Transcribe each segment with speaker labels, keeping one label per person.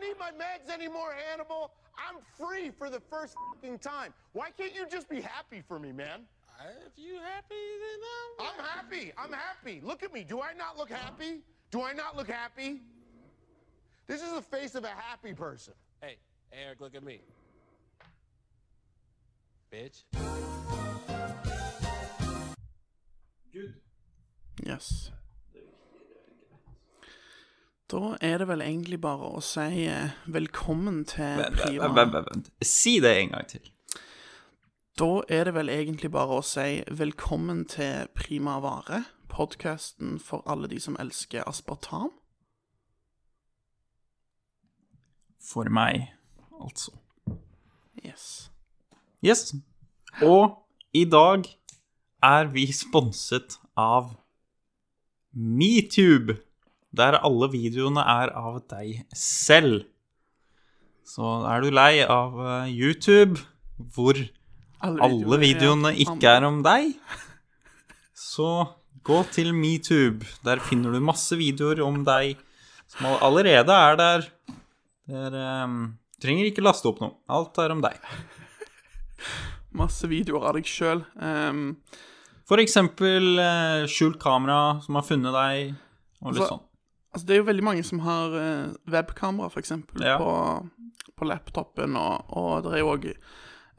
Speaker 1: need my meds anymore, Hannibal. I'm free for the first fucking time. Why can't you just be happy for me, man?
Speaker 2: If you happy, then I'm.
Speaker 1: I'm happy. I'm happy. Look at me. Do I not look happy? Do I not look happy? This is the face of a happy person.
Speaker 2: Hey, Eric, look at me. Bitch.
Speaker 3: Good.
Speaker 4: Yes.
Speaker 3: Det er
Speaker 4: Da
Speaker 3: viktig, det er greit.
Speaker 4: er det vel egentlig bare å si eh, velkommen til
Speaker 3: Vent, vent,
Speaker 4: Priva.
Speaker 3: vent, vent, vent, vent. Si det en gang til.
Speaker 4: Da er det vel egentlig bare å si velkommen til Prima Vare, podkasten for alle de som elsker aspartam.
Speaker 3: For meg, altså.
Speaker 4: Yes.
Speaker 3: Yes. Og i dag er vi sponset av Metube, der alle videoene er av deg selv. Så er du lei av eh, YouTube, hvor alle videoene ikke er om deg, så gå til Metube. Der finner du masse videoer om deg som all- allerede er der. Der em, trenger ikke laste opp noe. Alt er om deg.
Speaker 4: Masse videoer av deg sjøl. Um,
Speaker 3: For eksempel eh, skjult kamera som har funnet deg, og litt
Speaker 4: Hva-
Speaker 3: sånn.
Speaker 4: altså, det er jo veldig mange som har eh, webkamera, f.eks.,
Speaker 3: Ja.
Speaker 4: på, på laptopen, og, og det er jo òg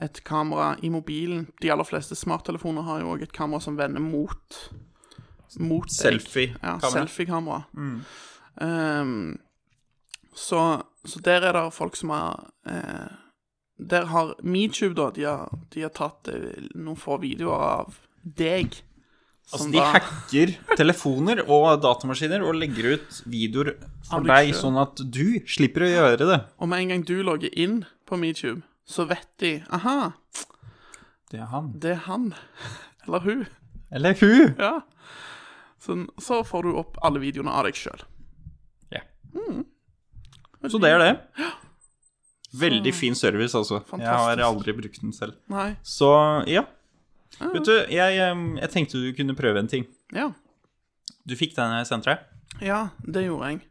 Speaker 4: et kamera i mobilen. De aller fleste smarttelefoner har jo òg et kamera som vender mot, mot deg. Ja,
Speaker 3: Selfie-kamera. Mm.
Speaker 4: selfie-kamera. Ehm, så, så der er det folk som har eh, Der har Metube, da, de har, de har tatt eh, noen få videoer av deg.
Speaker 3: altså,
Speaker 4: som
Speaker 3: de
Speaker 4: da-
Speaker 3: hacker telefoner og datamaskiner og legger ut videoer for
Speaker 4: Av deg
Speaker 3: deg,
Speaker 4: selv.
Speaker 3: sånn at du slipper å gjøre det.
Speaker 4: Og med en gang du logger inn på Metube, så vet de Aha,
Speaker 3: Det er han.
Speaker 4: det er han. Eller hun.
Speaker 3: Eller hun.
Speaker 4: Ja. Sånn, så får du opp alle videoene av deg sjøl.
Speaker 3: Ja.
Speaker 4: Mm.
Speaker 3: Så det er det. Veldig fin service, altså. Jeg
Speaker 4: Fantastisk.
Speaker 3: har aldri brukt den selv.
Speaker 4: Nei.
Speaker 3: Så ja.
Speaker 4: Ah.
Speaker 3: Vet du, jeg, em, jeg tenkte du kunne prøve en ting.
Speaker 4: Ja.
Speaker 3: Du fikk den jeg sendte deg?
Speaker 4: ja, det gjorde jeg.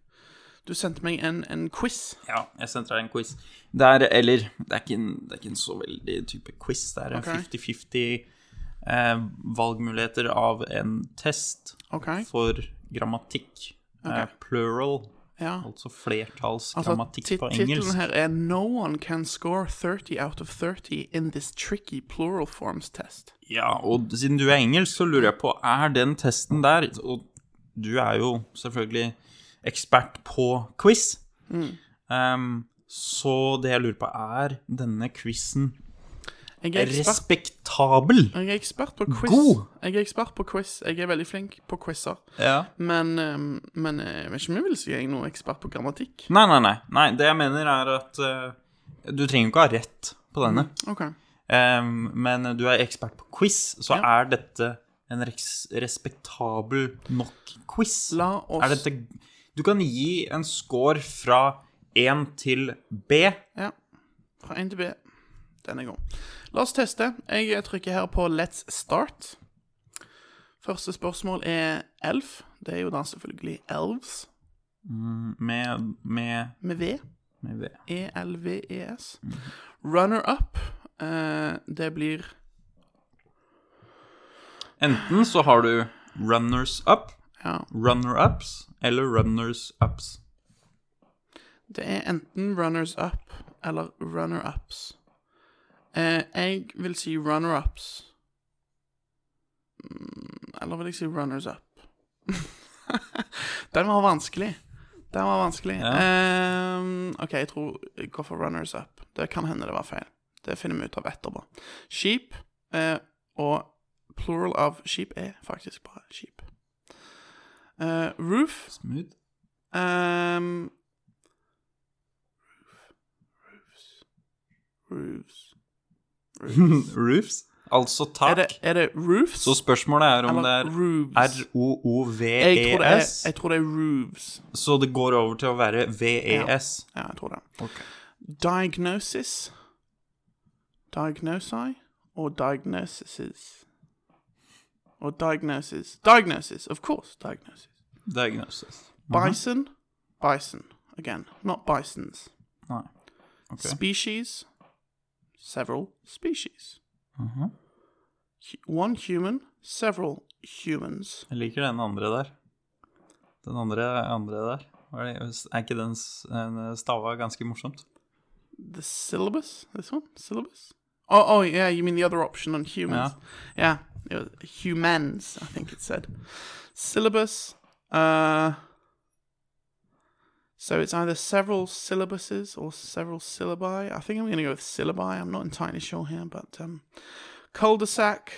Speaker 4: Du sendte meg en, en quiz.
Speaker 3: Ja, jeg sendte deg en quiz. Det er, eller, det er, ikke en, det er ikke en så veldig type quiz. Det er en
Speaker 4: Ok.
Speaker 3: 50-50 eh, valgmuligheter av en test
Speaker 4: OK?
Speaker 3: for grammatikk. Eh, plural,
Speaker 4: Ja.
Speaker 3: altså
Speaker 4: Altså,
Speaker 3: flertallsgrammatikk
Speaker 4: tit-
Speaker 3: på
Speaker 4: Tittelen
Speaker 3: engelsk.
Speaker 4: her er 'No one can score 30 out of 30 in this tricky plural forms test'.
Speaker 3: Ja, og siden du er engelsk, så lurer jeg på, er den testen der Og du er jo selvfølgelig ekspert på quiz.
Speaker 4: Mm.
Speaker 3: Em, så det jeg lurer på, er denne quizen
Speaker 4: Jeg er ekspert,
Speaker 3: respektabel?
Speaker 4: jeg er ekspert på quiz.
Speaker 3: God.
Speaker 4: Jeg er ekspert på quiz. Jeg er veldig flink på quizer.
Speaker 3: Ja.
Speaker 4: Men, ehm, men eh, jeg vet ikke om jeg vil si jeg er noen ekspert på grammatikk.
Speaker 3: Nei, nei, nei. nei det jeg mener er at eh, du trenger jo ikke ha rett på denne.
Speaker 4: OK.
Speaker 3: Em, men du er ekspert på quiz, så
Speaker 4: Ja.
Speaker 3: er dette en reks- respektabel nok quiz?
Speaker 4: La oss-
Speaker 3: Er dette Du kan gi en score fra 1 til B.
Speaker 4: Ja. Fra 1 til B. Den er god. La oss teste. Jeg trykker her på 'Let's start'. Første spørsmål er elf. Det er jo da selvfølgelig elves,
Speaker 3: Med, med,
Speaker 4: med V. E
Speaker 3: med V.
Speaker 4: E-L-V-E-S. Runner-up, eh, det blir
Speaker 3: Enten så har du runners up,
Speaker 4: Ja,
Speaker 3: runner-ups eller runners-ups.
Speaker 4: det er enten runners-up eller runner-ups. Eh, jeg vil si runner-ups. Mm, Eller vil jeg si runners-up? Den var vanskelig. Den var vanskelig. Eh, OK, jeg tror jeg går for runners-up. Det kan hende det var feil. Det finner vi ut av etterpå. Sheep eh, og plural av sheep er faktisk bare sheep. Eh, roof
Speaker 3: Smooth.
Speaker 4: Um, roofs.
Speaker 3: Roofs. Altså
Speaker 4: Er
Speaker 3: tak.
Speaker 4: det, er det roofs?
Speaker 3: Så spørsmålet er om det
Speaker 4: Eller
Speaker 3: er
Speaker 4: roofs? Jeg tror det er,
Speaker 3: R-O-O-V-E-S,
Speaker 4: jeg tror det er roofs.
Speaker 3: E så det går over til å være E V-E-S.
Speaker 4: Ja, jeg tror det.
Speaker 3: Ok.
Speaker 4: Diagnosis. Diagnosi og diagnoses. Og diagnosis. Diagnosis, of course, diagnosis.
Speaker 3: Diagnosis.
Speaker 4: Bison, bison. Again, not bisons.
Speaker 3: Nei. Ok.
Speaker 4: Species. Several species. Hu- One human, several humans.
Speaker 3: Jeg liker den andre der. Den andre, andre der. Hva Er, det, er ikke den s- en eh, stava ganske morsomt?
Speaker 4: The syllabus? This one? Syllabus? Oh, oh, yeah, you mean the other option on humans. Yeah. yeah. Humans, I think it said. Syllabus. Uh, so it's either several syllabuses or several syllabi. I think I'm going to go with syllabi. I'm not entirely sure here, but um, cul-de-sac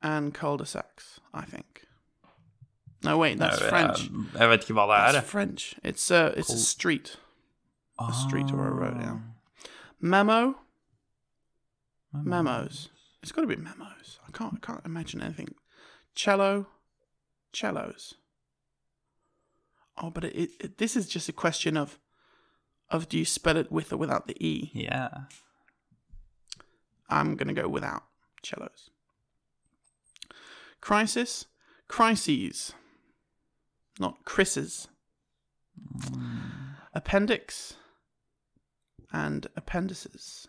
Speaker 4: and cul-de-sacs, I think. No, uh, wait, that's
Speaker 3: jeg,
Speaker 4: French.
Speaker 3: Jeg, jeg vet ikke hva det er.
Speaker 4: That's
Speaker 3: jeg.
Speaker 4: French. It's a it's a street, a street or a road. Yeah. Oh. Memo.
Speaker 3: Ah.
Speaker 4: Memos. It's got to be memos. I can't I can't imagine anything. Cello. Cellos. Oh, but it, it, it- this is just a question of of do you spell it with or without the e?
Speaker 3: Yeah.
Speaker 4: I'm gonna go without cellos. Crisis. Crises. Not Chris's. Appendix and appendices.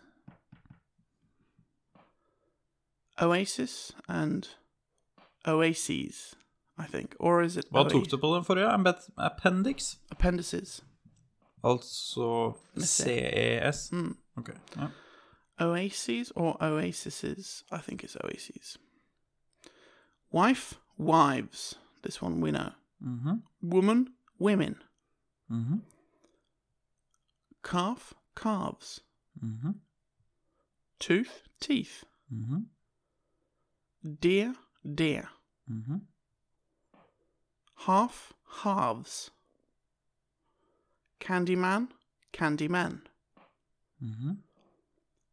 Speaker 4: Oasis and oases, I think. Or is it
Speaker 3: Hva
Speaker 4: oa-
Speaker 3: tok du på den forrige? Ambet- Appendix?
Speaker 4: appendices?
Speaker 3: Altså CES?
Speaker 4: Mm.
Speaker 3: Ok. Ja.
Speaker 4: Oases or oasises? I think it's oases. Wife, wives. This one we know. Woman, women.
Speaker 3: Mhm.
Speaker 4: Calf, calves. Tooth, teeth.
Speaker 3: Mhm.
Speaker 4: Deer, deer.
Speaker 3: Mhm.
Speaker 4: Half, halves. Candyman, candymen.
Speaker 3: Mhm.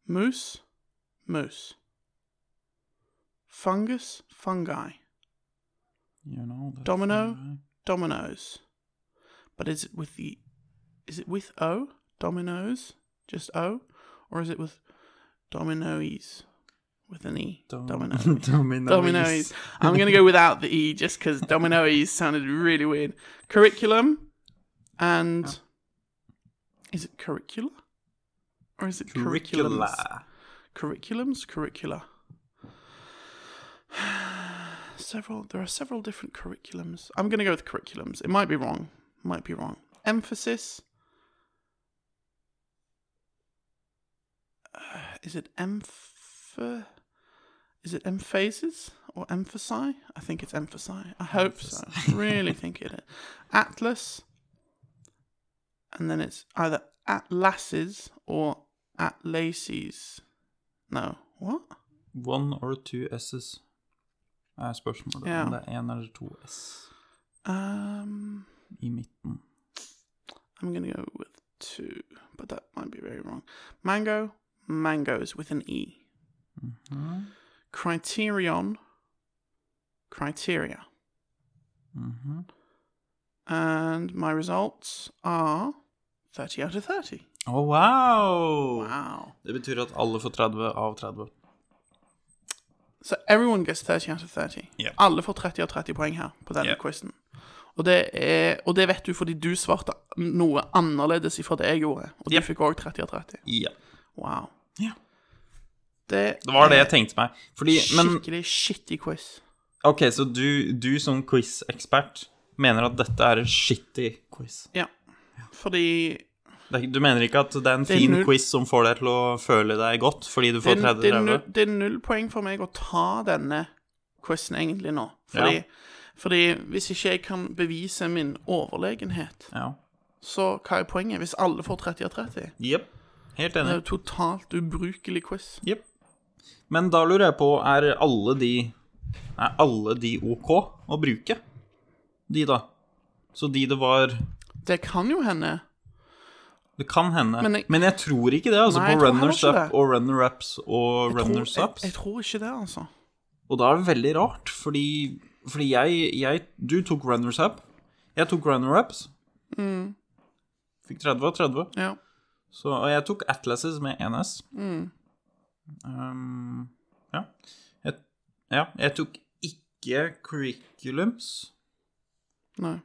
Speaker 4: Moose, moose. Fungus, fungi.
Speaker 3: You know that
Speaker 4: Domino,
Speaker 3: thing,
Speaker 4: dominoes. But is it with the. Is it with O? Dominoes? Just O? Or is it with dominoes? With an E?
Speaker 3: Dom-
Speaker 4: dominoes.
Speaker 3: Dominoes.
Speaker 4: Dominoes. I'm going to go without the E just because dominoes sounded really weird. Curriculum
Speaker 3: Ah.
Speaker 4: and. Is it curricula? Or is it
Speaker 3: right?
Speaker 4: curriculums?
Speaker 3: Curricula.
Speaker 4: Curriculums? Curricula. several. There are several different curriculums. I'm going to go with curriculums. It might be wrong. Might be wrong. Emphasis. Uh, is it emph? Is it emphasis or emphasize? I think it's emphasize. I hope so. really think it is. Atlas. And then it's either atlases or atlases. No. What?
Speaker 3: One or two S's er spørsmålet.
Speaker 4: Ja.
Speaker 3: Om det er én eller to S
Speaker 4: Um.
Speaker 3: i midten.
Speaker 4: I'm gonna go with two, but that might be very wrong. Mango, mangoes with an E. Criterion, criteria.
Speaker 3: Mhm.
Speaker 4: And my results are 30 out of 30.
Speaker 3: Å, wow!
Speaker 4: Wow.
Speaker 3: Det betyr at alle får 30 av 30.
Speaker 4: Så everyone gets 30 out of 30.
Speaker 3: Ja.
Speaker 4: Alle får 30 av 30 poeng her på denne
Speaker 3: Ja.
Speaker 4: quizen. Og det, er, og det vet du fordi du svarte noe annerledes ifra det jeg gjorde. Og
Speaker 3: Yep.
Speaker 4: du fikk òg 30 av 30.
Speaker 3: Ja.
Speaker 4: Wow.
Speaker 3: Ja.
Speaker 4: Det,
Speaker 3: Det var det jeg
Speaker 4: er
Speaker 3: tenkte meg. Fordi, men
Speaker 4: Skikkelig shitty quiz.
Speaker 3: OK, så du, du som quiz-ekspert mener at dette er en shitty quiz?
Speaker 4: Ja. Fordi
Speaker 3: Det er ikke- Du mener ikke at det er en
Speaker 4: er
Speaker 3: fin
Speaker 4: null.
Speaker 3: quiz som får deg til å føle deg godt fordi du
Speaker 4: det
Speaker 3: får
Speaker 4: er, det, er null,
Speaker 3: 30-30?
Speaker 4: det er null poeng for meg å ta denne quizen egentlig nå. Fordi,
Speaker 3: Ja.
Speaker 4: fordi hvis ikke jeg kan bevise min overlegenhet,
Speaker 3: Ja.
Speaker 4: så hva er poenget? Hvis alle får 30 av 30?
Speaker 3: Jepp. Helt
Speaker 4: Det er
Speaker 3: enig.
Speaker 4: jo totalt ubrukelig quiz.
Speaker 3: Jepp. Men da lurer jeg på, er alle de Er alle de OK å bruke? De, da. Så de det var
Speaker 4: Det kan jo hende.
Speaker 3: Det kan hende. Men
Speaker 4: Men
Speaker 3: jeg,
Speaker 4: jeg-
Speaker 3: tror ikke det, altså.
Speaker 4: Nei, jeg
Speaker 3: på
Speaker 4: tror heller
Speaker 3: runners
Speaker 4: ikke
Speaker 3: up
Speaker 4: det.
Speaker 3: og runner ups og
Speaker 4: Tror-
Speaker 3: runners
Speaker 4: jeg,
Speaker 3: ups.
Speaker 4: jeg tror ikke det, altså.
Speaker 3: Og da er det veldig rart, fordi, fordi jeg, jeg Du tok runners up. Jeg tok runner ups.
Speaker 4: Mm.
Speaker 3: Fikk 30 av 30.
Speaker 4: Ja.
Speaker 3: Så, og jeg tok Atlases med 1S.
Speaker 4: Mm.
Speaker 3: Um, ja. Jeg, ja. Jeg tok ikke curriculums.
Speaker 4: Nei.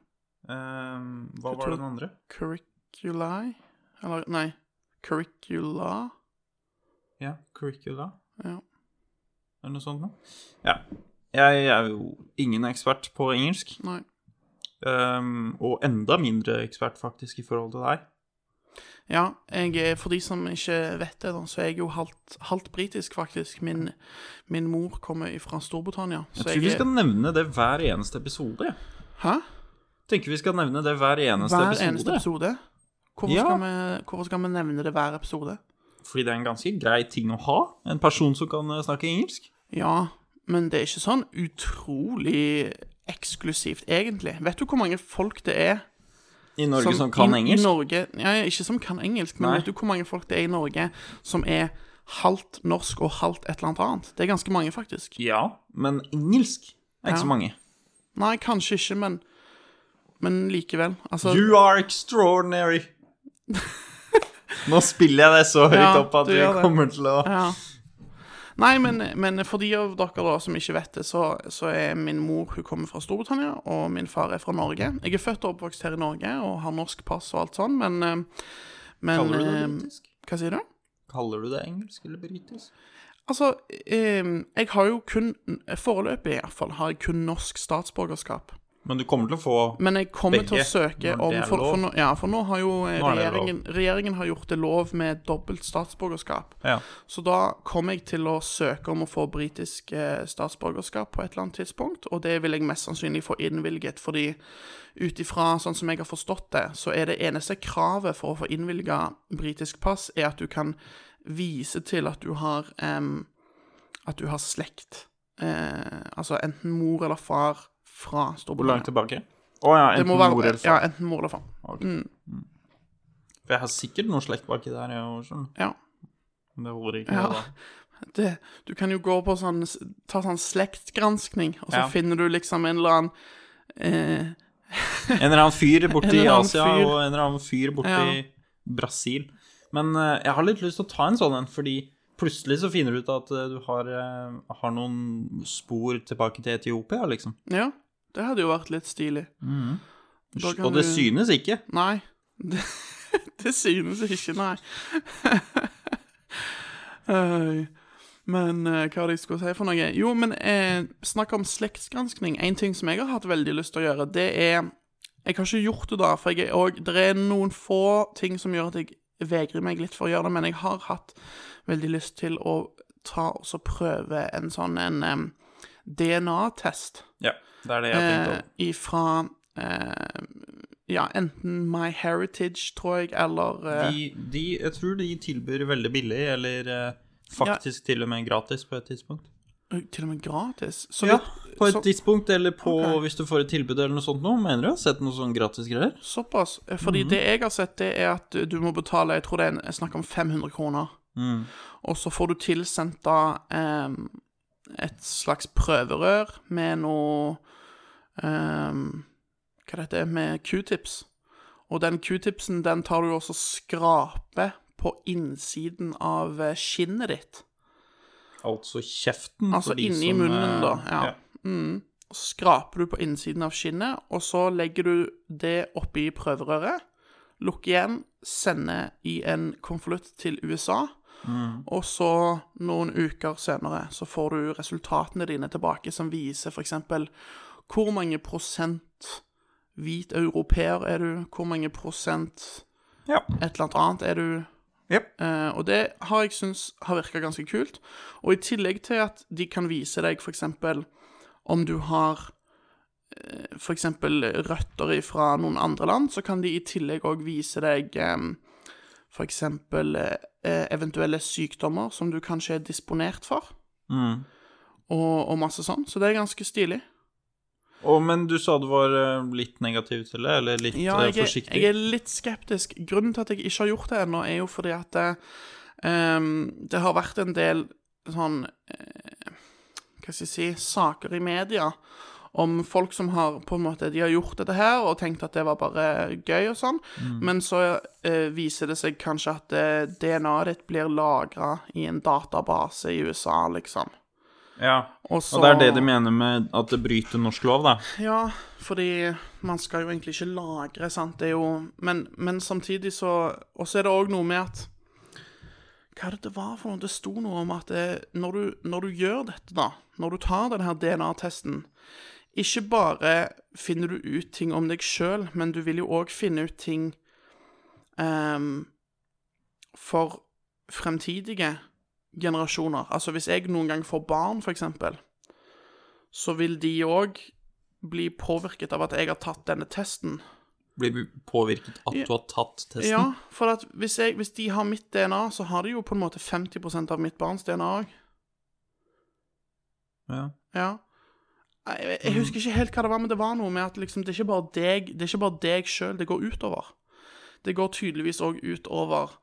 Speaker 3: Um, hva
Speaker 4: Du
Speaker 3: var
Speaker 4: tok-
Speaker 3: den andre?
Speaker 4: Curri Curriculi Eller, nei Curricula?
Speaker 3: Ja, curricula.
Speaker 4: Ja.
Speaker 3: Eller noe sånt noe. Ja. Jeg er jo ingen ekspert på engelsk.
Speaker 4: Nei.
Speaker 3: ehm, og enda mindre ekspert, faktisk, i forhold til deg.
Speaker 4: Ja, jeg, er- for de som ikke vet det, da, så er jeg jo halvt, halvt britisk, faktisk. Min, min mor kommer fra Storbritannia.
Speaker 3: Jeg
Speaker 4: Så
Speaker 3: tror vi skal nevne det hver eneste episode. jeg.
Speaker 4: Hæ?
Speaker 3: Tenker vi skal nevne det hver eneste
Speaker 4: Hver
Speaker 3: episode.
Speaker 4: eneste episode? Hvorfor,
Speaker 3: Ja.
Speaker 4: skal vi, hvorfor skal vi nevne det hver episode?
Speaker 3: Fordi det er en ganske grei ting å ha. En person som kan eh, snakke engelsk.
Speaker 4: Ja, men det er ikke sånn utrolig eksklusivt, egentlig. Vet du hvor mange folk det er
Speaker 3: I Norge som, kan
Speaker 4: i- i
Speaker 3: engelsk.
Speaker 4: Norge, ja, ja, ikke som kan engelsk, men
Speaker 3: Nei.
Speaker 4: vet du hvor mange folk det er i Norge som er halvt norsk og halvt et eller annet annet? Det er ganske mange, faktisk.
Speaker 3: Ja, men engelsk er ikke
Speaker 4: Ja.
Speaker 3: så mange.
Speaker 4: Nei, kanskje ikke, men, men likevel. Altså,
Speaker 3: You are extraordinary. Nå spiller jeg det så høyt
Speaker 4: Ja,
Speaker 3: opp at
Speaker 4: du
Speaker 3: du
Speaker 4: gjør det.
Speaker 3: kommer til å
Speaker 4: Ja. Nei, men, men for de av dere da som ikke vet det, så, så er min mor hun kommer fra Storbritannia, og min far er fra Norge. Jeg er født og oppvokst her i Norge og har norsk pass og alt sånn, men, eh, men
Speaker 3: Kaller du det
Speaker 4: eh,
Speaker 3: britisk?
Speaker 4: Hva sier du?
Speaker 3: Kaller du det engelsk eller britisk?
Speaker 4: Altså, eh, jeg har jo kun Foreløpig, iallfall, har jeg kun norsk statsborgerskap.
Speaker 3: Men du kommer til å få
Speaker 4: Men jeg kommer til å
Speaker 3: Begge,
Speaker 4: søke
Speaker 3: når
Speaker 4: om
Speaker 3: det er
Speaker 4: for, for,
Speaker 3: lov.
Speaker 4: nå- ja, for nå har jo eh,
Speaker 3: Nå er det lov.
Speaker 4: regjeringen, regjeringen har gjort det lov med dobbelt statsborgerskap.
Speaker 3: Ja.
Speaker 4: Så da kommer jeg til å søke om å få britisk eh, statsborgerskap på et eller annet tidspunkt, og det vil jeg mest sannsynlig få innvilget, fordi ut ifra sånn som jeg har forstått det, så er det eneste kravet for å få innvilga britisk pass, er at du kan vise til at du har em, At du har slekt. Eh, altså enten mor eller far fra
Speaker 3: Hvor
Speaker 4: Storbritannia.
Speaker 3: langt tilbake? Å ja,
Speaker 4: Det
Speaker 3: enten
Speaker 4: må være
Speaker 3: mor eller
Speaker 4: Ja,
Speaker 3: far.
Speaker 4: enten mor eller far.
Speaker 3: Ok. Mm. For jeg har sikkert noe slekt baki der, jeg òg, skjønner du.
Speaker 4: Ja.
Speaker 3: Men det holder ikke.
Speaker 4: Ja.
Speaker 3: det, da.
Speaker 4: Det, du kan jo gå på sånn Ta sånn slektsgranskning, og så
Speaker 3: Ja.
Speaker 4: finner du liksom en eller annen eh,
Speaker 3: En eller annen fyr borte
Speaker 4: En
Speaker 3: i
Speaker 4: eller annen
Speaker 3: Asia
Speaker 4: fyr.
Speaker 3: og en eller annen fyr borte
Speaker 4: Ja.
Speaker 3: i Brasil. Men eh, jeg har litt lyst til å ta en sånn en, fordi plutselig så finner du ut at eh, du har, eh, har noen spor tilbake til Etiopia, liksom.
Speaker 4: Ja, det hadde jo vært litt stilig. Da kan
Speaker 3: Og det
Speaker 4: du-
Speaker 3: synes ikke.
Speaker 4: Nei. Det, det synes ikke, nei. Øy. Men eh, hva var det jeg skulle si for noe? Jo, men eh, snakk om slektsgranskning. En ting som jeg har hatt veldig lyst til å gjøre, det er Jeg har ikke gjort det, da, for jeg er òg Det er noen få ting som gjør at jeg vegrer meg litt for å gjøre det, men jeg har hatt veldig lyst til å ta og så prøve en sånn en em, DNA-test
Speaker 3: Ja, det er det jeg tenkte om.
Speaker 4: eh, ifra eh, Ja, enten My Heritage, tror jeg, eller eh,
Speaker 3: De, de, jeg tror de tilbyr veldig billig, eller eh, faktisk til og med gratis på et tidspunkt.
Speaker 4: øy, Til og med gratis. Så
Speaker 3: Ja,
Speaker 4: vidt-
Speaker 3: på et
Speaker 4: så,
Speaker 3: tidspunkt, eller på,
Speaker 4: Ok.
Speaker 3: hvis du får et tilbud eller noe sånt noe. Mener du jeg har sett noe sånn gratis greier?
Speaker 4: såpass. Eh, Fordi det jeg har sett, det er at eh, du- du må betale Jeg tror det er en- snakk om 500 kroner. Og så får du tilsendt da em, et slags prøverør med noe um, Hva det heter det? Med q-tips. Og den q-tipsen den tar du også skrape på innsiden av eh, skinnet ditt.
Speaker 3: Altså kjeften.
Speaker 4: Altså
Speaker 3: for de
Speaker 4: inni
Speaker 3: som,
Speaker 4: munnen,
Speaker 3: eh,
Speaker 4: da. Ja. Mm. Så skraper du på innsiden av skinnet, og så legger du det oppi prøverøret. Lukk igjen, sender i en konvolutt til USA.
Speaker 3: Mm.
Speaker 4: Og så, noen uker senere, så får du resultatene dine tilbake, som viser f.eks. hvor mange prosent hvit europeer er du, hvor mange prosent
Speaker 3: Ja.
Speaker 4: et eller annet annet er du.
Speaker 3: Jep.
Speaker 4: Eh, og det har jeg syns har virka ganske kult. Og i tillegg til at de kan vise deg f.eks. om du har eh, for eksempel røtter fra noen andre land, så kan de i tillegg òg vise deg um, f.eks. eh, eventuelle sykdommer som du kanskje er disponert for,
Speaker 3: Mm.
Speaker 4: og, og masse sånn. Så det er ganske stilig.
Speaker 3: Og, men du sa du var eh, litt negativ til det, eller litt
Speaker 4: Ja,
Speaker 3: eh,
Speaker 4: jeg er,
Speaker 3: forsiktig?
Speaker 4: jeg er litt skeptisk. Grunnen til at jeg ikke har gjort det ennå, er jo fordi at det, ehm, det har vært en del sånn eh, Hva skal jeg si Saker i media om folk som har på en måte, de har gjort dette her og tenkt at det var bare gøy og sånn,
Speaker 3: Mm.
Speaker 4: men så eh, viser det seg kanskje at eh, DNA-et ditt blir lagra i en database i USA, liksom.
Speaker 3: Ja.
Speaker 4: Og, så,
Speaker 3: Og det er det de mener med at det bryter norsk lov, da.
Speaker 4: Ja, fordi man skal jo egentlig ikke lagre, sant. Det er jo Men, men samtidig så Og så er det òg noe med at Hva er det det var for noe? Det sto noe om at det, når, du, når du gjør dette, da, når du tar denne her DNA-testen Ikke bare finner du ut ting om deg sjøl, men du vil jo òg finne ut ting ehm, for fremtidige generasjoner. Altså hvis jeg noen gang får barn, for eksempel, så vil de òg bli påvirket av at jeg har tatt denne testen.
Speaker 3: Blir påvirket at du har tatt testen.
Speaker 4: Ja, for at hvis, jeg, hvis de har mitt DNA, så har de jo på en måte 50 av mitt barns DNA òg.
Speaker 3: Ja.
Speaker 4: Ja. Jeg, jeg husker ikke helt hva det var, men det var noe med at liksom, det er ikke bare deg det er ikke bare deg sjøl det går utover. Det går tydeligvis òg utover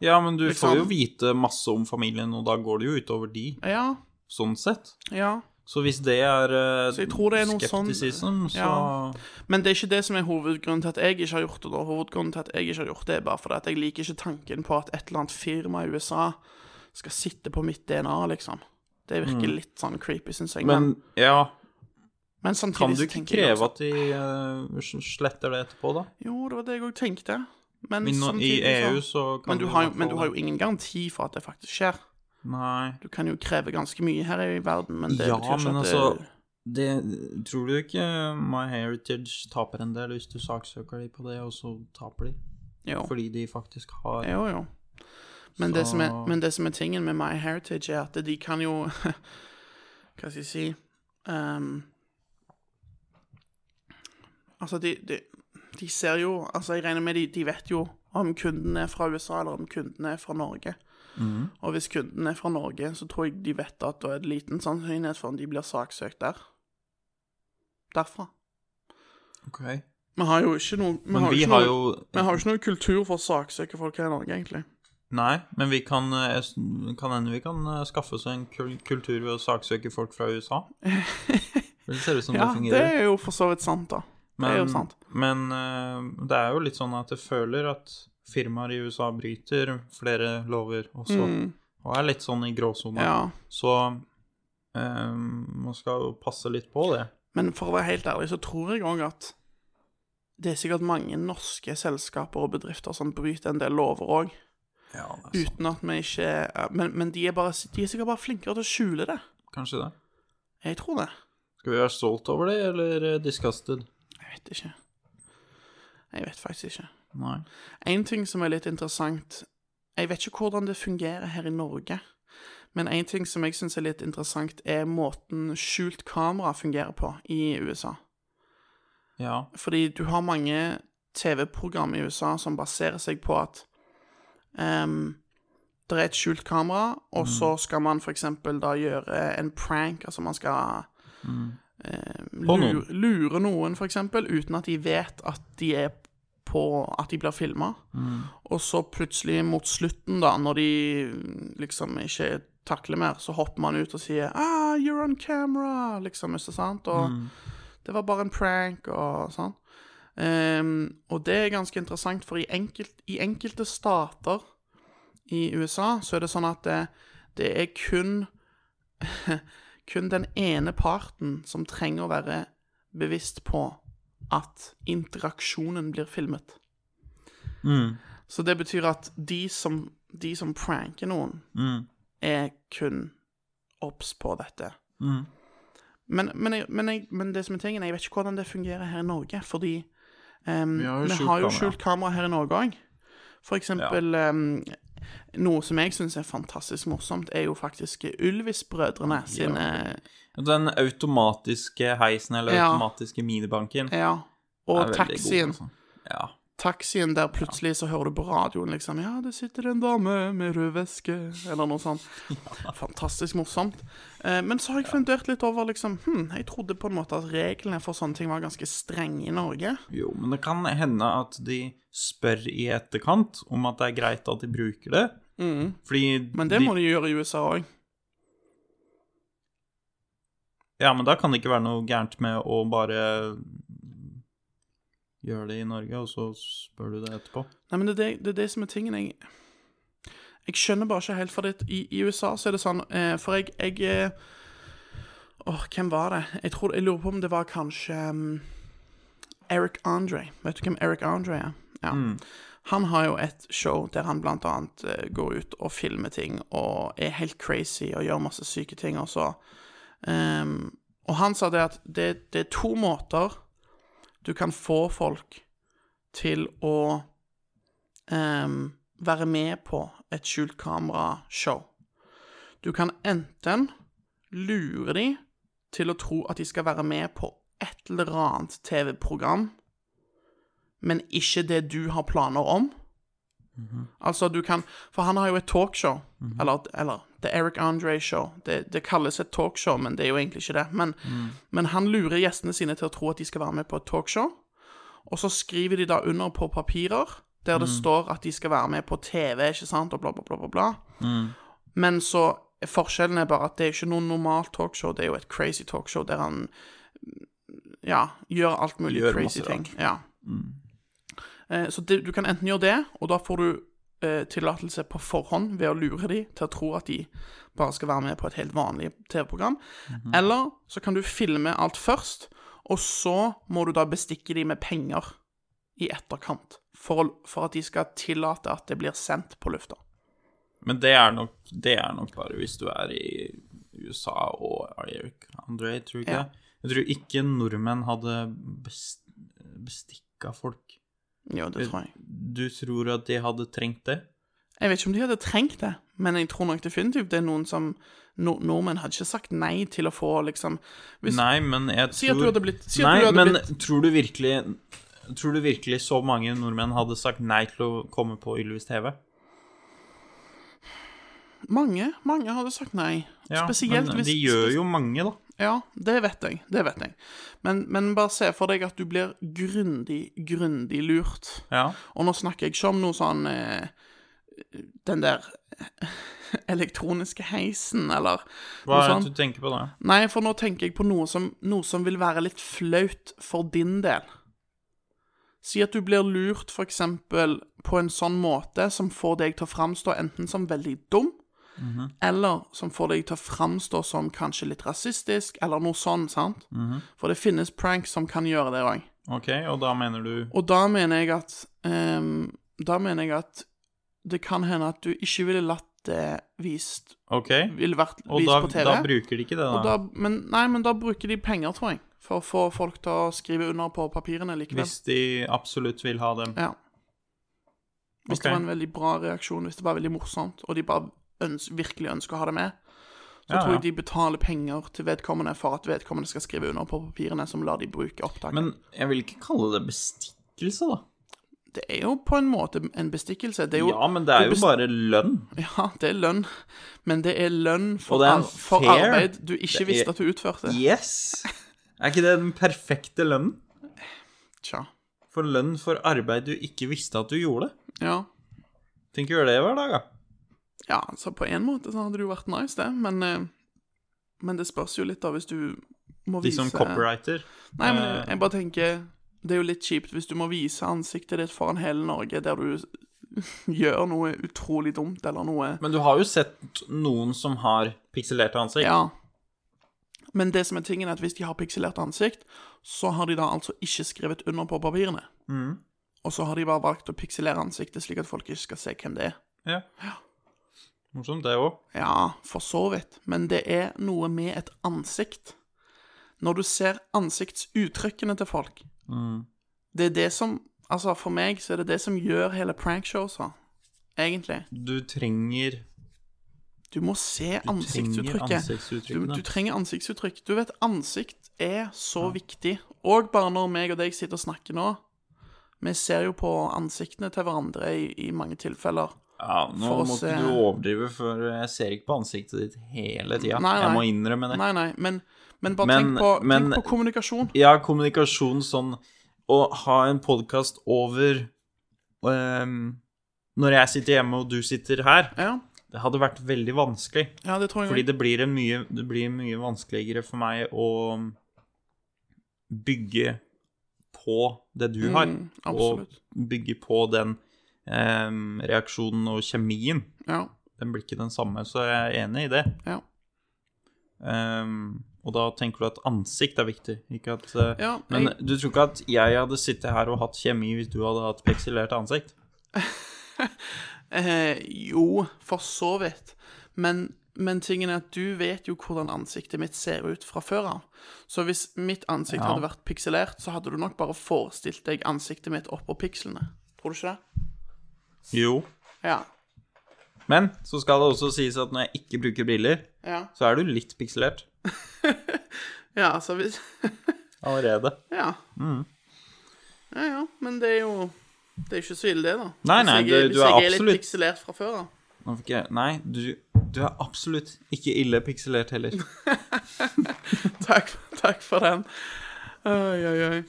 Speaker 3: Ja, men du
Speaker 4: Liksom.
Speaker 3: får jo vite masse om familien, og da går det jo utover de,
Speaker 4: Ja,
Speaker 3: sånn sett.
Speaker 4: ja.
Speaker 3: Så hvis det er eh,
Speaker 4: Så jeg tror det er noe sånn-
Speaker 3: skepticism, så
Speaker 4: Ja. Men det er ikke det som er hovedgrunnen til at jeg ikke har gjort det. da. Hovedgrunnen til at jeg ikke har gjort det, er bare fordi at jeg liker ikke tanken på at et eller annet firma i USA skal sitte på mitt DNA, liksom. Det virker litt sånn creepy, syns jeg. Men,
Speaker 3: Men ja,
Speaker 4: men samtidig
Speaker 3: kan du
Speaker 4: så
Speaker 3: ikke
Speaker 4: tenker jeg
Speaker 3: kreve
Speaker 4: også-
Speaker 3: at de eh, s- sletter det etterpå, da?
Speaker 4: Jo, det var det jeg òg tenkte. Men
Speaker 3: Men nå- I
Speaker 4: samtidig
Speaker 3: EU
Speaker 4: så
Speaker 3: så
Speaker 4: men
Speaker 3: kan
Speaker 4: du, har jo,
Speaker 3: hvert
Speaker 4: men du
Speaker 3: fall-
Speaker 4: har jo ingen garanti for at det faktisk skjer.
Speaker 3: Nei.
Speaker 4: Du kan jo kreve ganske mye her i verden, men det
Speaker 3: ja,
Speaker 4: betyr ikke
Speaker 3: men
Speaker 4: at
Speaker 3: altså
Speaker 4: det
Speaker 3: det, Tror du ikke MyHeritage taper en del hvis du saksøker de på det, og så taper de?
Speaker 4: Jo,
Speaker 3: Fordi de faktisk har
Speaker 4: jo. jo. Men, det
Speaker 3: Så-
Speaker 4: som er, men det som er tingen med MyHeritage, er at de kan jo Hva skal jeg si ehm, Altså, de, de, de ser jo Altså, jeg regner med de, de vet jo om kunden er fra USA, eller om kunden er fra Norge.
Speaker 3: Mhm.
Speaker 4: Og hvis kunden er fra Norge, så tror jeg de vet at det er en liten sannsynlighet for at de blir saksøkt der. Derfra.
Speaker 3: Ok.
Speaker 4: Vi har jo ikke noe Vi
Speaker 3: Men
Speaker 4: har,
Speaker 3: vi
Speaker 4: ikke
Speaker 3: har
Speaker 4: noe,
Speaker 3: jo
Speaker 4: vi har jo ikke noe kultur for å saksøke folk her i Norge, egentlig.
Speaker 3: Nei, men vi kan, eh, s- kan hende vi kan eh, skaffe oss en kul kultur ved å saksøke folk fra USA. Det ser ut som
Speaker 4: Ja,
Speaker 3: det
Speaker 4: det
Speaker 3: fungerer.
Speaker 4: er jo for så vidt sant, da.
Speaker 3: men,
Speaker 4: er jo sant.
Speaker 3: Men eh, det er jo litt sånn at jeg føler at firmaer i USA bryter flere lover også,
Speaker 4: Mm,
Speaker 3: og er litt sånn i gråsona.
Speaker 4: ja.
Speaker 3: Så eh, man skal jo passe litt på det.
Speaker 4: Men for å være helt ærlig, så tror jeg òg at det er sikkert mange norske selskaper og bedrifter som bryter en del lover òg,
Speaker 3: Ja, det er sant.
Speaker 4: uten at vi ikke Men, men de, er bare, de er sikkert bare flinkere til å skjule det.
Speaker 3: Kanskje det.
Speaker 4: Jeg tror det.
Speaker 3: Skal vi være stolt over det, eller eh, disgusted?
Speaker 4: Jeg vet ikke. Jeg vet faktisk ikke.
Speaker 3: Nei.
Speaker 4: En ting som er litt interessant Jeg vet ikke hvordan det fungerer her i Norge, men en ting som jeg syns er litt interessant, er måten skjult kamera fungerer på i USA.
Speaker 3: Ja.
Speaker 4: Fordi du har mange TV-program i USA som baserer seg på at ehm, det er et skjult kamera,
Speaker 3: Mm.
Speaker 4: og så skal man for eksempel da gjøre en prank, altså man skal ehm,
Speaker 3: Mm. På
Speaker 4: lure,
Speaker 3: noen.
Speaker 4: lure noen for eksempel, uten at de vet at de er på, at de blir filmet.
Speaker 3: Mm.
Speaker 4: Og så plutselig mot slutten da, når de liksom ikke takler mer, så hopper man ut og sier «Ah, you're on camera!» liksom, ikke sant? Og
Speaker 3: Mm.
Speaker 4: det var bare en prank og sånn. Ehm, og det er ganske interessant, for i, enkelt, i enkelte stater i USA så er det sånn at det, det er kun kun den ene parten som trenger å være bevisst på at interaksjonen blir filmet.
Speaker 3: Mm.
Speaker 4: Så det betyr at de som, de som pranker noen,
Speaker 3: Mm.
Speaker 4: er kun obs på dette.
Speaker 3: Mm.
Speaker 4: Men, men, jeg, men, jeg, men det som er tingen, jeg vet ikke hvordan det fungerer her i Norge, fordi ehm,
Speaker 3: Vi har jo
Speaker 4: vi
Speaker 3: skjult
Speaker 4: har jo
Speaker 3: kamera.
Speaker 4: skjult kamera her i Norge òg. For eksempel ehm, Noe som jeg syns er fantastisk morsomt, er jo faktisk Ylvis-brødrene sine
Speaker 3: Den automatiske heisen, eller
Speaker 4: Ja.
Speaker 3: automatiske minibanken.
Speaker 4: Ja. Og
Speaker 3: er veldig god,
Speaker 4: taxien.
Speaker 3: altså. Ja.
Speaker 4: taxien der plutselig så hører du på radioen liksom Ja, det sitter en dame med rød veske, eller noe sånt. Fantastisk morsomt. Eh, men så har jeg fundert litt over liksom Hm, jeg trodde på en måte at reglene for sånne ting var ganske strenge i Norge.
Speaker 3: Jo, men det kan hende at de spør i etterkant om at det er greit at de bruker det. Fordi
Speaker 4: Mm. Men det
Speaker 3: de,
Speaker 4: må de gjøre i USA òg.
Speaker 3: Ja, men da kan det ikke være noe gærent med å bare gjøre det i Norge, og så spør du det etterpå.
Speaker 4: Nei, men det er det, det er det som er tingen. Jeg, jeg skjønner bare ikke helt, for det, i, i USA så er det sånn eh, For jeg, jeg eh, Åh, hvem var det? Jeg, tror, jeg lurer på om det var kanskje um, Eric Andre. Vet du hvem Eric Andre er? Ja. Han har jo et show der han blant annet eh, går ut og filmer ting og er helt crazy og gjør masse syke ting og så. Um, og han sa det at det, det er to måter du kan få folk til å um, være med på et skjult kamerashow. Du kan enten lure de til å tro at de skal være med på et eller annet TV-program, men ikke det du har planer om. Altså, du kan For han har jo et talkshow, eller, eller The Eric Andre Show. Det, det kalles et talkshow, men det er jo egentlig ikke det. Men, men han lurer gjestene sine til å tro at de skal være med på et talkshow, og så skriver de da under på papirer der det står at de skal være med på TV, ikke sant, og bla, bla, bla, bla. bla. Men så Forskjellen er bare at det er ikke noe normalt talkshow, det er jo et crazy talkshow der han ja, gjør alt mulig
Speaker 3: Gjør
Speaker 4: crazy
Speaker 3: masse
Speaker 4: ting.
Speaker 3: rart. Mm.
Speaker 4: Ja. Eh, Så det, du kan enten gjøre det, og da får du eh, tillatelse på forhånd ved å lure de til å tro at de bare skal være med på et helt vanlig TV-program.
Speaker 3: Mhm.
Speaker 4: Eller så kan du filme alt først, og så må du da bestikke de med penger i etterkant. For, å- for at de skal tillate at det blir sendt på lufta.
Speaker 3: Men det er, nok, det er nok bare hvis du er i USA og Eric André, tror jeg ikke
Speaker 4: Ja.
Speaker 3: det. Jeg tror ikke nordmenn hadde best, bestikka folk.
Speaker 4: Jo,
Speaker 3: Eh,
Speaker 4: det tror jeg.
Speaker 3: Du tror at de hadde trengt det?
Speaker 4: Jeg vet ikke om de hadde trengt det, men jeg tror nok definitivt det er noen som no Nordmenn hadde ikke sagt nei til å få liksom hvis,
Speaker 3: Nei, men jeg tror
Speaker 4: Si at du hadde blitt- si at
Speaker 3: Nei,
Speaker 4: du hadde
Speaker 3: men
Speaker 4: blitt-
Speaker 3: tror du virkelig Tror du virkelig så mange nordmenn hadde sagt nei til å komme på Ylvis TV?
Speaker 4: Mange, mange hadde sagt nei. Spesielt
Speaker 3: men
Speaker 4: hvis
Speaker 3: De gjør jo mange, da.
Speaker 4: Ja, det vet jeg. Det vet jeg. Men, men bare se for deg at du blir grundig, grundig lurt.
Speaker 3: Ja.
Speaker 4: Og nå snakker jeg ikke om noe sånn eh, Den der eh, elektroniske heisen, eller
Speaker 3: Hva
Speaker 4: noe sånn.
Speaker 3: er
Speaker 4: sånt.
Speaker 3: det du tenker på da?
Speaker 4: Nei, for nå tenker jeg på noe som, noe som vil være litt flaut for din del. Si at du blir lurt, for eksempel, på en sånn måte som får deg til å framstå enten som veldig dum,
Speaker 3: Mhm.
Speaker 4: eller som får deg til å framstå som kanskje litt rasistisk, eller noe sånn, sant?
Speaker 3: Mhm.
Speaker 4: For det finnes pranks som kan gjøre det òg.
Speaker 3: Ok, og da mener du
Speaker 4: Og da mener jeg at ehm, Da mener jeg at det kan hende at du ikke ville latt det vist
Speaker 3: Ok,
Speaker 4: Ville vært
Speaker 3: og
Speaker 4: vist
Speaker 3: da,
Speaker 4: på TV.
Speaker 3: da bruker de ikke det,
Speaker 4: Og
Speaker 3: da?
Speaker 4: da, men, nei, men da bruker de penger, tror jeg, for å få folk til å skrive under på papirene likevel.
Speaker 3: Hvis de absolutt vil ha dem.
Speaker 4: ja. hvis
Speaker 3: Ok.
Speaker 4: det var en veldig bra reaksjon, hvis det var veldig morsomt, og de bare øns virkelig ønsker å ha det med, så
Speaker 3: Ja,
Speaker 4: tror
Speaker 3: ja.
Speaker 4: jeg de betaler penger til vedkommende for at vedkommende skal skrive under på papirene som lar de bruke opptaket.
Speaker 3: Men jeg vil ikke kalle det bestikkelse, da.
Speaker 4: det er jo på en måte en bestikkelse. Det er jo,
Speaker 3: Ja, men det er jo
Speaker 4: best-
Speaker 3: bare lønn.
Speaker 4: Ja, det er lønn, men det er lønn
Speaker 3: Og
Speaker 4: for,
Speaker 3: det er
Speaker 4: ar for
Speaker 3: fair.
Speaker 4: arbeid du ikke
Speaker 3: Det er-
Speaker 4: visste at du utførte.
Speaker 3: Yes! Er ikke det den perfekte lønnen?
Speaker 4: Tja.
Speaker 3: For lønn for arbeid du ikke visste at du gjorde.
Speaker 4: Ja.
Speaker 3: Tenk å gjøre det hver dag, da.
Speaker 4: Ja, altså på en måte så hadde det jo vært nice, det, men, eh, men det spørs jo litt, da, hvis du må
Speaker 3: De
Speaker 4: vise
Speaker 3: som copywriter.
Speaker 4: Nei, men jeg,
Speaker 3: sånn eh,
Speaker 4: jeg bare tenker Det er jo litt kjipt hvis du må vise ansiktet ditt foran hele Norge der du gjør noe utrolig dumt, eller noe
Speaker 3: Men du har jo sett noen som har pikselerte ansikt.
Speaker 4: Ja. Men det som er tingen, er at hvis de har pikselert ansikt, så har de da altså ikke skrevet under på papirene. Og så har de bare valgt å pikselere ansiktet slik at folk ikke skal se hvem det er.
Speaker 3: Ja. Morsomt, det òg.
Speaker 4: Ja, for så vidt. Men det er noe med et ansikt. Når du ser ansiktsuttrykkene til folk
Speaker 3: Mm.
Speaker 4: Det er det som Altså, for meg så er det det som gjør hele prankshowsa, egentlig.
Speaker 3: Du trenger
Speaker 4: Du må se ansiktsuttrykket. Du,
Speaker 3: ansiktsuttrykkene.
Speaker 4: du trenger ansiktsuttrykk. Du vet, ansikt er så viktig. Og bare når meg og deg sitter og snakker nå Vi ser jo på ansiktene til hverandre i, i mange tilfeller.
Speaker 3: Ja, nå
Speaker 4: For eh, å
Speaker 3: må ikke
Speaker 4: se-
Speaker 3: du overdrive, for jeg ser ikke på ansiktet ditt hele tida.
Speaker 4: Nei,
Speaker 3: Jeg må
Speaker 4: nei.
Speaker 3: innrømme det.
Speaker 4: Nei, nei, men, men bare
Speaker 3: Men-
Speaker 4: tenk, på,
Speaker 3: men-
Speaker 4: tenk på kommunikasjon.
Speaker 3: Ja, kommunikasjon sånn Å ha en podkast over ehm, Når jeg sitter hjemme og du sitter her,
Speaker 4: Ja,
Speaker 3: det hadde vært veldig vanskelig.
Speaker 4: ja det tror jeg.
Speaker 3: Fordi det blir, en mye, det blir mye vanskeligere for meg å bygge på det du har.
Speaker 4: Mm, absolutt.
Speaker 3: Og bygge på den ehm, reaksjonen og kjemien.
Speaker 4: Ja,
Speaker 3: Den blir ikke den samme, så jeg er enig i det.
Speaker 4: ja.
Speaker 3: Ehm, Og da tenker du at ansikt er viktig. Ikke at, eh,
Speaker 4: Ja,
Speaker 3: men
Speaker 4: jeg-
Speaker 3: du tror ikke at jeg hadde sittet her og hatt kjemi hvis du hadde hatt pikselert ansikt?
Speaker 4: Eh, jo, for så vidt. Men, men tingen er at du vet jo hvordan ansiktet mitt ser ut fra før av. Så hvis mitt ansikt
Speaker 3: Ja.
Speaker 4: hadde vært pikselert, så hadde du nok bare forestilt deg ansiktet mitt oppå pikslene. Tror du ikke det?
Speaker 3: Jo.
Speaker 4: Ja.
Speaker 3: Men så skal det også sies at når jeg ikke bruker briller,
Speaker 4: Ja,
Speaker 3: så er du litt pikselert
Speaker 4: ja altså hvis
Speaker 3: allerede.
Speaker 4: Ja. Ja, ja, men det er jo Det er ikke så ille, det, da.
Speaker 3: Nei,
Speaker 4: Hvis
Speaker 3: nei,
Speaker 4: jeg,
Speaker 3: du-
Speaker 4: hvis
Speaker 3: du er
Speaker 4: jeg er
Speaker 3: absolutt-
Speaker 4: litt pikselert fra før av.
Speaker 3: Nå fikk jeg Nei, du, du er absolutt ikke ille pikselert heller.
Speaker 4: Takk, takk for den. Oi, oi, oi.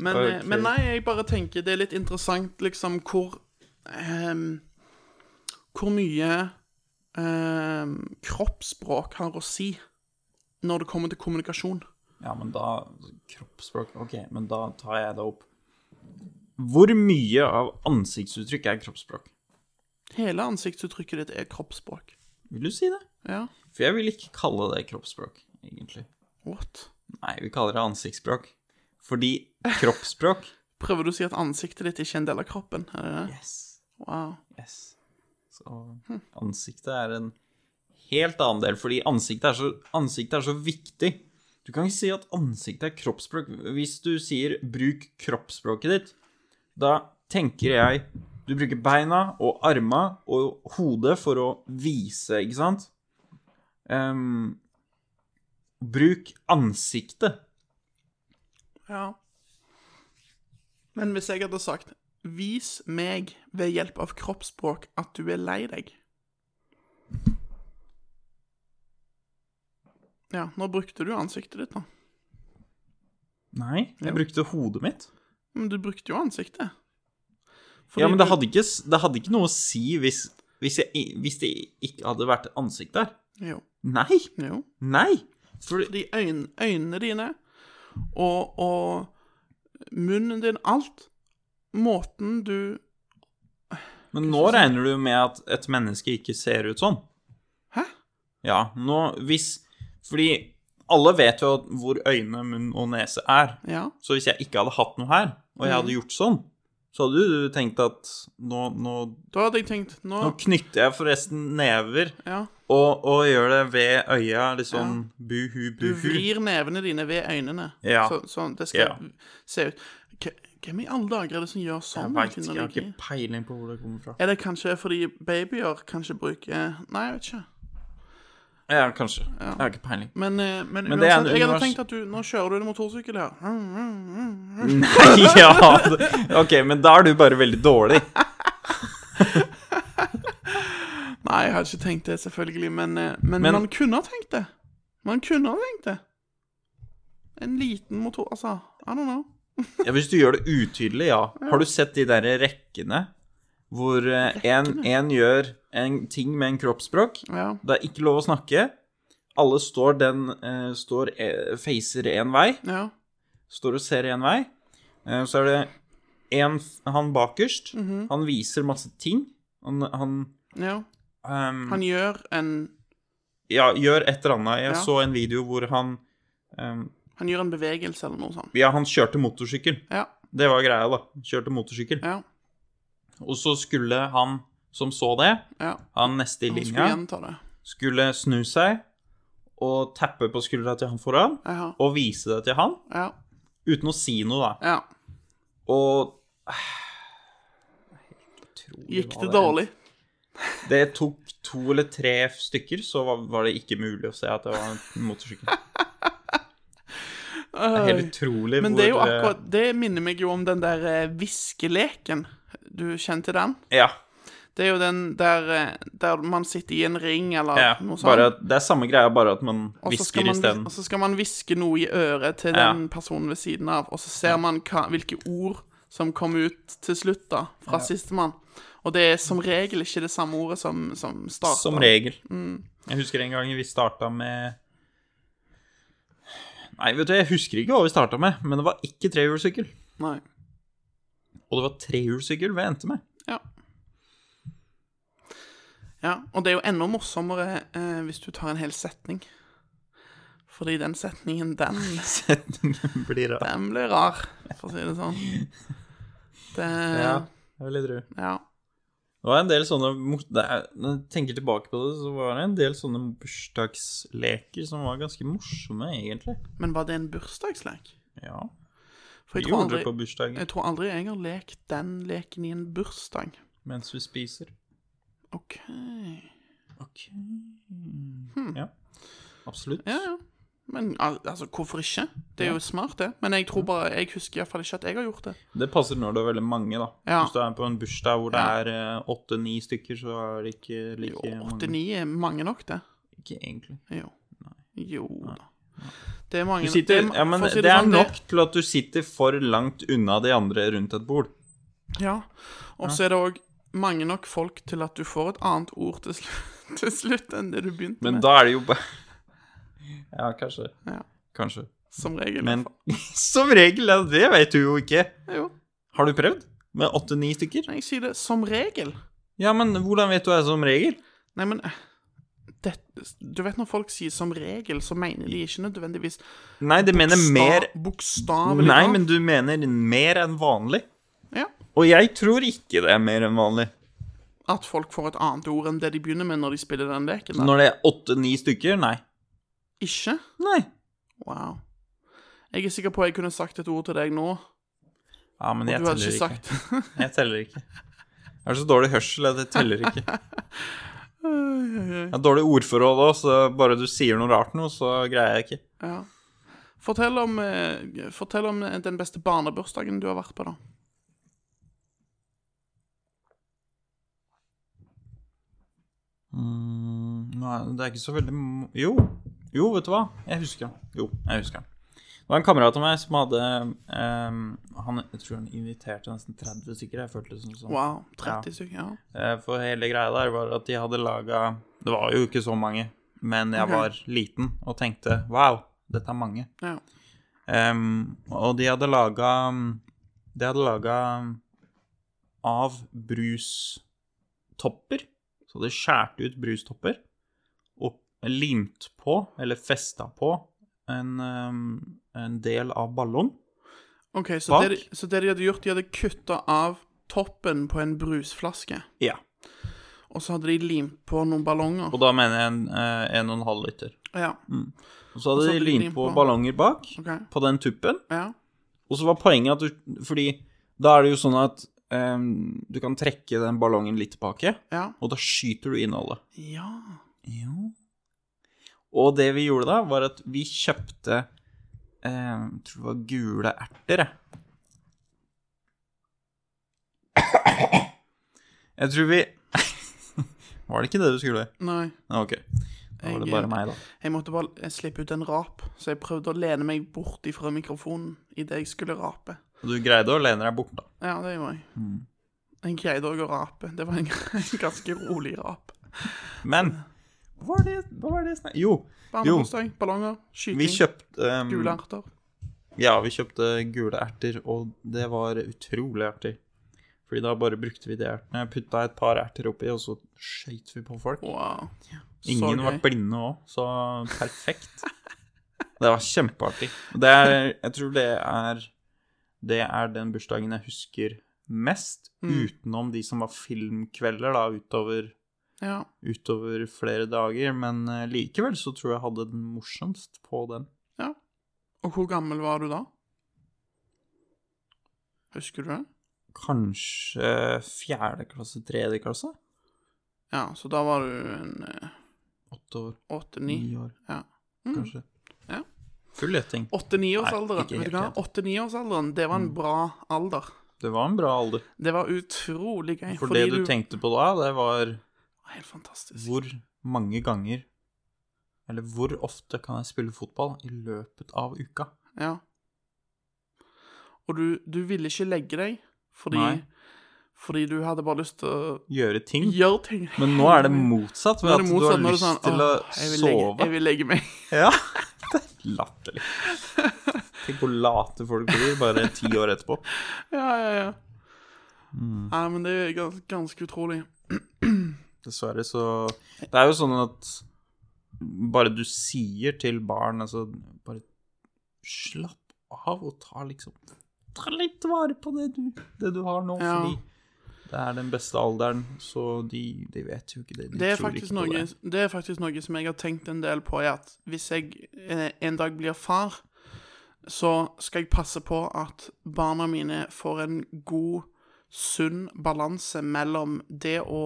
Speaker 4: Men, eh,
Speaker 3: Ok.
Speaker 4: men nei, jeg bare tenker det er litt interessant liksom hvor ehm, Hvor mye ehm, kroppsspråk har å si når det kommer til kommunikasjon.
Speaker 3: Ja, men da Kroppsspråk Ok, men da tar jeg det opp. Hvor mye av ansiktsuttrykk er kroppsspråk?
Speaker 4: Hele ansiktsuttrykket ditt er kroppsspråk.
Speaker 3: Vil du si det?
Speaker 4: Ja.
Speaker 3: For jeg vil ikke kalle det kroppsspråk, egentlig.
Speaker 4: What?
Speaker 3: Nei, vi kaller det ansiktsspråk. Fordi kroppsspråk
Speaker 4: Prøver du å si at ansiktet ditt ikke er en del av kroppen? Er det det?
Speaker 3: Yes.
Speaker 4: Wow.
Speaker 3: Yes. Så ansiktet er en helt annen del, fordi ansiktet er så, ansiktet er så viktig. Du kan ikke si at ansiktet er kroppsspråk. Hvis du sier 'bruk kroppsspråket ditt', da tenker jeg du bruker beina og arma og hodet for å vise, ikke sant? Ehm, bruk ansiktet.
Speaker 4: Ja. Men hvis jeg hadde sagt 'Vis meg ved hjelp av kroppsspråk at du er lei deg' Ja, nå brukte du ansiktet ditt, da.
Speaker 3: Nei, jeg
Speaker 4: Jo.
Speaker 3: brukte hodet mitt.
Speaker 4: Men du brukte jo ansiktet. Fordi
Speaker 3: Ja, men det
Speaker 4: du-
Speaker 3: hadde ikke, s- det hadde ikke noe å si hvis, hvis, jeg, i- hvis det ikke hadde vært ansikt der.
Speaker 4: Jo.
Speaker 3: Nei!
Speaker 4: jo.
Speaker 3: Nei! For,
Speaker 4: Fordi øyn, øynene dine og, og munnen din Alt. Måten du
Speaker 3: men nå regner du med at et menneske ikke ser ut sånn.
Speaker 4: Hæ?
Speaker 3: Ja, nå hvis Fordi alle vet jo at hvor øyne, munn og nese er.
Speaker 4: Ja.
Speaker 3: Så hvis jeg ikke hadde hatt noe her,
Speaker 4: Mhm.
Speaker 3: og jeg hadde gjort sånn, så hadde du tenkt at nå, nå,
Speaker 4: Da hadde jeg tenkt Nå,
Speaker 3: nå knytter jeg forresten never
Speaker 4: ja.
Speaker 3: og, og gjør det ved øya, liksom buhu,
Speaker 4: Du
Speaker 3: buhu.
Speaker 4: vrir nevene dine ved øynene.
Speaker 3: Ja.
Speaker 4: Så, sånn, det skal
Speaker 3: Ja.
Speaker 4: se ut. K- Hvem i alle dager er det som gjør
Speaker 3: Jeg
Speaker 4: sånn?
Speaker 3: veit ikke, jeg har
Speaker 4: teknologi?
Speaker 3: ikke peiling på hvor det kommer fra.
Speaker 4: Er det kanskje fordi babyer kanskje bruker Nei, jeg vet ikke.
Speaker 3: Ja, kanskje. Jeg har ikke peiling.
Speaker 4: Men, eh, men,
Speaker 3: Men det er en
Speaker 4: uansett, jeg hadde
Speaker 3: univers-
Speaker 4: tenkt at du Nå kjører du en motorsykkel her. Mm, mm, mm.
Speaker 3: Nei, ja det- Ok, men da er du bare veldig dårlig.
Speaker 4: Nei, jeg hadde ikke tenkt det, selvfølgelig, men, eh, men,
Speaker 3: Men-
Speaker 4: man kunne ha tenkt det. Man kunne ha tenkt det. En liten motor Altså, I don't know.
Speaker 3: Ja, hvis du gjør det utydelig, ja. Har du sett de derre rekkene? Hvor eh, en, en gjør en ting med en kroppsspråk.
Speaker 4: Ja.
Speaker 3: Det er ikke lov å snakke. Alle står den eh, står, eh, facer én vei.
Speaker 4: ja.
Speaker 3: Står og ser én vei. Eh, så er det en, f- han bakerst. Han viser masse ting. Han, han
Speaker 4: Ja.
Speaker 3: ehm,
Speaker 4: Han gjør en
Speaker 3: ja, gjør et eller annet. Jeg
Speaker 4: Ja.
Speaker 3: så en video hvor han ehm,
Speaker 4: Han gjør en bevegelse eller noe sånt.
Speaker 3: Ja, han kjørte motorsykkel.
Speaker 4: Ja.
Speaker 3: Det var greia, da. Kjørte motorsykkel.
Speaker 4: Ja.
Speaker 3: Og så skulle han som så det,
Speaker 4: Ja.
Speaker 3: han neste i
Speaker 4: Han skulle
Speaker 3: linja,
Speaker 4: gjenta det.
Speaker 3: skulle snu seg og tappe på skuldra til han foran
Speaker 4: Jaha.
Speaker 3: og vise det til han,
Speaker 4: Ja.
Speaker 3: uten å si noe, da.
Speaker 4: ja.
Speaker 3: Og ah,
Speaker 4: Gikk det
Speaker 3: var
Speaker 4: dårlig?
Speaker 3: Det tok to eller tre stykker, så var, var det ikke mulig å se at det var en motorsykkel. Det er helt utrolig
Speaker 4: Men det er jo
Speaker 3: hvor, eh,
Speaker 4: akkurat Det minner meg jo om den der eh, viskeleken. Du kjente den?
Speaker 3: eh, Ja.
Speaker 4: Det er jo den der, eh, der man sitter i en ring eller
Speaker 3: ja
Speaker 4: noe sånt.
Speaker 3: bare, at- det er samme greia, bare at man
Speaker 4: og så skal
Speaker 3: hvisker
Speaker 4: man- liksom
Speaker 3: isteden.
Speaker 4: Og så skal man hviske noe i øret til
Speaker 3: Ja.
Speaker 4: den personen ved siden av, og så ser man hva, hvilke ord som kom ut til slutt, da, fra sistemann. Og det er som regel ikke det samme ordet som, som starter.
Speaker 3: Som regel.
Speaker 4: Mm.
Speaker 3: Jeg husker en gang vi starta med Nei, vet du, jeg husker ikke hva vi starta med, men det var ikke trehjulssykkel.
Speaker 4: Nei.
Speaker 3: Og det var trehjulssykkel vi endte med.
Speaker 4: Ja. ja. Og det er jo enda morsommere eh, hvis du tar en hel setning. Fordi den setningen, den,
Speaker 3: Setningen blir rar.
Speaker 4: den blir rar, for å si det sånn. Det
Speaker 3: Ja, jeg vil tro.
Speaker 4: ja.
Speaker 3: Det var en del sånne mo- det er- Når jeg tenker tilbake på det, så var det en del sånne bursdagsleker som var ganske morsomme, egentlig.
Speaker 4: Men var det en bursdagslek?
Speaker 3: Ja.
Speaker 4: For jeg
Speaker 3: Vi
Speaker 4: tror,
Speaker 3: gjorde det på
Speaker 4: aldri,
Speaker 3: bursdagen
Speaker 4: jeg tror aldri jeg har lekt den leken i en bursdag.
Speaker 3: mens vi spiser.
Speaker 4: OK.
Speaker 3: Ok.
Speaker 4: Hmm.
Speaker 3: Ja. Absolutt.
Speaker 4: Ja, ja. Men al- altså, hvorfor ikke? Det er jo smart, det. Men jeg tror bare, jeg husker iallfall ikke at jeg har gjort det.
Speaker 3: Det passer når det er veldig mange, da.
Speaker 4: Ja.
Speaker 3: Hvis du er på en bursdag hvor det
Speaker 4: Ja.
Speaker 3: er eh, åtte-ni stykker, så er det ikke
Speaker 4: Jo,
Speaker 3: like mange.
Speaker 4: 8-9 er mange nok, det.
Speaker 3: Ikke egentlig.
Speaker 4: Jo. Jo da. Det er mange
Speaker 3: Du sitter,
Speaker 4: det er-
Speaker 3: ja, men
Speaker 4: for å si
Speaker 3: det er
Speaker 4: sånn, det-
Speaker 3: nok til at du sitter for langt unna de andre rundt et bord.
Speaker 4: Ja. Og så er det òg mange nok folk til at du får et annet ord til slutt, til slutt enn det du begynte
Speaker 3: Men
Speaker 4: med.
Speaker 3: da er det jo bare Ja, kanskje.
Speaker 4: Ja.
Speaker 3: Kanskje.
Speaker 4: Som regel. i
Speaker 3: Men
Speaker 4: hvert
Speaker 3: som regel, ja, det vet du jo ikke.
Speaker 4: fall. Jo.
Speaker 3: Har du prøvd? Med åtte-ni stykker?
Speaker 4: Nei, Jeg sier det som regel.
Speaker 3: Ja, men hvordan vet du det er som regel?
Speaker 4: Nei, men eh, det, Du vet når folk sier 'som regel', så mener de ikke nødvendigvis
Speaker 3: Nei, det mener
Speaker 4: sta-
Speaker 3: mer
Speaker 4: Bokstavelig
Speaker 3: Nei,
Speaker 4: talt.
Speaker 3: men du mener mer enn vanlig.
Speaker 4: ja,
Speaker 3: Og jeg tror ikke det er mer enn vanlig.
Speaker 4: At folk får et annet ord enn det de begynner med når de spiller den leken. Da.
Speaker 3: Når det er åtte-ni stykker? Nei.
Speaker 4: Ikke?
Speaker 3: Nei.
Speaker 4: Wow. Jeg er sikker på jeg kunne sagt et ord til deg nå,
Speaker 3: Ja, men jeg
Speaker 4: du hadde
Speaker 3: teller
Speaker 4: ikke
Speaker 3: ikke.
Speaker 4: sagt
Speaker 3: Jeg teller ikke. Jeg har så dårlig hørsel at jeg teller ikke. Jeg har dårlig ordforråd òg, så bare du sier noe rart nå, så greier jeg ikke.
Speaker 4: ja. Fortell om, eh, fortell om eh, den beste barnebursdagen du har vært på, da.
Speaker 3: Nei, det er ikke så veldig m- Jo. Jo, vet du hva? Jeg husker han. Jo, jeg husker han. Det var en kamerat av meg som hadde ehm, han, Jeg tror han inviterte nesten 30 stykker. Jeg følte det som sånn.
Speaker 4: Wow.
Speaker 3: Ja.
Speaker 4: 30 stykker. Ja.
Speaker 3: Eh, For hele greia der var at de hadde laga Det var jo ikke så mange, men jeg
Speaker 4: Ok.
Speaker 3: var liten og tenkte wow, dette er mange.
Speaker 4: ja.
Speaker 3: Em, og de hadde laga De hadde laga av brustopper. Så de skjærte ut brustopper og limt på, eller festa på, en, em, en del av ballong.
Speaker 4: OK, så
Speaker 3: Bak.
Speaker 4: det, de- så det de hadde gjort, de hadde kutta av toppen på en brusflaske,
Speaker 3: Ja.
Speaker 4: og så hadde de limt på noen ballonger.
Speaker 3: Og Mm. da mener jeg en, eh, en og en halv liter.
Speaker 4: Ja.
Speaker 3: Og så
Speaker 4: så
Speaker 3: hadde de
Speaker 4: hadde de
Speaker 3: limt
Speaker 4: limt
Speaker 3: på
Speaker 4: på.
Speaker 3: ballonger bak,
Speaker 4: OK.
Speaker 3: på den tuppen.
Speaker 4: Ja.
Speaker 3: Og så var poenget at du Fordi da er det jo sånn at em, du kan trekke den ballongen litt tilbake,
Speaker 4: Ja.
Speaker 3: og da skyter du innholdet.
Speaker 4: ja.
Speaker 3: Jo. Og det vi gjorde da, var at vi kjøpte eh, Jeg tror det var gule erter, jeg. Jeg tror vi Var det ikke det du skulle?
Speaker 4: Nei.
Speaker 3: Ja, OK. Da var det bare meg, da.
Speaker 4: Jeg måtte bare eh, slippe ut en rap, så jeg prøvde å lene meg bort ifra mikrofonen idet jeg skulle rape.
Speaker 3: Og du greide å lene deg bort, da.
Speaker 4: Ja, det gjorde jeg.
Speaker 3: Mm.
Speaker 4: Jeg greide òg å rape. Det var en, en ganske rolig rap.
Speaker 3: Men hva var det, hva var det snak- Jo,
Speaker 4: Barnebursdag, ballonger,
Speaker 3: vi
Speaker 4: skyting,
Speaker 3: kjøpte eh,
Speaker 4: gule erter.
Speaker 3: Ja, vi kjøpte gule erter, og det var utrolig artig. Fordi da bare brukte vi de ertene, putta et par erter oppi, og så skøyt vi på folk.
Speaker 4: Wow. Så
Speaker 3: Ingen
Speaker 4: gøy.
Speaker 3: ble blinde òg, så perfekt. Det var kjempeartig. Og Det er, jeg tror det er Det er den bursdagen jeg husker mest,
Speaker 4: Mm.
Speaker 3: utenom de som var filmkvelder, da, utover,
Speaker 4: Ja.
Speaker 3: utover flere dager. Men eh, likevel så tror jeg jeg hadde den morsomst på den.
Speaker 4: ja. Og hvor gammel var du da? Husker du det?
Speaker 3: Kanskje fjerde klasse, tredje klasse?
Speaker 4: Ja, så da var du en eh,
Speaker 3: Åtte år.
Speaker 4: åtte-ni.
Speaker 3: Ni år,
Speaker 4: Ja. Mm.
Speaker 3: kanskje.
Speaker 4: Ja.
Speaker 3: Full gjetting. Nei,
Speaker 4: Åtte-niårsalderen.
Speaker 3: ikke
Speaker 4: Vet du hva?
Speaker 3: helt Mm.
Speaker 4: Åtte-niårsalderen, det var en bra alder.
Speaker 3: Det var en bra alder.
Speaker 4: Det var utrolig gøy.
Speaker 3: For det du tenkte på da, det var
Speaker 4: Helt fantastisk.
Speaker 3: hvor mange ganger Eller hvor ofte kan jeg spille fotball i løpet av uka?
Speaker 4: Ja. Og du, du ville ikke legge deg fordi,
Speaker 3: Nei.
Speaker 4: fordi du hadde bare lyst til å
Speaker 3: Gjøre ting.
Speaker 4: gjøre ting.
Speaker 3: Men nå er det motsatt, ved
Speaker 4: Nå er
Speaker 3: at
Speaker 4: det
Speaker 3: du har
Speaker 4: motsatt, nå er det
Speaker 3: lyst
Speaker 4: sånn,
Speaker 3: til å
Speaker 4: «Åh, jeg vil Legge, jeg
Speaker 3: sove.
Speaker 4: vil legge meg.
Speaker 3: Ja, det er latterlig. Tenk hvor late folk blir bare ti år etterpå.
Speaker 4: Ja, ja, ja.
Speaker 3: Mm.
Speaker 4: Nei, men det er gans, ganske utrolig.
Speaker 3: Dessverre så Det er jo sånn at bare du sier til barn altså, Bare slapp av og ta liksom Ta litt vare på det du, det du har nå,
Speaker 4: Ja.
Speaker 3: fordi det er den beste alderen, så de, de vet jo ikke det. De
Speaker 4: Det er,
Speaker 3: tror
Speaker 4: faktisk
Speaker 3: ikke på
Speaker 4: noe,
Speaker 3: det.
Speaker 4: det er faktisk noe som jeg har tenkt en del på, er at hvis jeg eh, en dag blir far, så skal jeg passe på at barna mine får en god, sunn balanse mellom det å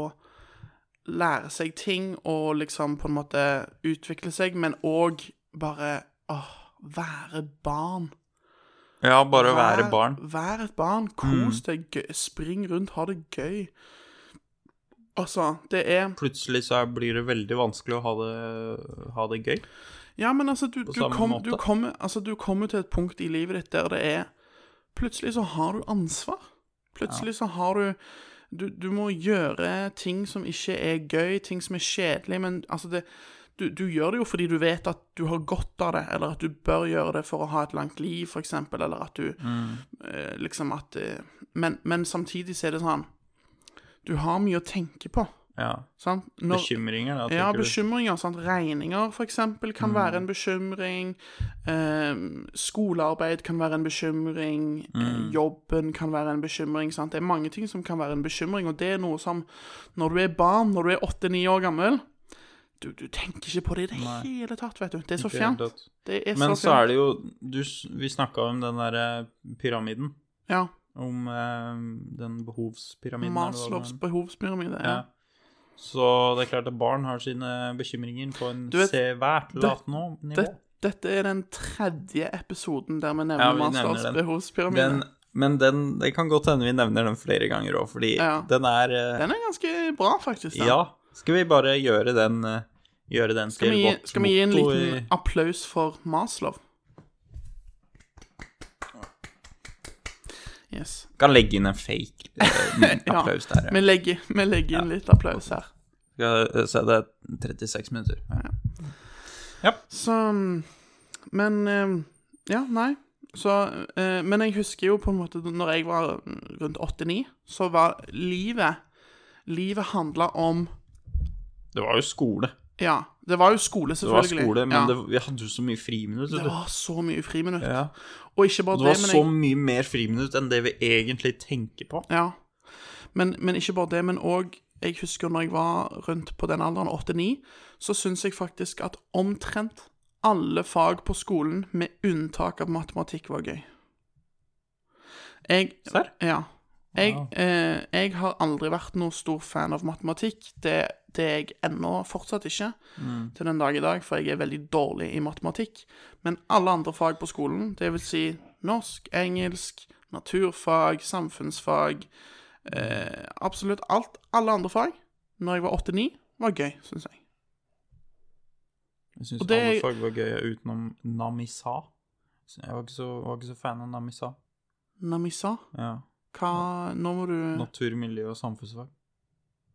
Speaker 4: lære seg ting og liksom på en måte utvikle seg, men òg bare åh, være barn.
Speaker 3: Ja, bare å være
Speaker 4: Vær-
Speaker 3: barn. Mm.
Speaker 4: Vær et barn. Kos deg. gøy- Spring rundt. Ha det gøy. Altså, det er
Speaker 3: Plutselig så er- blir det veldig vanskelig å ha det, ha det gøy.
Speaker 4: Ja, men altså, du, du,
Speaker 3: samme
Speaker 4: kom,
Speaker 3: måte.
Speaker 4: du, kommer, altså, du kommer til et punkt i livet ditt der det er Plutselig så har du ansvar. Plutselig så har du du, du må gjøre ting som ikke er gøy, ting som er kjedelig, men altså det, du, du gjør det jo fordi du vet at du har godt av det, eller at du bør gjøre det for å ha et langt liv, f.eks., eller at du
Speaker 3: Mm.
Speaker 4: eh, liksom at eh, men, men samtidig så er det sånn Du har mye å tenke på,
Speaker 3: Ja.
Speaker 4: sant? Når-
Speaker 3: Bekymringer, da,
Speaker 4: ja,
Speaker 3: tenker du. Mm.
Speaker 4: bekymringer. Sant? Regninger, for eksempel, kan være en bekymring. Ehm, skolearbeid kan være en bekymring.
Speaker 3: Mm.
Speaker 4: Eh, jobben kan være en bekymring. Sant? Det er mange ting som kan være en bekymring, og det er noe som Når du er barn, når du er åtte-ni år gammel du, du tenker ikke på det i det hele tatt, vet du. Det er så
Speaker 3: Ikke
Speaker 4: fjernt.
Speaker 3: helt tatt.
Speaker 4: Det er
Speaker 3: Men
Speaker 4: så
Speaker 3: så er
Speaker 4: fjernt.
Speaker 3: det jo du, s- Vi snakka om den derre pyramiden.
Speaker 4: Ja.
Speaker 3: Om eh, den behovspyramiden. er det hva det
Speaker 4: Maslows
Speaker 3: er?
Speaker 4: behovspyramide.
Speaker 3: Ja.
Speaker 4: Ja.
Speaker 3: Så det er klart at barn har sine bekymringer på en
Speaker 4: Du vet,
Speaker 3: svært lavt nå- nivå.
Speaker 4: Det, dette er den tredje episoden der vi nevner
Speaker 3: Ja, vi nevner
Speaker 4: Maslows
Speaker 3: den.
Speaker 4: behovspyramide.
Speaker 3: Den, men den, det kan godt hende vi nevner den flere ganger òg, fordi
Speaker 4: Ja.
Speaker 3: den er eh,
Speaker 4: den er ganske bra, faktisk. den.
Speaker 3: Ja. Skal vi bare gjøre den, eh, gjøre den
Speaker 4: Skal vi,
Speaker 3: til
Speaker 4: gi-
Speaker 3: vårt
Speaker 4: skal vi gi en
Speaker 3: motto
Speaker 4: liten
Speaker 3: i
Speaker 4: applaus for Maslow? Yes.
Speaker 3: Kan legge inn en fake eh,
Speaker 4: Ja,
Speaker 3: applaus der.
Speaker 4: Vi
Speaker 3: Ja.
Speaker 4: legger, vi legger inn litt applaus her.
Speaker 3: Skal eh, se, det er 36 minutter. Ja.
Speaker 4: Så mm, Men eh, Ja, nei. Så eh, Men jeg husker jo på en måte Når jeg var rundt 8-9, så var livet Livet handla om
Speaker 3: Det var jo skole.
Speaker 4: Ja, det var jo skole,
Speaker 3: Det var
Speaker 4: selvfølgelig.
Speaker 3: skole, men
Speaker 4: ja.
Speaker 3: det, vi hadde jo så mye friminutt.
Speaker 4: det
Speaker 3: vet du.
Speaker 4: var så mye friminutt.
Speaker 3: Ja.
Speaker 4: Og ikke bare
Speaker 3: Det
Speaker 4: det,
Speaker 3: var
Speaker 4: men
Speaker 3: så mye mer friminutt enn det vi egentlig tenker på.
Speaker 4: Ja. Men, men ikke bare det, men òg Jeg husker når jeg var rundt på den alderen, 8-9, så syns jeg faktisk at omtrent alle fag på skolen, med unntak av matematikk, var gøy. Jeg
Speaker 3: Serr?
Speaker 4: Ja. Jeg,
Speaker 3: Wow.
Speaker 4: eh, jeg har aldri vært noen stor fan av matematikk. Det, det er jeg ennå fortsatt ikke, til den dag i dag, for jeg er veldig dårlig i matematikk. Men alle andre fag på skolen, det vil si norsk, engelsk, naturfag, samfunnsfag eh, Absolutt alt. Alle andre fag, når jeg var 8-9, var gøy, syns jeg.
Speaker 3: Jeg syns
Speaker 4: Og det-
Speaker 3: alle fag var gøye utenom Namisa. Så Jeg var ikke så, var ikke så fan av Namisa.
Speaker 4: Namisa,
Speaker 3: Ja.
Speaker 4: hva Nå må du
Speaker 3: Natur, miljø og samfunnsfag.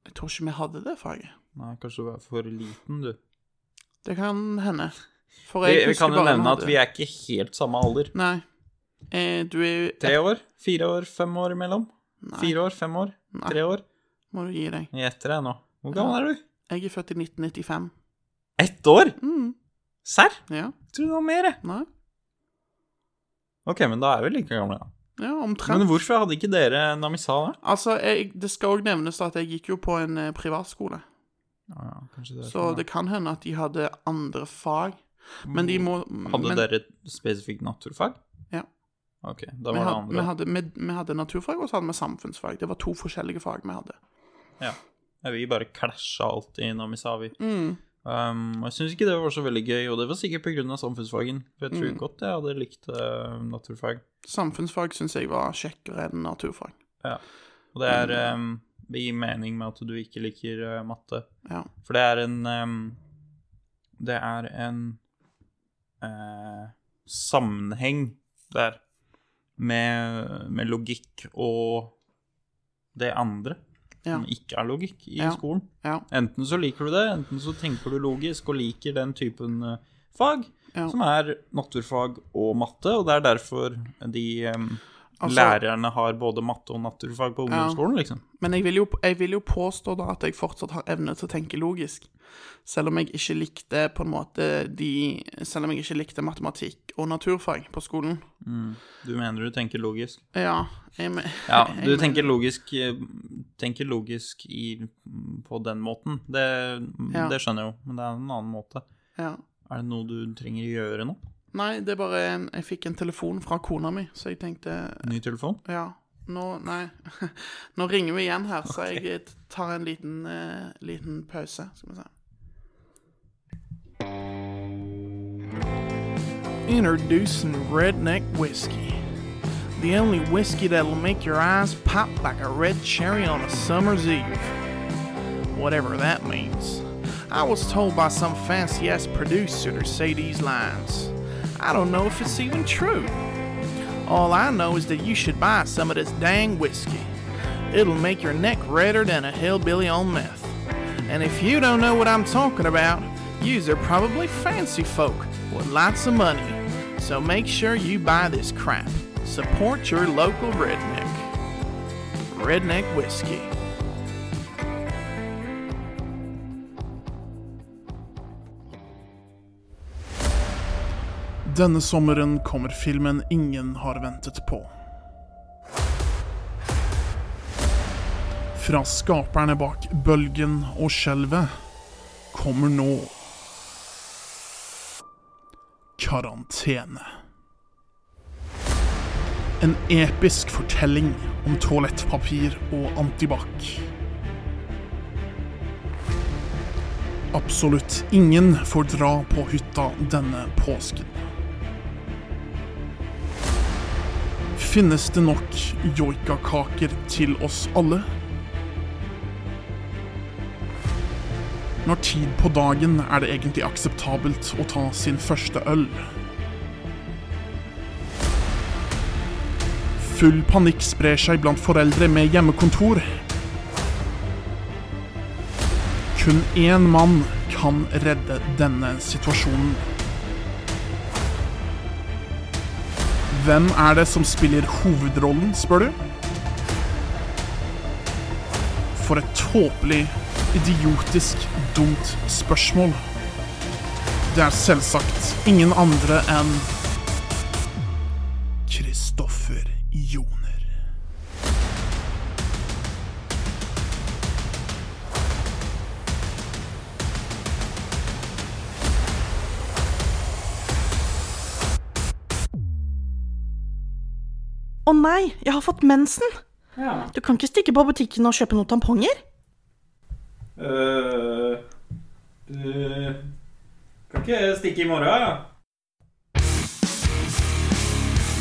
Speaker 4: Jeg tror ikke vi hadde det faget.
Speaker 3: Nei, kanskje du er for liten, du.
Speaker 4: Det kan hende. For
Speaker 3: Vi,
Speaker 4: jeg
Speaker 3: vi
Speaker 4: husker
Speaker 3: kan jo
Speaker 4: bare vi
Speaker 3: nevne at
Speaker 4: hadde-
Speaker 3: vi er ikke helt samme alder.
Speaker 4: Nei. Eh, du er jo
Speaker 3: Tre år? Fire år? Fem år imellom?
Speaker 4: Nei.
Speaker 3: Fire år? Fem år?
Speaker 4: Nei.
Speaker 3: Tre år?
Speaker 4: Må du gi deg.
Speaker 3: Jeg gjetter deg nå. Hvor gammel er du?
Speaker 4: Jeg er født i 1995.
Speaker 3: Ett år?
Speaker 4: Mm.
Speaker 3: Serr?
Speaker 4: Ja.
Speaker 3: Tror du det var mer, jeg.
Speaker 4: Nei.
Speaker 3: Ok, men da er vi like gamle, da.
Speaker 4: Ja, omtrent.
Speaker 3: Men hvorfor hadde ikke dere Namisa da?
Speaker 4: Altså, jeg, det skal òg nevnes at jeg gikk jo på en eh, privatskole,
Speaker 3: Ja, ja, kanskje det er
Speaker 4: så
Speaker 3: sånn,
Speaker 4: det kan hende at de hadde andre fag. Men de må
Speaker 3: Mm. Hadde
Speaker 4: men,
Speaker 3: dere spesifikt naturfag?
Speaker 4: Ja.
Speaker 3: Ok, da
Speaker 4: vi
Speaker 3: var det
Speaker 4: hadde, vi,
Speaker 3: andre.
Speaker 4: hadde, vi, vi hadde naturfag, og så hadde vi samfunnsfag. Det var to forskjellige fag vi hadde.
Speaker 3: Ja, vi bare klasja alltid innom i Savi. Um, og jeg syns ikke det var så veldig gøy, og det var sikkert pga. samfunnsfagen. For jeg tror godt jeg hadde likt eh, naturfag.
Speaker 4: Samfunnsfag syns jeg var kjekkere enn naturfag.
Speaker 3: Ja. Og det er um, Det gir mening med at du ikke liker eh, matte.
Speaker 4: Ja.
Speaker 3: For det er en um, Det er en eh, sammenheng der med, med logikk og det andre.
Speaker 4: Ja.
Speaker 3: som ikke er logikk i
Speaker 4: Ja.
Speaker 3: skolen.
Speaker 4: ja.
Speaker 3: Enten så liker du det, enten så tenker du logisk og liker den typen eh, fag,
Speaker 4: Ja.
Speaker 3: som er naturfag og matte, og det er derfor de em,
Speaker 5: Altså-
Speaker 3: lærerne har både matte og naturfag på ungdomsskolen, liksom.
Speaker 5: Men jeg vil, jo, jeg vil jo påstå da at jeg fortsatt har evne til å tenke logisk. Selv om jeg ikke likte på en måte de Selv om jeg ikke likte matematikk og naturfag på skolen.
Speaker 3: Du mener du tenker logisk?
Speaker 5: Ja, jeg, me-
Speaker 3: Ja,
Speaker 5: jeg
Speaker 3: du
Speaker 5: mener-
Speaker 3: tenker logisk, eh, tenker logisk i, på den måten. Det,
Speaker 5: Ja.
Speaker 3: det skjønner jeg jo, men det er en annen måte.
Speaker 5: ja.
Speaker 3: Er det noe du trenger å gjøre nå?
Speaker 5: Nei, det er bare Jeg fikk en telefon fra kona mi, så jeg tenkte
Speaker 3: Ny telefon?
Speaker 5: Ja. Nå, nei. Nå ringer vi igjen her, så jeg tar en liten, eh, liten pause. Skal vi se. Introducing redneck whiskey. The only whiskey that'll make your eyes pop like a red cherry on a summer's eve. Whatever that means. I was told by some fancy ass producer to say these lines. I don't know if it's even true. All I know is that you should buy some of this dang whiskey. It'll make your neck redder than a hillbilly on meth. And if you don't know what I'm talking about, yous are probably fancy folk with lots of money. So make sure you buy this crap. Support your local redneck. Redneck whiskey. Denne sommeren kommer filmen ingen har ventet på. Fra skaperne bak Bølgen og Skjelvet kommer nå Karantene. En episk fortelling om toalettpapir og antibac. Absolutt ingen får dra på hytta denne påsken. Finnes det nok joikakaker til oss alle? Når tid på dagen er det egentlig akseptabelt å ta sin første øl? Full panikk sprer seg blant foreldre med hjemmekontor. Kun én mann kan redde denne situasjonen. Hvem er det som spiller hovedrollen, spør du? For et tåpelig, idiotisk, dumt spørsmål. Det er selvsagt ingen andre enn Kristoffer Joner.
Speaker 6: Å nei, jeg har fått mensen! Du kan ikke stikke på butikken og kjøpe noen tamponger?
Speaker 3: du kan ikke stikke i morgen, ja.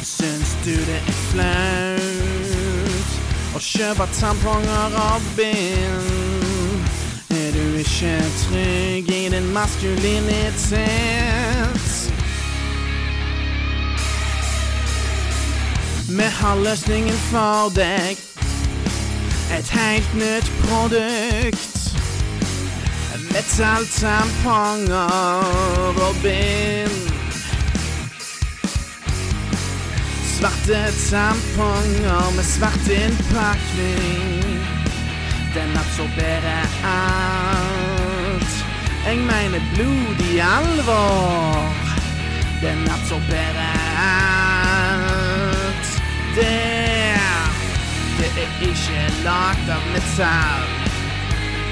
Speaker 5: Syns du det er flaut å kjøpe tamponger og bind? Er du ikke trygg i din maskulinitet? Vi har løsningen for deg. Et helt nytt produkt. Metalltamponger og bind. Svarte tamponger med svart innpakning. Den absorberer alt. Jeg mener blodig alvor. Den absorberer alt. Det Det er ikke lagd av metall.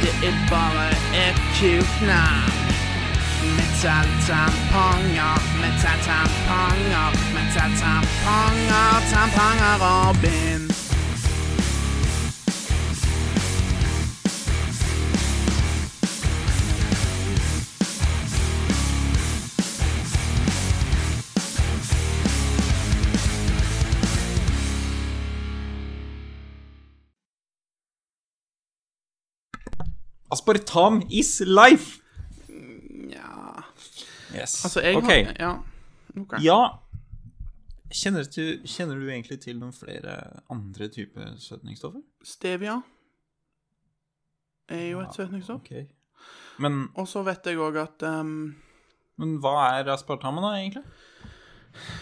Speaker 5: Det er bare et kult navn. Metalltamponger, metalltamponger, metalltamponger, tamponger og bind.
Speaker 3: Aspartam is life!
Speaker 5: Ja
Speaker 3: Yes.
Speaker 5: Altså, jeg
Speaker 3: Ok.
Speaker 5: har Ja. ok.
Speaker 3: Ja. Kjenner du, kjenner du egentlig til noen flere andre typer søtningsstoffer?
Speaker 5: Stevia er jo et søtningsstoff.
Speaker 3: Ok. Men,
Speaker 5: Og så vet jeg òg at ehm,
Speaker 3: men hva er aspartamen, da, egentlig?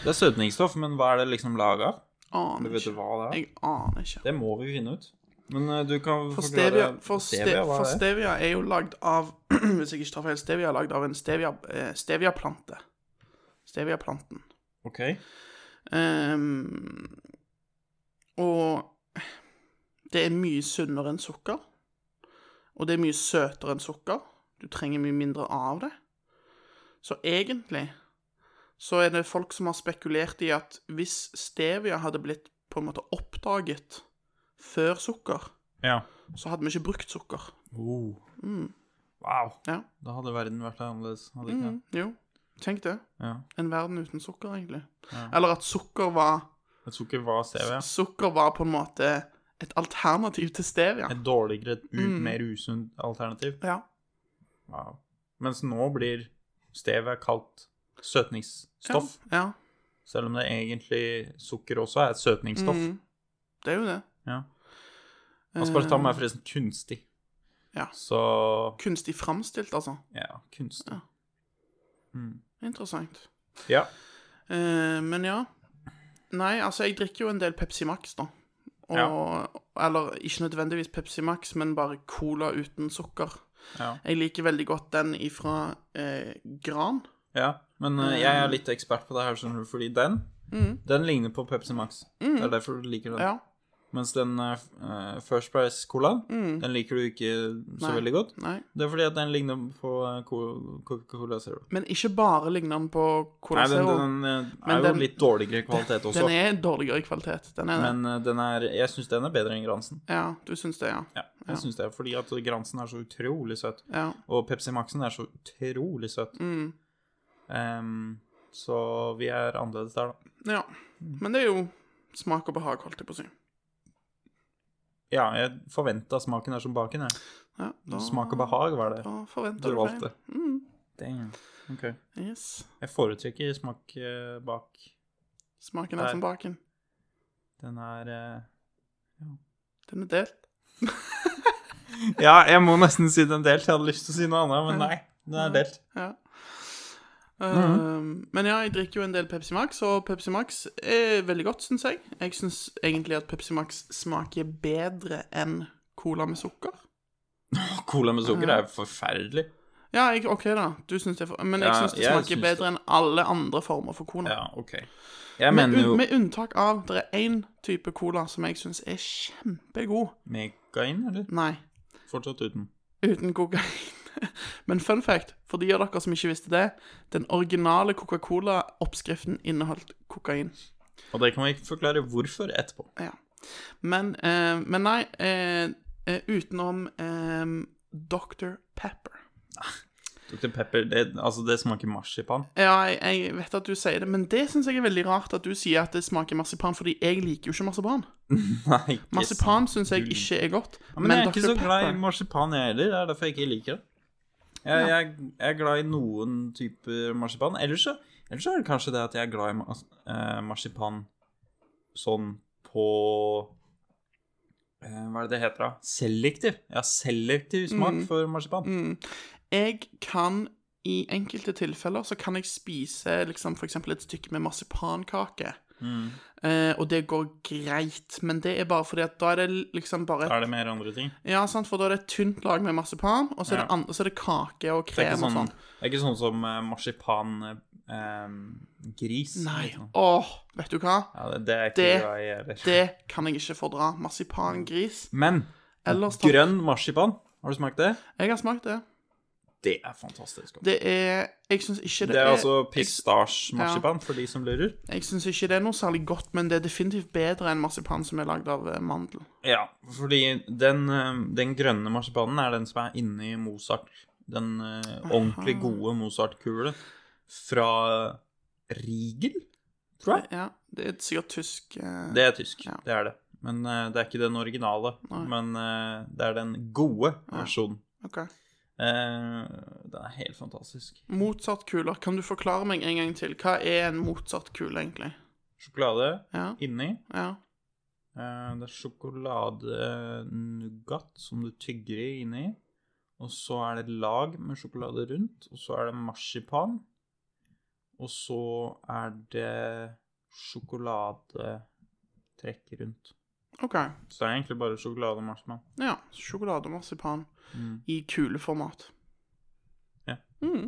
Speaker 3: Det er søtningsstoff, men hva er det liksom laga av?
Speaker 4: Aner
Speaker 3: Vet du
Speaker 4: ikke.
Speaker 3: hva det er?
Speaker 4: Jeg aner ikke.
Speaker 3: Det må vi finne ut. Men eh, du kan
Speaker 4: For
Speaker 3: forklare
Speaker 4: stevia, for ste,
Speaker 3: hva
Speaker 4: for
Speaker 3: er det er.
Speaker 4: stevia er jo lagd av Hvis jeg ikke tar feil, stevia er lagd av en stevia, eh, steviaplante. Steviaplanten.
Speaker 3: Ok.
Speaker 4: Ehm, og det er mye sunnere enn sukker. Og det er mye søtere enn sukker. Du trenger mye mindre av det. Så egentlig så er det folk som har spekulert i at hvis stevia hadde blitt på en måte oppdaget før sukker,
Speaker 3: Ja.
Speaker 4: så hadde vi ikke brukt sukker.
Speaker 3: Oh. Wow.
Speaker 4: Mm. Ja.
Speaker 3: Da hadde verden vært annerledes. Hadde ikke?
Speaker 4: Mm, jo, tenk det.
Speaker 3: det? Ja.
Speaker 4: En verden uten sukker, egentlig.
Speaker 3: Ja.
Speaker 4: Eller at sukker var
Speaker 3: Jeg tror ikke hva stevia er.
Speaker 4: Sukker var på en måte et alternativ til stevia.
Speaker 3: Et dårligere, et u-
Speaker 4: Mm.
Speaker 3: mer usunt alternativ.
Speaker 4: Ja.
Speaker 3: Wow. Mens nå blir stevia kalt søtningsstoff,
Speaker 4: Ja.
Speaker 3: selv om det egentlig sukker også er et
Speaker 4: ja.
Speaker 3: søtningsstoff.
Speaker 4: Mm. Det er jo det.
Speaker 3: Ja. Aspartam er forresten kunstig.
Speaker 4: Eh. Ja.
Speaker 3: Så
Speaker 4: Kunstig framstilt, altså.
Speaker 3: ja, kunstig.
Speaker 4: Ja. Interessant.
Speaker 3: Ja.
Speaker 4: Eh, men ja. Nei, altså, jeg drikker jo en del Pepsi Max, da. Og, Eller ikke nødvendigvis Pepsi Max, men bare cola uten sukker.
Speaker 3: ja.
Speaker 4: Jeg liker veldig godt den ifra eh, Gran.
Speaker 3: ja. Men eh, jeg er litt ekspert på det her, skjønner du, fordi den Den ligner på Pepsi Max. Det er derfor du liker den.
Speaker 4: Mm. Ja.
Speaker 3: Mens den eh, eh, First Price-colaen, den liker du ikke så
Speaker 4: Mm. Nei.
Speaker 3: veldig godt.
Speaker 4: Nei.
Speaker 3: Det er fordi at den ligner på eh, Co- Coca-Cola Zero.
Speaker 4: Men ikke bare ligner den på Cola
Speaker 3: Nei, den,
Speaker 4: Zero.
Speaker 3: den, eh,
Speaker 4: Men
Speaker 3: er
Speaker 4: den-
Speaker 3: jo litt dårligere kvalitet også.
Speaker 4: Den er dårligere i kvalitet. Den er det.
Speaker 3: Men eh, den er, jeg syns den er bedre enn Gransen.
Speaker 4: Ja, du syns det, ja.
Speaker 3: Ja, jeg synes det, Fordi at Gransen er så utrolig søt.
Speaker 4: ja.
Speaker 3: Og Pepsi Maxen er så utrolig søt.
Speaker 4: Mm.
Speaker 3: Em, så vi er annerledes der, da.
Speaker 4: Ja. Men det er jo smak og behag, holdt jeg på å si.
Speaker 3: Ja, jeg forventa smaken er som baken, jeg.
Speaker 4: Ja, da,
Speaker 3: Smak og behag var det.
Speaker 4: da forventer
Speaker 3: Du
Speaker 4: du
Speaker 3: valgte.
Speaker 4: feil. Mm.
Speaker 3: Damn. Ok.
Speaker 4: Yes.
Speaker 3: Jeg foretrekker smak eh, bak.
Speaker 4: Smaken er
Speaker 3: Nei.
Speaker 4: som baken.
Speaker 3: Den er eh,
Speaker 4: Den er delt.
Speaker 3: Ja, jeg må nesten si den delt. Jeg hadde lyst til å si noe annet, men nei. Den er delt.
Speaker 4: Ja. Um, men ja, jeg drikker jo en del Pepsi Max, og Pepsi Max er veldig godt, syns jeg. Jeg syns egentlig at Pepsi Max smaker bedre enn cola med sukker.
Speaker 3: Cola med sukker er jo forferdelig.
Speaker 4: Ja, jeg, OK, da. Du syns det er for... Men jeg
Speaker 3: Ja,
Speaker 4: syns det
Speaker 3: jeg
Speaker 4: smaker
Speaker 3: syns
Speaker 4: bedre enn alle andre former for cola.
Speaker 3: Ja, OK. Jeg
Speaker 4: Med,
Speaker 3: mener
Speaker 4: un
Speaker 3: jo
Speaker 4: med unntak av det er én type cola som jeg syns er kjempegod.
Speaker 3: Megain, eller?
Speaker 4: Nei,
Speaker 3: Fortsatt uten.
Speaker 4: uten kokain. Men fun fact, for de av dere som ikke visste det, den originale Coca-Cola-oppskriften inneholdt kokain.
Speaker 3: Og det kan vi forklare hvorfor etterpå.
Speaker 4: Ja. Men, eh, men nei, eh, eh, utenom eh, Dr. Pepper.
Speaker 3: Dr. Pepper, det, altså det smaker marsipan.
Speaker 4: Ja, jeg, jeg vet at du sier det, men det syns jeg er veldig rart at du sier at det smaker marsipan, fordi jeg liker jo ikke marsipan.
Speaker 3: Nei, ikke
Speaker 4: Marsipan
Speaker 3: sant.
Speaker 4: syns jeg ikke er godt,
Speaker 3: Ja, Men jeg er ikke så glad i
Speaker 4: Pepper-
Speaker 3: marsipan, jeg heller. Det er derfor jeg ikke liker det. Jeg, jeg, jeg er glad i noen typer marsipan. Ellers så, ellers så er det kanskje det at jeg er glad i mas, eh, marsipan sånn på eh, Hva er det det heter, da? Selektiv. Jeg har selektiv smak for marsipan.
Speaker 4: Jeg kan i enkelte tilfeller så kan jeg spise liksom, for eksempel et stykke med marsipankake.
Speaker 3: Mm.
Speaker 4: Eh, og det går greit, men det er bare fordi at da er det liksom bare
Speaker 3: Da er det mer andre ting.
Speaker 4: Ja, sant, for da er det et tynt lag med marsipan, og så er,
Speaker 3: Ja.
Speaker 4: det, an- og så er det kake og
Speaker 3: Det er
Speaker 4: krem
Speaker 3: ikke sånn,
Speaker 4: og sånn.
Speaker 3: det er ikke sånn som eh, marsipan eh, eh, gris.
Speaker 4: Nei.
Speaker 3: Liksom.
Speaker 4: Åh, vet du hva?
Speaker 3: Ja, det, det er jeg ikke
Speaker 4: Det-
Speaker 3: glad i heller.
Speaker 4: Det kan jeg ikke fordra. Marsipangris.
Speaker 3: Men
Speaker 4: Ellers takk.
Speaker 3: grønn marsipan, har du smakt det?
Speaker 4: Jeg har smakt det.
Speaker 3: Det er fantastisk godt.
Speaker 4: Det er Jeg syns ikke det,
Speaker 3: Det er
Speaker 4: er
Speaker 3: altså pistasjemarsipan, for de som lurer.
Speaker 4: Jeg syns ikke det er noe særlig godt, men det er definitivt bedre enn marsipan som er lagd av eh, mandel.
Speaker 3: Ja, fordi den, eh, den grønne marsipanen er den som er inni Mozart. Den eh, ordentlig gode Mozart-kule fra Riegel, tror jeg.
Speaker 4: Ja, det er sikkert tysk eh,
Speaker 3: Det er tysk,
Speaker 4: Ja.
Speaker 3: det er det. Men eh, det er ikke den originale, men eh, det er den gode versjonen.
Speaker 4: ok.
Speaker 3: Eh, den er helt fantastisk.
Speaker 4: Mozart-kuler. Kan du forklare meg en gang til? Hva er en Mozart-kule, egentlig?
Speaker 3: Sjokolade
Speaker 4: Ja,
Speaker 3: inni.
Speaker 4: ja.
Speaker 3: Eh, Det er sjokoladenuggat som du tygger i inni. Og så er det lag med sjokolade rundt, og så er det marsipan. Og så er det sjokolade trekke rundt.
Speaker 4: OK.
Speaker 3: Så det er egentlig bare sjokolade og marsipan.
Speaker 4: Ja. Sjokolademarsipan
Speaker 3: Mm.
Speaker 4: i kuleformat.
Speaker 3: Ja.
Speaker 4: Mm.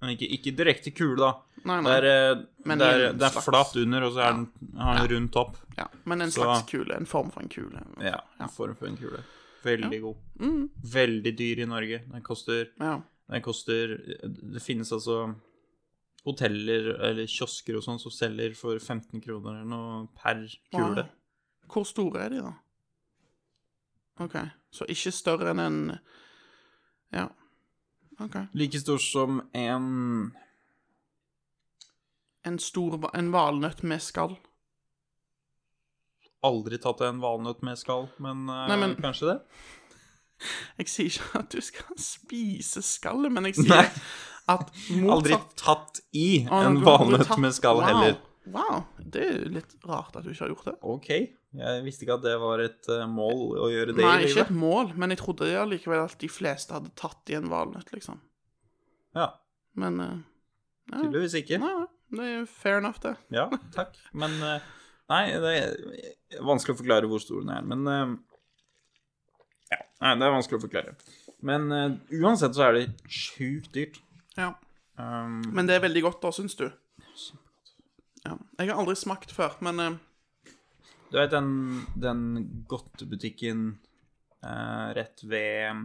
Speaker 3: Men ikke, ikke direkte kule, da.
Speaker 4: Nei,
Speaker 3: Det
Speaker 4: nei.
Speaker 3: er, eh,
Speaker 4: Men
Speaker 3: det er,
Speaker 4: en
Speaker 3: det er
Speaker 4: slags-
Speaker 3: flat under, og så er den, har den rund topp.
Speaker 4: Ja, men en
Speaker 3: Så-
Speaker 4: slags kule. En form for en kule.
Speaker 3: Ja,
Speaker 4: Ja.
Speaker 3: en form for en kule. Veldig god.
Speaker 4: Mm.
Speaker 3: Veldig dyr i Norge. Den koster,
Speaker 4: ja.
Speaker 3: den koster Det finnes altså hoteller eller kiosker og sånn som selger for 15 kroner eller noe per kule.
Speaker 4: Wow. Hvor store er de, da? OK. Så ikke større enn en Ja. OK.
Speaker 3: Like stor som en
Speaker 4: En stor va- En valnøtt med skall.
Speaker 3: Aldri tatt en valnøtt med skall, men, eh,
Speaker 4: Nei, men-
Speaker 3: kanskje det?
Speaker 4: Jeg sier ikke at du skal spise skallet, men jeg
Speaker 3: Nei.
Speaker 4: sier at
Speaker 3: Aldri
Speaker 4: motsatt
Speaker 3: tatt i
Speaker 4: Å,
Speaker 3: en
Speaker 4: du- du har
Speaker 3: valnøtt
Speaker 4: tatt-
Speaker 3: med skall
Speaker 4: wow.
Speaker 3: heller.
Speaker 4: Wow. Det er jo litt rart at du ikke har gjort det.
Speaker 3: Ok, jeg visste ikke at det var et eh, mål å gjøre det
Speaker 4: Nei,
Speaker 3: i
Speaker 4: ikke
Speaker 3: livet.
Speaker 4: et mål, men jeg trodde allikevel at de fleste hadde tatt i en valnøtt, liksom.
Speaker 3: Ja,
Speaker 4: Men eh, nei,
Speaker 3: tydeligvis ikke.
Speaker 4: nei, nei, det er jo fair enough, det.
Speaker 3: Ja, takk. Men eh, Nei, det er vanskelig å forklare hvor stor den er, men eh, Ja, nei, det er vanskelig å forklare. Men eh, uansett så er det sjukt dyrt.
Speaker 4: Ja.
Speaker 3: Um,
Speaker 4: Men det er veldig godt, da, syns du? Ja. Jeg har aldri smakt før, men eh,
Speaker 3: Du vet den, den godtebutikken eh, rett ved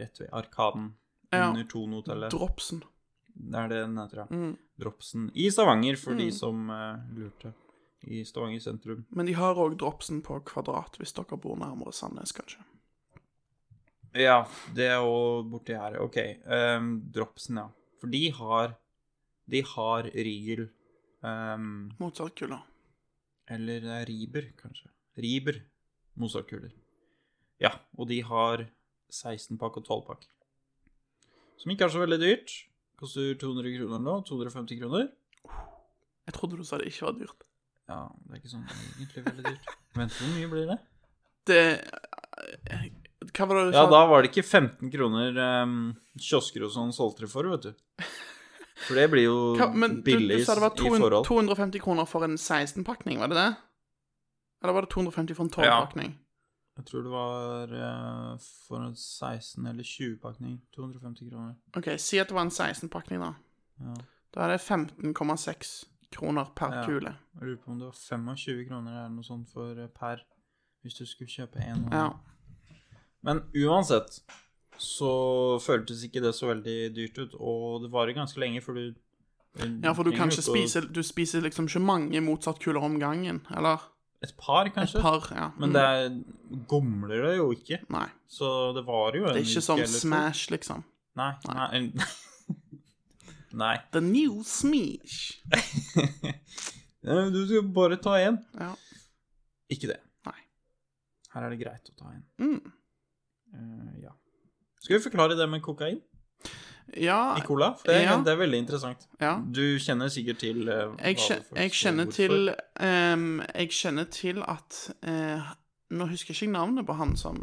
Speaker 3: Rett ved Arkaden
Speaker 4: Ja.
Speaker 3: under Tonhotellet.
Speaker 4: dropsen
Speaker 3: Det er det den heter, ja.
Speaker 4: Mm.
Speaker 3: Dropsen i Stavanger, for de som eh, lurte. I Stavanger sentrum.
Speaker 4: Men de har òg dropsen på kvadrat, hvis dere bor nærmere Sandnes, kanskje.
Speaker 3: Ja, det er jo borti her. Ok. ehm, dropsen, ja. For de har De har Riegel ehm,
Speaker 4: Motsatt kula.
Speaker 3: Eller det er Riber, kanskje. Riber Mozart-kuler. Ja, og de har 16-pakk og 12-pakk. Som ikke er så veldig dyrt. Koster 200 kroner nå. 250 kroner.
Speaker 4: Jeg trodde du sa det ikke var dyrt.
Speaker 3: Ja, det er ikke sånn egentlig veldig dyrt. Vent, hvor mye blir det?
Speaker 4: Det eh, Hva var det du
Speaker 3: Ja,
Speaker 4: sa?
Speaker 3: da var det ikke 15 kroner ehm, kiosker og sånn solgte det for, vet du. For det blir jo
Speaker 4: Hva, men du, du
Speaker 3: billig
Speaker 4: sa det var
Speaker 3: i
Speaker 4: 200,
Speaker 3: forhold.
Speaker 4: 250 kroner for en 16-pakning, var det det? Eller var det 250 for en 12-pakning?
Speaker 3: Jeg tror det var eh, for en 16- eller 20-pakning. 250 kroner.
Speaker 4: OK, si at det var en 16-pakning, da.
Speaker 3: Ja.
Speaker 4: Da er det 15,6 kroner per
Speaker 3: Ja.
Speaker 4: kule.
Speaker 3: Jeg lurer på om det var 25 kroner eller noe sånt for eh, per, hvis du skulle kjøpe en. og en.
Speaker 4: Ja.
Speaker 3: Men uansett så føltes ikke det så veldig dyrt ut, og det varer ganske lenge før du eh,
Speaker 4: ja, for du kan
Speaker 3: trenger
Speaker 4: ikke
Speaker 3: jo å-
Speaker 4: spise Du spiser liksom ikke mange motsattkuler om gangen, eller?
Speaker 3: Et par, kanskje.
Speaker 4: Et par, ja. Mm.
Speaker 3: Men det er, gomler det jo ikke,
Speaker 4: Nei.
Speaker 3: så det varer jo en
Speaker 4: Det er ikke
Speaker 3: uke
Speaker 4: sånn
Speaker 3: eller to.
Speaker 4: Smash, liksom.
Speaker 3: Nei. Nei. nei.
Speaker 4: The new Smash.
Speaker 3: Ja, Du skal bare ta én.
Speaker 4: Ja.
Speaker 3: Ikke det.
Speaker 4: Nei.
Speaker 3: Her er det greit å ta en.
Speaker 4: Mm.
Speaker 3: Eh, ja. Skal vi forklare det med kokain
Speaker 4: Ja,
Speaker 3: i cola? For det, er-
Speaker 4: Ja.
Speaker 3: det er veldig interessant.
Speaker 4: ja.
Speaker 3: Du kjenner sikkert til eh, hva
Speaker 4: Jeg, kjen,
Speaker 3: det faktisk-
Speaker 4: jeg kjenner
Speaker 3: hvorfor.
Speaker 4: til ehm, Jeg kjenner til at eh, Nå husker jeg ikke navnet på han som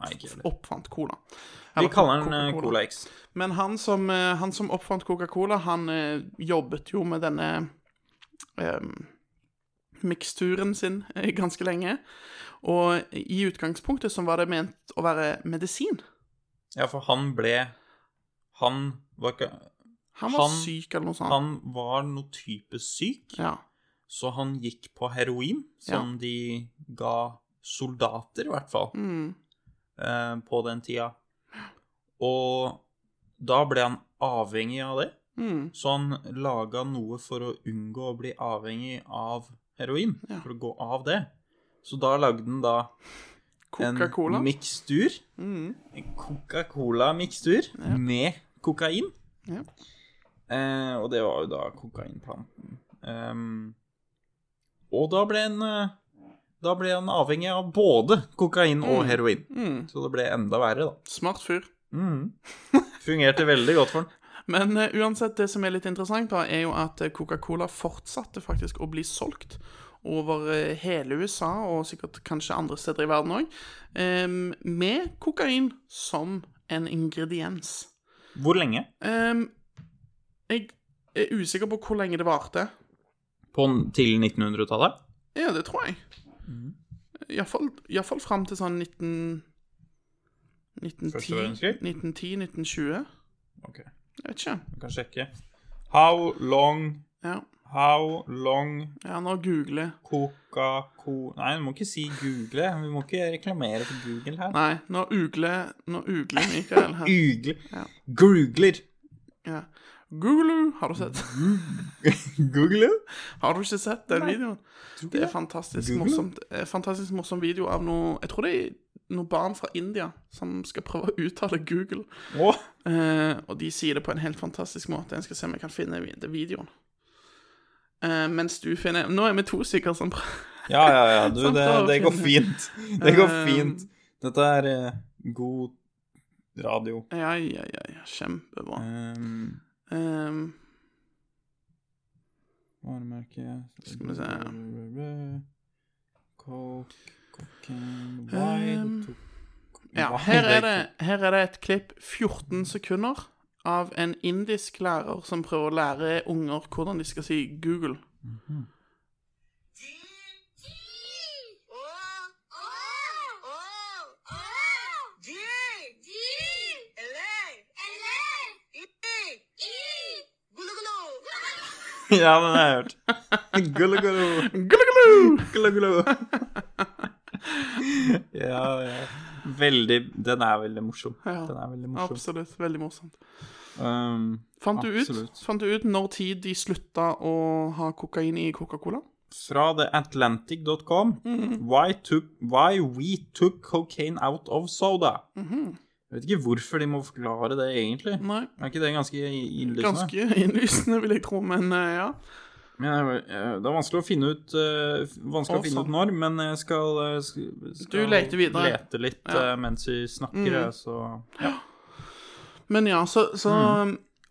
Speaker 3: Nei, ikke heller.
Speaker 4: oppfant cola.
Speaker 3: Vi
Speaker 4: Eller
Speaker 3: kaller den eh,
Speaker 4: Coca-Cola.
Speaker 3: Cola X.
Speaker 4: Men han som, eh, han som oppfant Coca-Cola, han eh, jobbet jo med denne ehm, miksturen sin eh, ganske lenge. Og i utgangspunktet så var det ment å være medisin.
Speaker 3: Ja, for han ble Han var ikke
Speaker 4: Han var
Speaker 3: Han-
Speaker 4: syk eller noe sånt.
Speaker 3: Han var noe type syk,
Speaker 4: Ja.
Speaker 3: så han gikk på heroin, som de ga soldater, i hvert fall,
Speaker 4: Mm.
Speaker 3: eh, på den tida. Og da ble han avhengig av det.
Speaker 4: Mm.
Speaker 3: Så han laga noe for å unngå å bli avhengig av heroin,
Speaker 4: Ja.
Speaker 3: for å gå av det. Så da lagde han da en
Speaker 4: Coca-Cola.
Speaker 3: mikstur,
Speaker 4: Mm.
Speaker 3: en Coca-Cola-mikstur med kokain.
Speaker 4: Ja.
Speaker 3: Eh, og det var jo da kokainplanten. Ehm, og da ble han eh, Da ble han avhengig av både kokain
Speaker 4: Mm.
Speaker 3: og heroin.
Speaker 4: Mm.
Speaker 3: Så det ble enda verre, da.
Speaker 4: Smart fyr.
Speaker 3: Mm. Fungerte veldig godt for han.
Speaker 4: Men eh, uansett, det som er litt interessant, da, er jo at eh, Coca-Cola fortsatte faktisk å bli solgt over eh, hele USA, og sikkert kanskje andre steder i verden òg, med kokain som en ingrediens. Ehm,
Speaker 3: Hvor lenge?
Speaker 4: Em, jeg er usikker på hvor lenge det varte.
Speaker 3: På, til 1900-tallet?
Speaker 4: Ja, det tror jeg. Iallfall iallfall fram til sånn 19... 1910,
Speaker 3: verdenskrig?
Speaker 4: 1910, 1920.
Speaker 3: Ok, vi
Speaker 4: Jeg vet ikke.
Speaker 3: kan sjekke. How long
Speaker 4: Ja,
Speaker 3: How long
Speaker 4: ja nå googler jeg.
Speaker 3: Coca-Co... Nei, vi må ikke si Google. Vi må ikke reklamere for Google her.
Speaker 4: Nei, nå ugler Nå ugler Mikael her.
Speaker 3: Ugle.
Speaker 4: Ja.
Speaker 3: Googler.
Speaker 4: Ja. Gulu, har du sett?
Speaker 3: Googler?
Speaker 4: Har du ikke sett den videoen? Det er fantastisk
Speaker 3: Google?
Speaker 4: morsomt eh, Fantastisk morsom video av noe Jeg tror det er noen barn fra India som skal prøve å uttale Google.
Speaker 3: Å,
Speaker 4: Eh, og de sier det på en helt fantastisk måte. Jeg skal se om jeg kan finne vi- den videoen. Eh, mens du finner Nå er vi to stykker som prøver
Speaker 3: Ja, ja, ja. Du,
Speaker 4: Sånn
Speaker 3: det,
Speaker 4: prøver å
Speaker 3: det går
Speaker 4: finne.
Speaker 3: fint. Det går
Speaker 4: Eh,
Speaker 3: fint. Dette er eh, god radio.
Speaker 4: Ja, ja, ja. ja kjempebra.
Speaker 3: Um,
Speaker 4: Eh,
Speaker 3: varemerke
Speaker 4: Skal vi se.
Speaker 3: Coke, cocaine, wine,
Speaker 4: Um,
Speaker 3: to-
Speaker 4: ja,
Speaker 3: wine,
Speaker 4: her er, det, her er det et klipp 14 sekunder av en indisk lærer som prøver å lære unger hvordan de skal si Google.
Speaker 3: Ja, den har jeg hørt. Gullo, gullo.
Speaker 4: Gulugulu!
Speaker 3: Gullo, gullo. ja, ja. Veldig Den er veldig morsom.
Speaker 4: Ja,
Speaker 3: Den er veldig morsom.
Speaker 4: Absolutt. Veldig morsomt.
Speaker 3: Um,
Speaker 4: Fant du, ut,
Speaker 3: Absolutt.
Speaker 4: fant du ut når tid de slutta å ha kokain i Coca-Cola?
Speaker 3: fra theatlantic.com
Speaker 4: Mhm.
Speaker 3: why, took- why we took cocaine out of soda. Jeg vet ikke hvorfor de må forklare det, egentlig.
Speaker 4: Mhm. Nei.
Speaker 3: Er ikke det ganske innlysende?
Speaker 4: Ganske innlysende, vil jeg tro, men eh, ja.
Speaker 3: Men jeg, eh, det er vanskelig å finne ut, eh,
Speaker 4: Å,
Speaker 3: vanskelig å finne ut
Speaker 4: sånn.
Speaker 3: når, men jeg skal, eh, sk- skal
Speaker 4: leter videre.
Speaker 3: lete litt
Speaker 4: Ja.
Speaker 3: eh, mens vi snakker, eh, så
Speaker 4: Men ja, så, så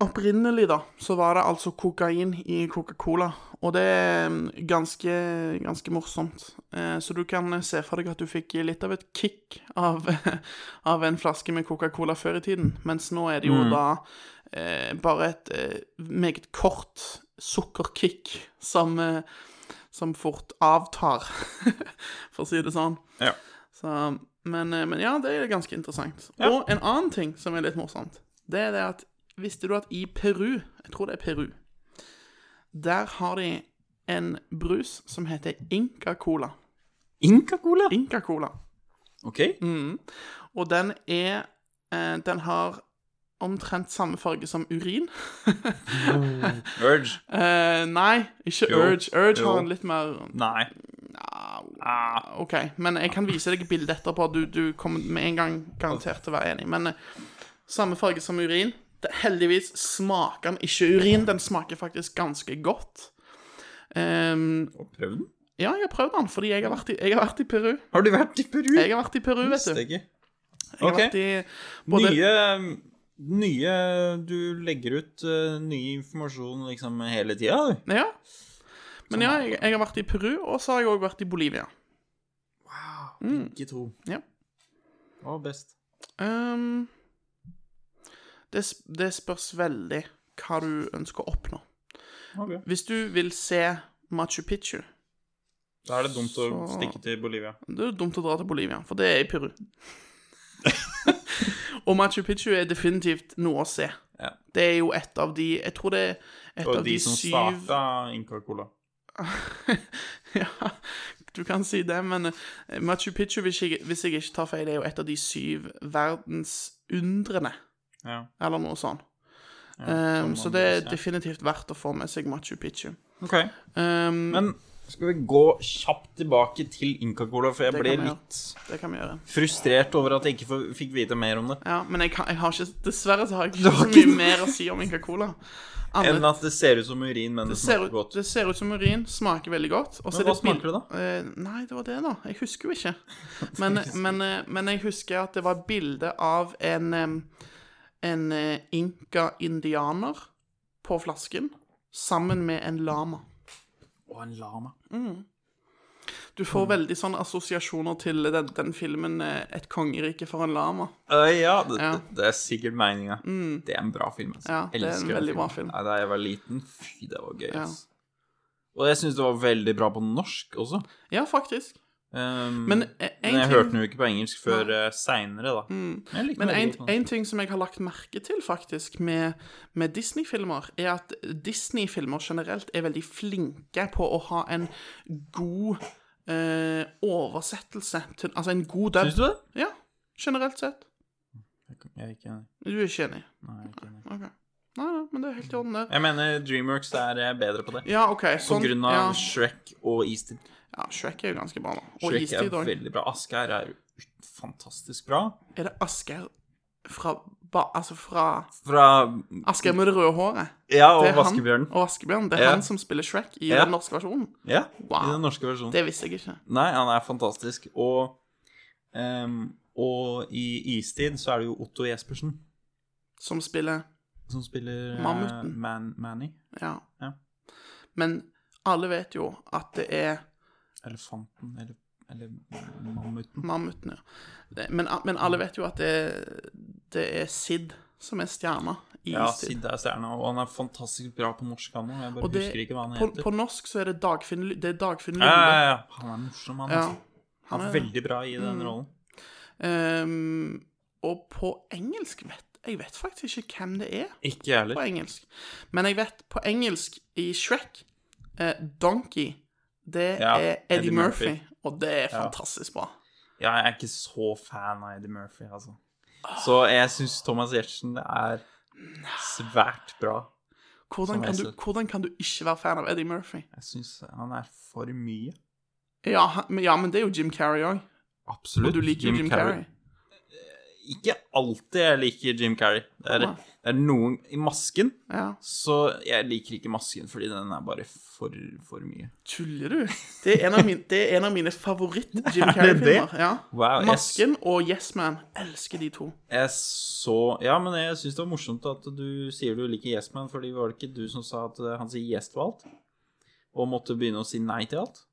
Speaker 4: opprinnelig, da, så var det altså kokain i Coca-Cola. Og det er mm, ganske, ganske morsomt. Eh, så du kan se for deg at du fikk litt av et kick av, av en flaske med Coca-Cola før i tiden. Mens nå er det jo da eh, bare et eh, meget kort sukkerkick som, eh, som fort avtar, for å si det sånn.
Speaker 3: Ja.
Speaker 4: Så, men, eh, men ja, det er ganske interessant.
Speaker 3: Ja.
Speaker 4: Og en annen ting som er litt morsomt, det er det at Visste du at i Peru, jeg tror det er Peru, der har de en brus som heter Inca-cola.
Speaker 3: Inca-cola?
Speaker 4: Inca-cola.
Speaker 3: OK.
Speaker 4: Mm. Og den er eh, Den har omtrent samme farge som urin.
Speaker 3: Urge.
Speaker 4: Eh, nei, ikke
Speaker 3: Jo.
Speaker 4: Urge. Urge
Speaker 3: Jo.
Speaker 4: har en litt mer
Speaker 3: Nei.
Speaker 4: Ah, OK, men jeg kan vise deg bildet etterpå. Du, du kommer med en gang garantert til å være enig. Men eh, samme farge som urin. Det, heldigvis smaker den ikke urin. Den smaker faktisk ganske godt. Ehm,
Speaker 3: Og prøv den.
Speaker 4: ja, jeg har prøvd den, fordi jeg har vært i, jeg har vært i Peru.
Speaker 3: Har du vært i Peru?
Speaker 4: Jeg har vært i Peru, vet
Speaker 3: Visste
Speaker 4: du.
Speaker 3: ikke.
Speaker 4: Jeg har
Speaker 3: Ok.
Speaker 4: vært i både,
Speaker 3: Nye Nye Du legger ut eh, ny informasjon liksom hele tida, du.
Speaker 4: Ja. Men ja, jeg, jeg har vært i Peru, og så har jeg òg vært i Bolivia.
Speaker 3: Begge to.
Speaker 4: Ja.
Speaker 3: Å, best.
Speaker 4: Ehm, det, s- det spørs veldig hva du ønsker å oppnå.
Speaker 3: Ok.
Speaker 4: Hvis du vil se Machu Picchu
Speaker 3: Da er det dumt å
Speaker 4: Så-
Speaker 3: stikke til Bolivia.
Speaker 4: Det er jo dumt å dra til Bolivia, for det er i Peru. og Machu Picchu er definitivt noe å se.
Speaker 3: Ja.
Speaker 4: Det er jo et av de Jeg tror det er et
Speaker 3: Og
Speaker 4: av de,
Speaker 3: de som
Speaker 4: syv
Speaker 3: starta Inca-cola.
Speaker 4: Ja, du kan si det, men eh, Machu Picchu, hvis jeg, hvis jeg ikke tar feil, er jo et av de syv verdensundrene,
Speaker 3: Ja.
Speaker 4: eller noe sånt.
Speaker 3: Ja,
Speaker 4: Ehm,
Speaker 3: som
Speaker 4: så
Speaker 3: man
Speaker 4: det er
Speaker 3: bør se.
Speaker 4: definitivt verdt å få med seg Machu Picchu.
Speaker 3: Ok.
Speaker 4: Ehm,
Speaker 3: Men skal vi gå kjapt tilbake til Inca-cola, for jeg
Speaker 4: Det
Speaker 3: ble
Speaker 4: kan vi gjøre.
Speaker 3: litt
Speaker 4: det kan vi gjøre.
Speaker 3: frustrert over at jeg ikke får- fikk vite mer om det.
Speaker 4: Ja, men jeg, kan, jeg har ikke, dessverre så har jeg
Speaker 3: Du
Speaker 4: ikke
Speaker 3: har
Speaker 4: så
Speaker 3: ikke-
Speaker 4: mye mer å si om Inca Cola.
Speaker 3: Enn at det ser ut som urin, men det,
Speaker 4: det ser,
Speaker 3: smaker
Speaker 4: ut,
Speaker 3: godt.
Speaker 4: det ser ut som urin, smaker veldig godt. og så
Speaker 3: Men
Speaker 4: er
Speaker 3: hva smaker det da?
Speaker 4: Eh, nei, det var det, da. Jeg husker jo ikke. Men, men, eh, men jeg husker at det var bilde av en, em, en eh, inka-indianer på flasken sammen med en lama.
Speaker 3: Og en lama.
Speaker 4: Du får
Speaker 3: Mm.
Speaker 4: veldig sånne assosiasjoner til den, den filmen eh, 'Et kongerike for en lama'.
Speaker 3: Øh, ja, det,
Speaker 4: Ja. Mm.
Speaker 3: det er sikkert meninga. Det er en bra film. Altså.
Speaker 4: Ja, det er en
Speaker 3: Elsker den
Speaker 4: veldig bra film.
Speaker 3: Nei, da jeg var liten, fy, det var gøy.
Speaker 4: Ja.
Speaker 3: Altså. Og jeg syns det var veldig bra på norsk også.
Speaker 4: Ja, faktisk.
Speaker 3: Um,
Speaker 4: Men
Speaker 3: men,
Speaker 4: eh, en
Speaker 3: jeg
Speaker 4: ting- Mm.
Speaker 3: hørte den jo ikke på engelsk før uh, seinere, da. Men jeg likte
Speaker 4: Men
Speaker 3: den veldig godt på
Speaker 4: en,
Speaker 3: norsk.
Speaker 4: en ting som jeg har lagt merke til faktisk med, med Disney-filmer, er at Disney-filmer generelt er veldig flinke på å ha en god eh, oversettelse. Til, altså en god dub.
Speaker 3: Syns du det?
Speaker 4: Ja, generelt sett.
Speaker 3: Jeg, er ikke, enig.
Speaker 4: Du er ikke enig?
Speaker 3: nei, jeg er ikke enig.
Speaker 4: Ok. Nei, nei, men det er helt i orden, det.
Speaker 3: Jeg mener Dreamworks er eh, bedre på det.
Speaker 4: Ja, OK.
Speaker 3: På
Speaker 4: Sånn,
Speaker 3: grunn av
Speaker 4: ja.
Speaker 3: Shrek og Eastid.
Speaker 4: ja, Shrek er jo ganske bra, da. Og
Speaker 3: Shrek er
Speaker 4: Istid òg.
Speaker 3: veldig bra. Asgeir er ut- fantastisk bra.
Speaker 4: Er det Asgeir fra ba, Altså fra
Speaker 3: Fra
Speaker 4: Asgeir med det røde håret?
Speaker 3: Ja, og
Speaker 4: Det er han-
Speaker 3: Vaskebjørnen.
Speaker 4: Og Vaskebjørn. Det er
Speaker 3: Ja.
Speaker 4: han som spiller Shrek i
Speaker 3: Ja.
Speaker 4: den norske versjonen.
Speaker 3: Ja,
Speaker 4: Wow.
Speaker 3: I den norske versjonen.
Speaker 4: Det visste jeg ikke.
Speaker 3: Nei, han er fantastisk. Og, ehm, og i Istid så er det jo Otto Jespersen
Speaker 4: Som spiller
Speaker 3: som spiller eh,
Speaker 4: Mammuten.
Speaker 3: Man, Manny.
Speaker 4: Ja.
Speaker 3: Ja.
Speaker 4: Men alle vet jo at det er
Speaker 3: Elefanten, eller, eller Mammuten.
Speaker 4: mammuten, ja. Det- Men, men alle vet jo at det, det er Sid som er stjerna i
Speaker 3: Ja,
Speaker 4: Sid.
Speaker 3: Sid er stjerna, og han er fantastisk bra på norsk, han òg. Jeg bare
Speaker 4: Og det-
Speaker 3: husker ikke hva han
Speaker 4: På,
Speaker 3: heter.
Speaker 4: på norsk så er det Dagfinn Lu- det er Dagfinn Lunde.
Speaker 3: ja, ja, ja. Han er morsom, han.
Speaker 4: Ja, Mm.
Speaker 3: altså. Han
Speaker 4: han
Speaker 3: er
Speaker 4: er-
Speaker 3: veldig bra i den rollen.
Speaker 4: Ehm, og på engelsk vet jeg vet faktisk ikke hvem det er
Speaker 3: Ikke jeg
Speaker 4: på
Speaker 3: heller.
Speaker 4: engelsk. Men jeg vet på engelsk i Shrek eh, Donkey, det
Speaker 3: Ja,
Speaker 4: er Eddie
Speaker 3: Eddie
Speaker 4: Murphy,
Speaker 3: Murphy.
Speaker 4: og det er fantastisk bra.
Speaker 3: Ja, jeg er ikke så fan av Eddie Murphy, altså. Så jeg syns Thomas Giertsen er svært bra.
Speaker 4: Hvordan
Speaker 3: Som
Speaker 4: kan,
Speaker 3: jeg
Speaker 4: du,
Speaker 3: ser.
Speaker 4: hvordan kan du ikke være fan av Eddie Murphy?
Speaker 3: Jeg syns han er for mye.
Speaker 4: Ja, han- men, ja men det er jo Jim Carrey òg.
Speaker 3: Absolutt.
Speaker 4: Og du liker jo Jim, Carrey.
Speaker 3: Ikke alltid jeg liker Jim Carrey. Det er,
Speaker 4: Nei.
Speaker 3: det er noen i masken,
Speaker 4: Ja.
Speaker 3: så jeg liker ikke masken fordi den er bare for, for mye.
Speaker 4: Tuller du? Det er en av mine, det er en av mine favoritt-Jim
Speaker 3: det?
Speaker 4: Carrey-filmer. Ja.
Speaker 3: Wow, jeg s-
Speaker 4: Masken og Yes Man. Elsker de to.
Speaker 3: Jeg så Ja, men jeg syns det var morsomt at du sier du liker Yes Man, fordi var det ikke du som sa at eh, han sier yes til alt? Og måtte begynne å si nei til alt?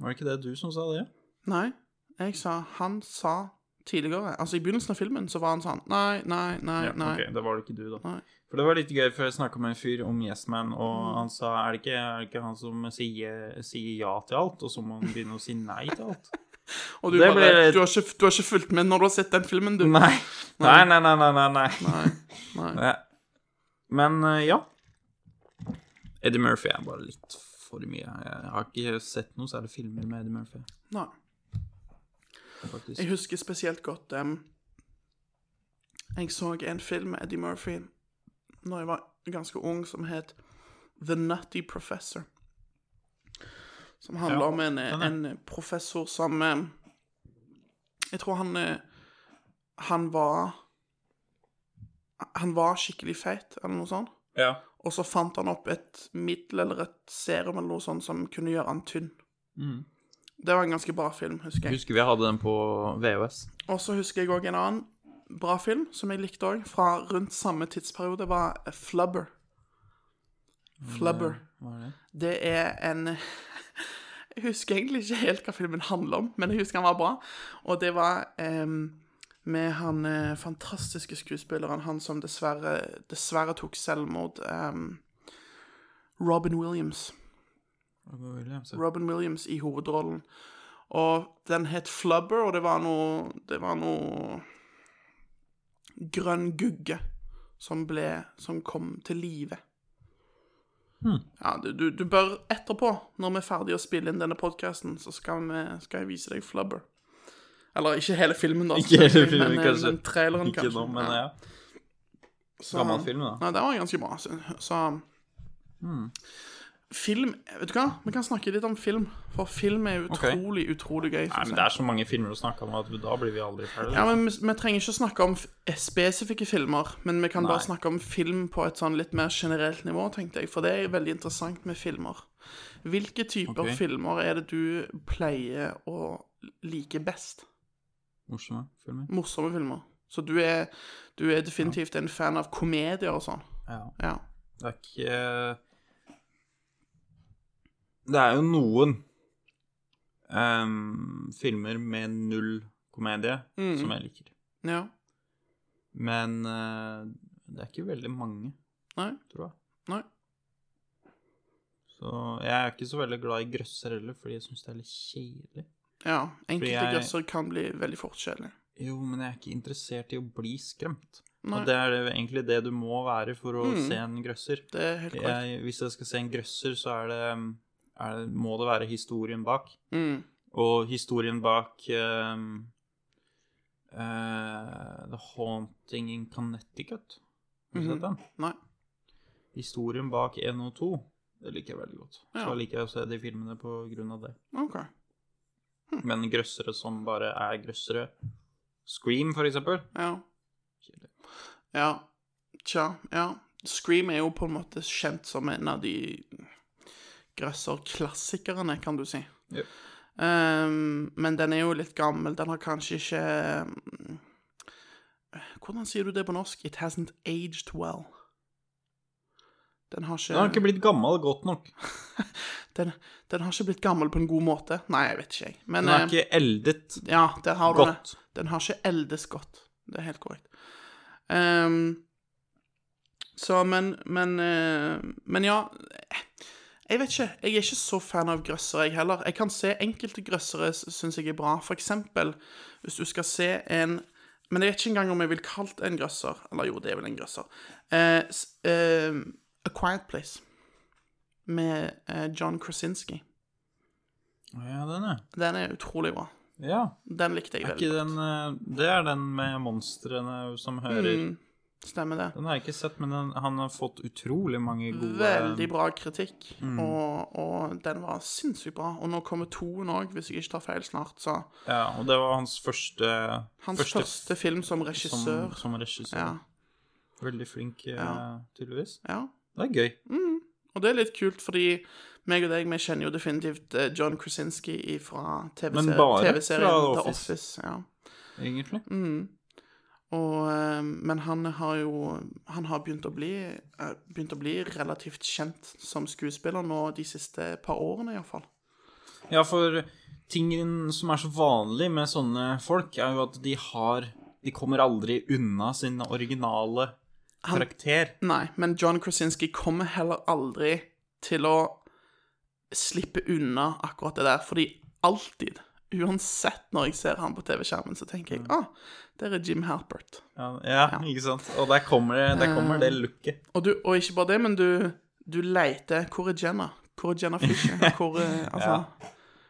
Speaker 3: Var det ikke det du som sa det?
Speaker 4: Nei, jeg sa Han sa tidligere Altså, i begynnelsen av filmen så var han sånn Nei, nei, nei,
Speaker 3: Ja,
Speaker 4: nei.
Speaker 3: ok, da var det ikke du, da.
Speaker 4: Nei.
Speaker 3: For det var litt gøy, for jeg snakka med en fyr om Yes Man, og han sa er det, ikke, er det ikke han som sier, sier ja til alt, og så må han begynne å si nei til alt?
Speaker 4: Og du,
Speaker 3: Det
Speaker 4: bare,
Speaker 3: ble-
Speaker 4: du, har ikke, du har ikke fulgt med når du har sett den filmen, du.
Speaker 3: Nei. Nei, nei, nei, nei. nei, nei.
Speaker 4: Nei. nei.
Speaker 3: Ja. Eh, Men eh, ja. Eddie Murphy er bare litt for mye. Jeg har ikke sett noe særlig filmer med Eddie Murphy.
Speaker 4: nei.
Speaker 3: faktisk.
Speaker 4: Jeg husker spesielt godt em, Jeg så en film med Eddie Murphy Når jeg var ganske ung, som het The Nutty Professor. Som handler
Speaker 3: Ja,
Speaker 4: om en,
Speaker 3: den
Speaker 4: eh,
Speaker 3: er-
Speaker 4: en professor som em, Jeg tror han eh, Han var Han var skikkelig feit, eller noe sånt.
Speaker 3: Ja.
Speaker 4: Og så fant han opp et middel eller et serum eller noe sånt som kunne gjøre han tynn.
Speaker 3: Mm.
Speaker 4: Det var en ganske bra film, husker jeg.
Speaker 3: Husker vi hadde den på VHS.
Speaker 4: Og så husker jeg òg en annen bra film som jeg likte òg, fra rundt samme tidsperiode, var Flubber. Flubber.
Speaker 3: Hva er det?
Speaker 4: Det er en Jeg husker egentlig ikke helt hva filmen handler om, men jeg husker han var bra. Og det var em, med han eh, fantastiske skuespilleren, han som dessverre, dessverre tok selvmord em, Robin Williams.
Speaker 3: Robin Williams, ja.
Speaker 4: Robin Williams i hovedrollen. Og den het Flubber, og det var noe Det var noe grønn gugge som ble Som kom til live.
Speaker 3: Hmm.
Speaker 4: Ja, du, du, du bør etterpå, når vi er ferdig å spille inn denne podkasten, så skal, vi, skal jeg vise deg Flubber. Eller ikke hele filmen, da.
Speaker 3: Ikke hele
Speaker 4: selvfølgelig,
Speaker 3: filmen,
Speaker 4: men,
Speaker 3: kanskje.
Speaker 4: Men traileren,
Speaker 3: Ikke
Speaker 4: kanskje.
Speaker 3: nå, men ja.
Speaker 4: Så-
Speaker 3: Gammel film, da. Hmm.
Speaker 4: Nei, den var ganske bra. Så, så Film Vet du hva? Vi kan snakke litt om film. For film er utrolig, utrolig gøy.
Speaker 3: Nei,
Speaker 4: synes
Speaker 3: men Det
Speaker 4: jeg.
Speaker 3: er så mange filmer å snakke om at da blir vi aldri ferdige.
Speaker 4: Ja, men vi, vi trenger ikke snakke om f- spesifikke filmer, men vi kan bare
Speaker 3: Nei.
Speaker 4: snakke om film på et sånn litt mer generelt nivå, tenkte jeg. For det er veldig interessant med filmer. Hvilke typer
Speaker 3: Ok.
Speaker 4: filmer er det du pleier å like best?
Speaker 3: Morsomme filmer.
Speaker 4: Morsomme filmer. Så du er, du er definitivt en fan av komedier og sånn?
Speaker 3: Ja.
Speaker 4: Ja.
Speaker 3: Det er ikke eh, Det er jo noen ehm, filmer med null komedie
Speaker 4: Mm.
Speaker 3: som jeg liker.
Speaker 4: ja.
Speaker 3: Men eh, det er ikke veldig mange,
Speaker 4: Nei.
Speaker 3: tror jeg.
Speaker 4: Nei.
Speaker 3: Så jeg er ikke så veldig glad i grøsser heller, fordi jeg syns det er litt kjedelig.
Speaker 4: Ja, enkelte
Speaker 3: jeg-
Speaker 4: grøsser kan bli veldig forskjellige.
Speaker 3: Jo, men jeg er ikke interessert i å bli skremt.
Speaker 4: Nei.
Speaker 3: Og det er det- egentlig det du må være for å
Speaker 4: Mm.
Speaker 3: se en grøsser.
Speaker 4: Det er helt korrekt.
Speaker 3: Jeg, hvis jeg skal se en grøsser, så er det, er det, må det være historien bak.
Speaker 4: Mm.
Speaker 3: Og historien bak ehm, eh, The Haunting in Connecticut. Har du
Speaker 4: Mhm.
Speaker 3: sett den?
Speaker 4: Nei.
Speaker 3: Historien bak 1 og 2. Det liker jeg veldig godt.
Speaker 4: Ja.
Speaker 3: Så liker jeg å se de filmene på grunn av det.
Speaker 4: OK. Hm.
Speaker 3: Men grøssere som bare er grøssere Scream, for eksempel.
Speaker 4: Ja. Ja. Tja. Ja. Scream er jo på en måte kjent som en av de grøsser-klassikerne, kan du si.
Speaker 3: Ja.
Speaker 4: Ehm, men den er jo litt gammel. Den har kanskje ikke mm, Hvordan sier du det på norsk? It hasn't aged well. Den har ikke
Speaker 3: Den har ikke blitt gammel godt nok.
Speaker 4: den, den har ikke blitt gammel på en god måte. Nei, jeg vet ikke, jeg. Men
Speaker 3: Den er
Speaker 4: eh,
Speaker 3: ikke eldet
Speaker 4: ja, der har du det.
Speaker 3: godt.
Speaker 4: Den har ikke eldes godt. Det er helt korrekt. Ehm, så, men Men, eh, men ja eh, Jeg vet ikke. Jeg er ikke så fan av grøssere, jeg heller. Jeg kan se enkelte grøssere syns jeg er bra. For eksempel hvis du skal se en Men jeg vet ikke engang om jeg vil kalt det en grøsser. Eller jo, det er vel en grøsser. Eh, s- eh, A Quiet Place med eh, John Krasinski.
Speaker 3: Å Ja, den er.
Speaker 4: Den er utrolig bra.
Speaker 3: Ja.
Speaker 4: Den likte jeg
Speaker 3: Er ikke
Speaker 4: veldig godt.
Speaker 3: den eh, Det er den med monstrene som hører
Speaker 4: Mm, stemmer det.
Speaker 3: Den har jeg ikke sett, men den, han har fått utrolig mange gode
Speaker 4: Veldig bra kritikk,
Speaker 3: mm.
Speaker 4: og, og den var sinnssykt bra. Og nå kommer toen òg, hvis jeg ikke tar feil snart, så
Speaker 3: Ja, og det var hans første
Speaker 4: Hans første, film som regissør.
Speaker 3: Som, som regissør.
Speaker 4: ja.
Speaker 3: Veldig flink, eh, tydeligvis.
Speaker 4: ja.
Speaker 3: Det er gøy.
Speaker 4: Og det er litt kult, fordi meg og deg, vi kjenner jo definitivt eh, John Krasinski fra
Speaker 3: Men bare
Speaker 4: TV-serien
Speaker 3: fra
Speaker 4: The
Speaker 3: Office.
Speaker 4: Office ja. Mm.
Speaker 3: Egentlig.
Speaker 4: Og, eh, men han har jo Han har begynt å bli eh, Begynt å bli relativt kjent som skuespiller nå de siste par årene, iallfall.
Speaker 3: Ja, for tingen som er så vanlig med sånne folk, er jo at de har De kommer aldri unna sin originale karakter.
Speaker 4: Nei, men John Krasinski kommer heller aldri til å slippe unna akkurat det der, fordi alltid, uansett når jeg ser han på TV-skjermen, så tenker
Speaker 3: Mm.
Speaker 4: jeg ah, der er Jim Halpert.
Speaker 3: Ja, ja, ikke sant? Og der kommer det, der kommer
Speaker 4: Eh,
Speaker 3: det looket.
Speaker 4: Og, du, og ikke bare det, men du, du leter hvor er Jenna? Hvor er Jenna Fisher? Hvor er altså,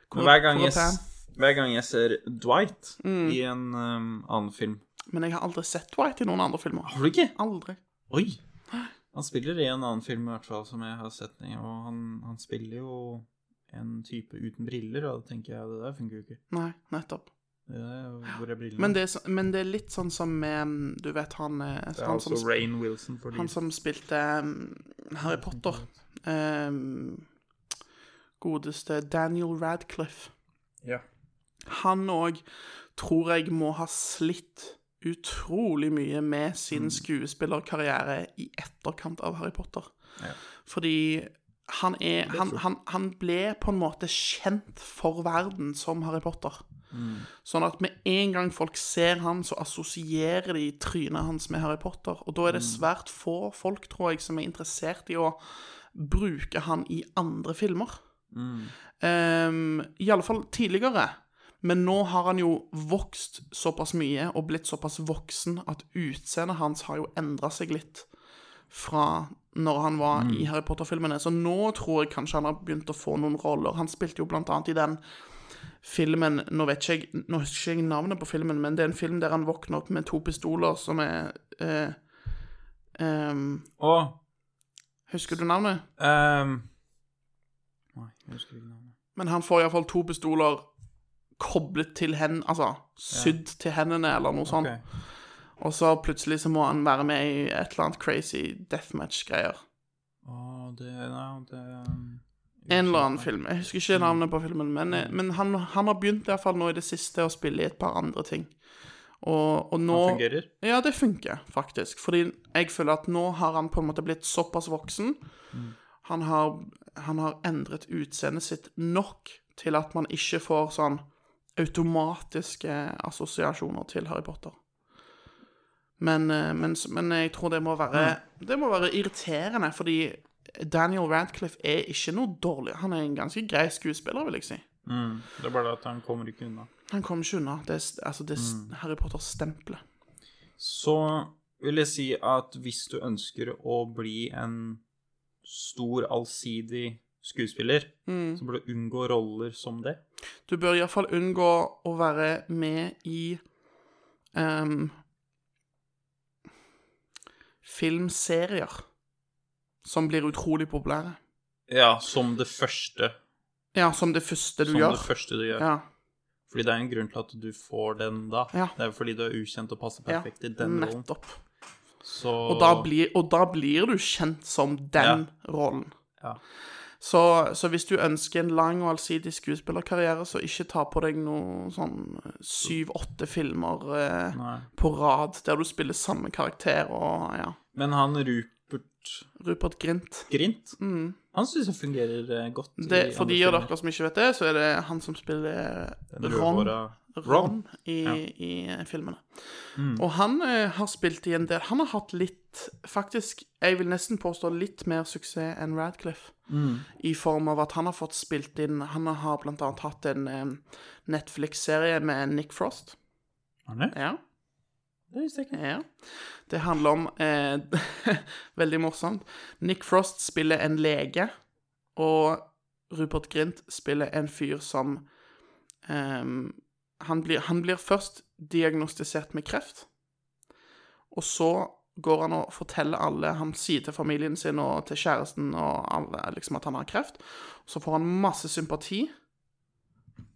Speaker 4: hvor,
Speaker 3: Men hver gang,
Speaker 4: hvor er
Speaker 3: jeg, s-
Speaker 4: Pam?
Speaker 3: hver gang jeg ser Dwight
Speaker 4: Mm.
Speaker 3: i en um, annen film
Speaker 4: Men jeg har aldri sett White i noen andre filmer.
Speaker 3: Har du ikke?
Speaker 4: Aldri.
Speaker 3: Oi! Han spiller i en annen film i hvert fall som jeg har sett, den i, og han, han spiller jo en type uten briller, og da tenker jeg det der funker jo ikke.
Speaker 4: Nei, nettopp.
Speaker 3: Det er, jo- hvor er brillene?
Speaker 4: Men det, er, så- men det er litt sånn som eh, Du vet han, eh,
Speaker 3: Det er
Speaker 4: han som
Speaker 3: altså Rainn Wilson for de
Speaker 4: Han som spilte um, Harry Potter. Um, godeste Daniel Radcliffe.
Speaker 3: Ja.
Speaker 4: Han òg tror jeg må ha slitt utrolig mye med sin skuespillerkarriere i etterkant av Harry Potter.
Speaker 3: Ja.
Speaker 4: Fordi han er han, han, han ble på en måte kjent for verden som Harry Potter. Sånn at med en gang folk ser han, så assosierer de trynet hans med Harry Potter. Og da er det svært få folk, tror jeg, som er interessert i å bruke han i andre filmer. Um, I alle fall tidligere. Men nå har han jo vokst såpass mye og blitt såpass voksen at utseendet hans har jo endra seg litt fra når han var i Harry Potter-filmene. Så nå tror jeg kanskje han har begynt å få noen roller. Han spilte jo blant annet i den filmen Nå vet ikke jeg Nå husker jeg ikke navnet på filmen, men det er en film der han våkner opp med to pistoler som er eh, ehm,
Speaker 3: Og
Speaker 4: Husker du navnet?
Speaker 3: ehm, Nei, jeg husker ikke navnet.
Speaker 4: Men han får iallfall to pistoler koblet til hendene, altså sydd til hendene, eller noe sånt.
Speaker 3: Ok.
Speaker 4: Og så plutselig så må han være med i et eller annet crazy deathmatch-greier.
Speaker 3: Å, det Nei, det um,
Speaker 4: En eller annen film. Jeg husker ikke navnet på filmen, men,
Speaker 3: Mm.
Speaker 4: men han, han har begynt i hvert fall nå i det siste å spille i et par andre ting. Og, og nå
Speaker 3: Han fungerer.
Speaker 4: Ja, det funker faktisk. Fordi jeg føler at nå har han på en måte blitt såpass voksen. Han, har, han har endret utseendet sitt nok til at man ikke får sånn automatiske assosiasjoner til Harry Potter. Men, eh, men, s- men jeg tror det må være Det må være irriterende, fordi Daniel Radcliffe er ikke noe dårlig. Han er en ganske grei skuespiller, vil jeg si.
Speaker 3: Mm, Det er bare det at han kommer ikke unna.
Speaker 4: Han kommer ikke unna. Det er, s- altså, det er s- Harry Potter-stempelet.
Speaker 3: Så vil jeg si at hvis du ønsker å bli en stor, allsidig skuespiller,
Speaker 4: Mm.
Speaker 3: så bør du unngå roller som det.
Speaker 4: Du bør iallfall unngå å være med i ehm, Filmserier som blir utrolig populære.
Speaker 3: Ja, som det første,
Speaker 4: Ja, som det første du
Speaker 3: som
Speaker 4: gjør.
Speaker 3: det første du gjør.
Speaker 4: Ja.
Speaker 3: Fordi det er en grunn til at du får den da.
Speaker 4: Ja.
Speaker 3: Det er fordi du er ukjent og passer
Speaker 4: ja.
Speaker 3: perfekt i den rollen.
Speaker 4: Nettopp.
Speaker 3: Så
Speaker 4: Og da, blir, og da blir du kjent som den rollen.
Speaker 3: Ja.
Speaker 4: Så, så hvis du ønsker en lang og allsidig skuespillerkarriere, så ikke ta på deg noe sånn syv-åtte filmer eh,
Speaker 3: Nei.
Speaker 4: på rad der du spiller samme karakter og ja.
Speaker 3: Men han Rupert
Speaker 4: Rupert Grint.
Speaker 3: Grint, han syns jeg fungerer eh, godt. i
Speaker 4: Mm. Det, for
Speaker 3: andre
Speaker 4: de av
Speaker 3: filmer.
Speaker 4: dere som ikke vet det, så er det han som spiller
Speaker 3: Den
Speaker 4: Ron,
Speaker 3: rødhåra
Speaker 4: Ron,
Speaker 3: Ron.
Speaker 4: i, i filmene. Og han eh, har spilt i en del Han har hatt litt, faktisk, jeg vil nesten påstå litt mer suksess enn Radcliffe. I form av at han har fått spilt inn Han har blant annet hatt en eh, Netflix-serie med Nick Frost.
Speaker 3: Har han det?
Speaker 4: Ja.
Speaker 3: Det visste jeg ikke.
Speaker 4: Ja. Det handler om eh, Veldig morsomt. Nick Frost spiller en lege, og Rupert Grint spiller en fyr som eh, han, blir, han blir først diagnostisert med kreft, og så går han og forteller alle Han sier til familien sin og til kjæresten og alle, liksom at han har kreft. Så får han masse sympati.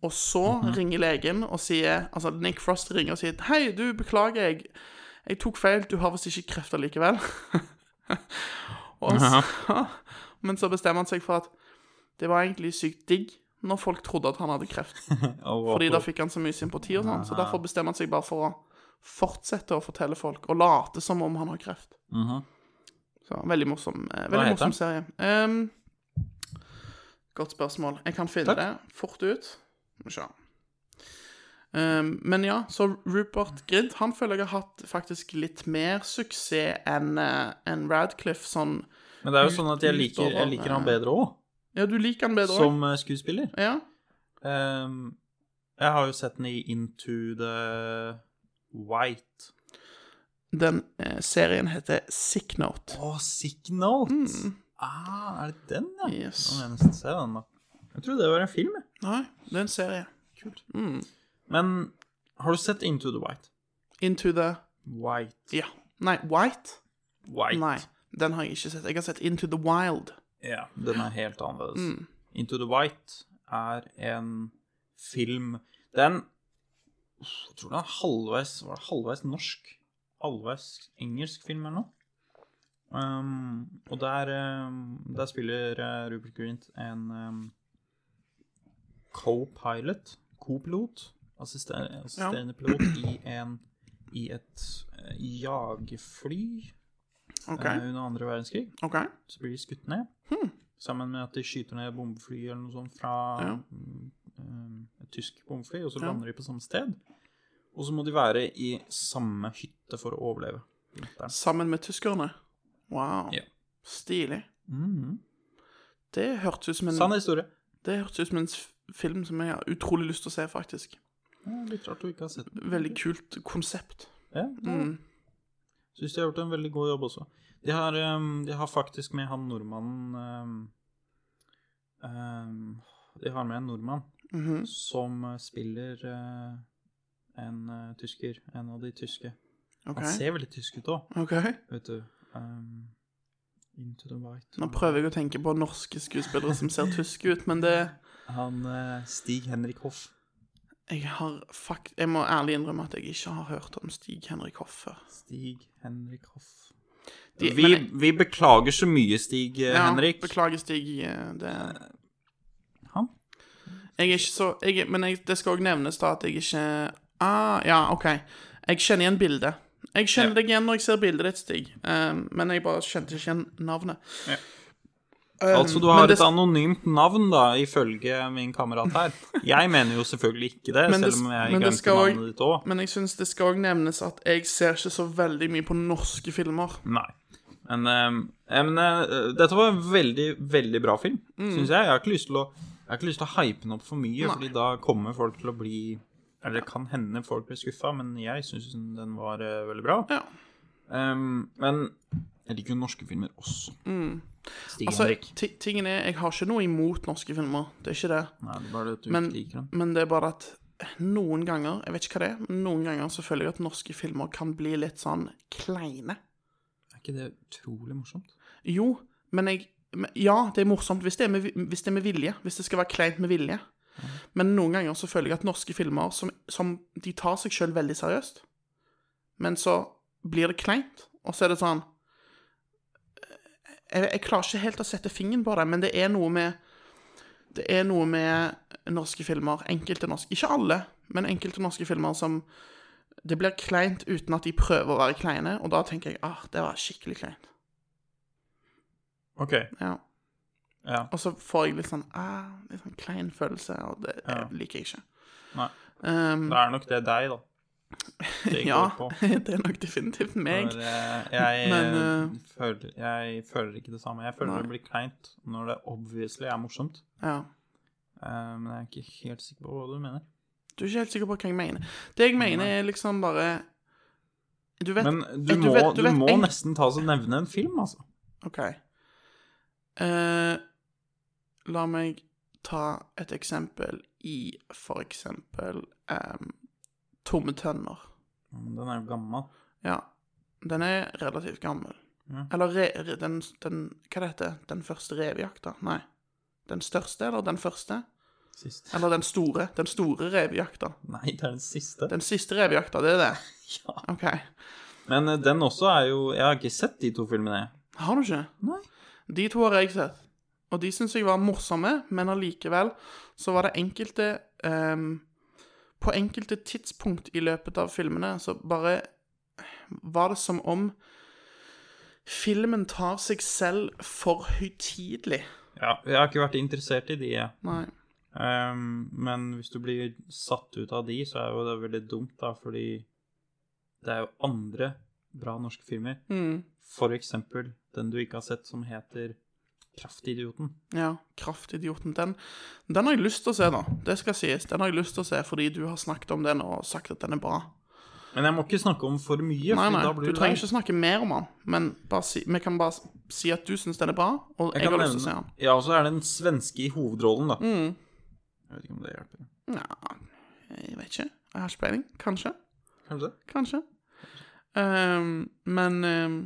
Speaker 4: Og så ringer legen og sier Altså, Nick Frost ringer og sier 'Hei, du, beklager, jeg, jeg tok feil. Du har visst ikke krefter likevel.' og så, men så bestemmer han seg for at det var egentlig sykt digg når folk trodde at han hadde kreft.
Speaker 3: Og-
Speaker 4: Fordi da fikk han så mye sympati og sånn. Så derfor bestemmer han seg bare for å fortsette å fortelle folk, og late som om han har kreft.
Speaker 3: Mhm.
Speaker 4: Så veldig morsom, eh,
Speaker 3: Hva
Speaker 4: veldig
Speaker 3: heter
Speaker 4: morsom serie. Ehm, godt spørsmål. Jeg kan finne
Speaker 3: Takk.
Speaker 4: det fort ut. Må se. Ehm, men ja, så Rupert Grint han føler jeg har hatt faktisk litt mer suksess enn eh, enn Radcliffe. Sånn
Speaker 3: Men det er jo sånn at jeg liker,
Speaker 4: utover,
Speaker 3: jeg liker han
Speaker 4: eh,
Speaker 3: bedre òg,
Speaker 4: Ja, du liker han bedre òg.
Speaker 3: som eh, skuespiller.
Speaker 4: Ja.
Speaker 3: Ehm, jeg har jo sett den i Into the White.
Speaker 4: Den eh, serien heter Sick Note.
Speaker 3: Å, Sick Note! Ah, er det den, ja?
Speaker 4: Mm. Yes.
Speaker 3: Nå må jeg nesten se den, da. Jeg trodde det var en film, jeg.
Speaker 4: Nei, det er en serie. Kult. Mm.
Speaker 3: Men har du sett Into the White?
Speaker 4: Into the
Speaker 3: White.
Speaker 4: Ja. Nei, White?
Speaker 3: White.
Speaker 4: Nei, den har jeg ikke sett. Jeg har sett Into the Wild.
Speaker 3: Ja, den er helt annerledes. Into the White er en film Den Jeg tror den er halvveis Var det halvveis norsk? Halvveis engelsk film eller noe? Um, og der, um, der spiller uh, Rupert Grint en um, co-pilot, co-pilot, assisten- assisterende pilot i en i et uh, jagerfly
Speaker 4: OK.
Speaker 3: eh, under andre verdenskrig
Speaker 4: ok.
Speaker 3: så blir de skutt ned.
Speaker 4: Hmm.
Speaker 3: Sammen med at de skyter ned bombefly eller noe sånt fra
Speaker 4: Ja.
Speaker 3: mm, um, et tysk bombefly, og så lander de på samme sted. Og så må de være i samme hytte for å overleve vinteren.
Speaker 4: Sammen med tyskerne. Wow.
Speaker 3: Ja.
Speaker 4: Stilig.
Speaker 3: Mhm.
Speaker 4: Det hørtes ut som en,
Speaker 3: Sann historie.
Speaker 4: det hørtes ut som en s- film som jeg har utrolig lyst til å se, faktisk.
Speaker 3: Ja, litt rart du ikke har sett den.
Speaker 4: Veldig kult konsept.
Speaker 3: Ja.
Speaker 4: Mm.
Speaker 3: Syns de har gjort en veldig god jobb også. De har, um, de har faktisk med han nordmannen um, um, De har med en nordmann
Speaker 4: Mhm.
Speaker 3: som eh, spiller eh, en eh, tysker. En av de tyske.
Speaker 4: OK.
Speaker 3: Han ser veldig tysk ut òg.
Speaker 4: ok.
Speaker 3: Vet du um, Into the White
Speaker 4: Nå prøver jeg å tenke på norske skuespillere som ser tyske ut, men det
Speaker 3: Han eh, Stig Henrik Hoff.
Speaker 4: Jeg har fakt... Jeg må ærlig innrømme at jeg ikke har hørt om Stig-Henrik Hoff før.
Speaker 3: Stig Henrik Hoff.
Speaker 4: De-
Speaker 3: vi,
Speaker 4: men jeg-
Speaker 3: vi beklager så mye, Stig eh,
Speaker 4: Ja,
Speaker 3: Henrik.
Speaker 4: Beklager, Stig. eh, Det
Speaker 3: Han?
Speaker 4: Jeg er ikke så jeg, Men jeg, det skal òg nevnes da at jeg ikke ah, Ja, OK. Jeg kjenner igjen bildet. Jeg kjenner
Speaker 3: Ja.
Speaker 4: deg igjen når jeg ser bildet ditt, Stig. Um, men jeg bare kjente ikke igjen navnet.
Speaker 3: Ja.
Speaker 4: Um,
Speaker 3: Altså, du
Speaker 4: men
Speaker 3: har
Speaker 4: det-
Speaker 3: et anonymt navn, da, ifølge min kamerat her. Jeg mener jo selvfølgelig ikke det,
Speaker 4: Men det-
Speaker 3: selv om jeg
Speaker 4: men det
Speaker 3: glemte
Speaker 4: skal
Speaker 3: navnet
Speaker 4: også-
Speaker 3: ditt òg.
Speaker 4: Men jeg syns det skal òg nevnes at jeg ser ikke så veldig mye på norske filmer.
Speaker 3: Nei. Men, eh, men eh, dette var en veldig, veldig bra film,
Speaker 4: Mm.
Speaker 3: syns jeg. Jeg har ikke lyst til å jeg har ikke lyst til å hype den opp for mye, fordi da kommer folk til å bli Eller det kan hende folk blir skuffa, men jeg syns den var eh, veldig bra.
Speaker 4: Ja.
Speaker 3: Em, men jeg liker jo norske filmer også. Stig
Speaker 4: Altså,
Speaker 3: Henrik.
Speaker 4: ti- tingen er, jeg har ikke noe imot norske filmer. Det er ikke det.
Speaker 3: Nei, det er bare at du
Speaker 4: Men,
Speaker 3: ikke liker den.
Speaker 4: men det er bare at eh, noen ganger, jeg vet ikke hva det er, men noen ganger så føler jeg at norske filmer kan bli litt sånn kleine.
Speaker 3: Er ikke det utrolig morsomt?
Speaker 4: Jo, men jeg men- Ja, det er morsomt hvis det er, med, vi- hvis det er med vilje. Hvis det skal være kleint med vilje. Men noen ganger så føler jeg at norske filmer som, som De tar seg sjøl veldig seriøst. Men så blir det kleint, og så er det sånn eh, jeg, jeg klarer ikke helt å sette fingeren på det, men det er noe med Det er noe med norske filmer, enkelte norske Ikke alle, men enkelte norske filmer som Det blir kleint uten at de prøver å være kleine, og da tenker jeg ah, det var skikkelig kleint.
Speaker 3: OK.
Speaker 4: Ja.
Speaker 3: Ja.
Speaker 4: Og så får jeg litt sånn ah, litt sånn klein følelse, og det det
Speaker 3: Ja.
Speaker 4: liker jeg ikke.
Speaker 3: Nei.
Speaker 4: Um,
Speaker 3: Da er nok det deg, da. Det
Speaker 4: ja,
Speaker 3: går på.
Speaker 4: det er nok definitivt meg.
Speaker 3: For, eh, jeg,
Speaker 4: Men,
Speaker 3: eh,
Speaker 4: eh,
Speaker 3: føler, jeg føler ikke det samme. Jeg føler
Speaker 4: Nei.
Speaker 3: det blir kleint når det obviously er morsomt.
Speaker 4: Ja.
Speaker 3: Eh, men jeg er ikke helt sikker på hva du mener.
Speaker 4: Du er ikke helt sikker på hva jeg mener. Det jeg mener, er liksom bare Du vet
Speaker 3: Men du,
Speaker 4: eh,
Speaker 3: må,
Speaker 4: vet-
Speaker 3: du
Speaker 4: vet
Speaker 3: må
Speaker 4: en-
Speaker 3: nesten ta og nevne en film, altså.
Speaker 4: OK. Eh, la meg ta et eksempel i for eksempel em, Tomme tønner.
Speaker 3: Ja, Men den er jo gammel.
Speaker 4: Ja. Den er relativt gammel.
Speaker 3: Ja.
Speaker 4: Eller re, re, den, den Hva det heter Den første revejakta? Nei. Den største, eller den første?
Speaker 3: Sist.
Speaker 4: Eller den store? Den store revejakta.
Speaker 3: Nei, det er den siste.
Speaker 4: Den siste revejakta, det er det? Ja. OK.
Speaker 3: Men eh, den også er jo Jeg har ikke sett de to filmene, jeg.
Speaker 4: Har du ikke?
Speaker 3: Nei.
Speaker 4: De to har jeg sett. Og de syns jeg var morsomme, men allikevel så var det enkelte ehm, På enkelte tidspunkt i løpet av filmene så bare var det som om filmen tar seg selv for høytidelig.
Speaker 3: Ja, jeg har ikke vært interessert i de, jeg.
Speaker 4: Nei.
Speaker 3: Ehm, men hvis du blir satt ut av de, så er jo det veldig dumt, da, fordi det er jo andre bra norske filmer.
Speaker 4: Mm.
Speaker 3: For eksempel den du ikke har sett, som heter Kraftidioten.
Speaker 4: Ja, Kraftidioten. Den, den har jeg lyst til å se, da. Det skal sies. Den har jeg lyst til å se fordi du har snakket om den og sagt at den er bra.
Speaker 3: Men jeg må ikke snakke om for mye,
Speaker 4: Nei,
Speaker 3: for
Speaker 4: nei,
Speaker 3: da blir
Speaker 4: du trenger ikke snakke mer om den, men bare si, vi kan bare si at du syns den er bra, og jeg,
Speaker 3: Jeg kan
Speaker 4: har lyst til å se
Speaker 3: nevne
Speaker 4: den. Mm.
Speaker 3: Ja, og så er det en svenske i hovedrollen, da. Jeg vet ikke om det hjelper.
Speaker 4: Nja, jeg vet ikke. Jeg har ikke peiling. Kanskje.
Speaker 3: Kanskje.
Speaker 4: Kanskje. Ehm, men ehm,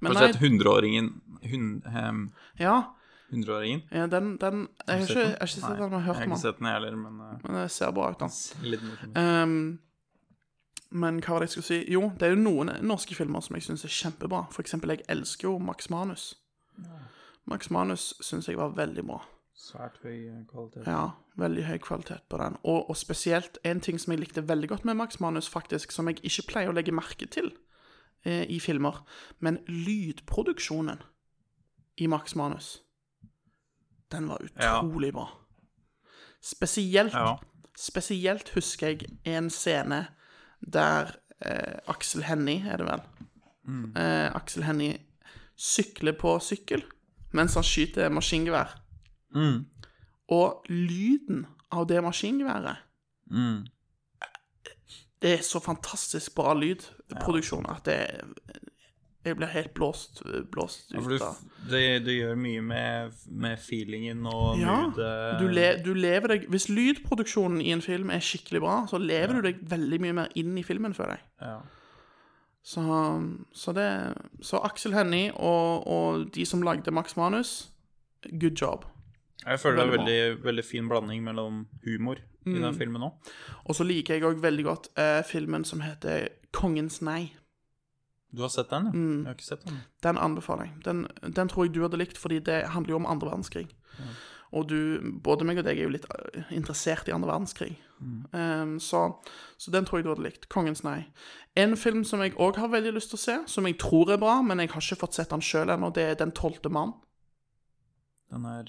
Speaker 4: Men
Speaker 3: Har du
Speaker 4: nei,
Speaker 3: sett Hundreåringen Hun- ehm,
Speaker 4: ja,
Speaker 3: Hundreåringen?
Speaker 4: ja, den, den Jeg har
Speaker 3: du sett
Speaker 4: ikke, jeg
Speaker 3: den?
Speaker 4: har ikke sett
Speaker 3: Nei,
Speaker 4: den, men jeg har
Speaker 3: Jeg
Speaker 4: hørt
Speaker 3: har
Speaker 4: den.
Speaker 3: ikke sett den, jeg heller, men eh,
Speaker 4: Men det ser bra ut, da.
Speaker 3: litt morsom.
Speaker 4: Ehm, men hva var det jeg skulle si? Jo, det er jo noen norske filmer som jeg syns er kjempebra. For eksempel, jeg elsker jo Max Manus. Max Manus syns jeg var veldig bra.
Speaker 3: Svært høy eh, kvalitet.
Speaker 4: Ja, veldig høy kvalitet på den. Og, og spesielt en ting som jeg likte veldig godt med Max Manus, faktisk, som jeg ikke pleier å legge merke til eh, i filmer, men lydproduksjonen i Max Manus, den var
Speaker 3: Ja.
Speaker 4: utrolig bra. Spesielt,
Speaker 3: Ja.
Speaker 4: spesielt husker jeg en scene der eh, Aksel Hennie, er det vel?
Speaker 3: Mm.
Speaker 4: Eh, Aksel Hennie sykler på sykkel mens han skyter maskingevær.
Speaker 3: Mm.
Speaker 4: Og lyden av det maskingeværet
Speaker 3: Mm.
Speaker 4: Det er så fantastisk bra lydproduksjon at det Jeg blir helt blåst, blåst
Speaker 3: Ja,
Speaker 4: ut
Speaker 3: for du,
Speaker 4: av
Speaker 3: det, det gjør mye med, med feelingen og eh,
Speaker 4: Ja.
Speaker 3: moodet.
Speaker 4: Du, le, du lever deg Hvis lydproduksjonen i en film er skikkelig bra, så lever du deg veldig mye mer inn i filmen, føler jeg.
Speaker 3: Ja.
Speaker 4: Så, så det Så Aksel Hennie og, og de som lagde Max Manus, good job.
Speaker 3: Jeg føler
Speaker 4: Veldig Mm.
Speaker 3: det er veldig, veldig fin blanding mellom humor i den filmen òg.
Speaker 4: Og så liker jeg òg veldig godt eh, filmen som heter Kongens nei.
Speaker 3: Du har sett den, ja?
Speaker 4: Mm.
Speaker 3: Jeg har ikke sett den.
Speaker 4: Den anbefaler jeg. Den, den tror jeg du hadde likt, fordi det handler jo om andre verdenskrig. Og du, både meg og deg er jo litt øh, interessert i andre verdenskrig.
Speaker 3: Mm.
Speaker 4: Um, så, så den tror jeg du hadde likt. 'Kongens nei'. En film som jeg òg har veldig lyst til å se, som jeg tror er bra, men jeg har ikke fått sett den sjøl ennå, det er 'Den tolvte mann'.
Speaker 3: Den er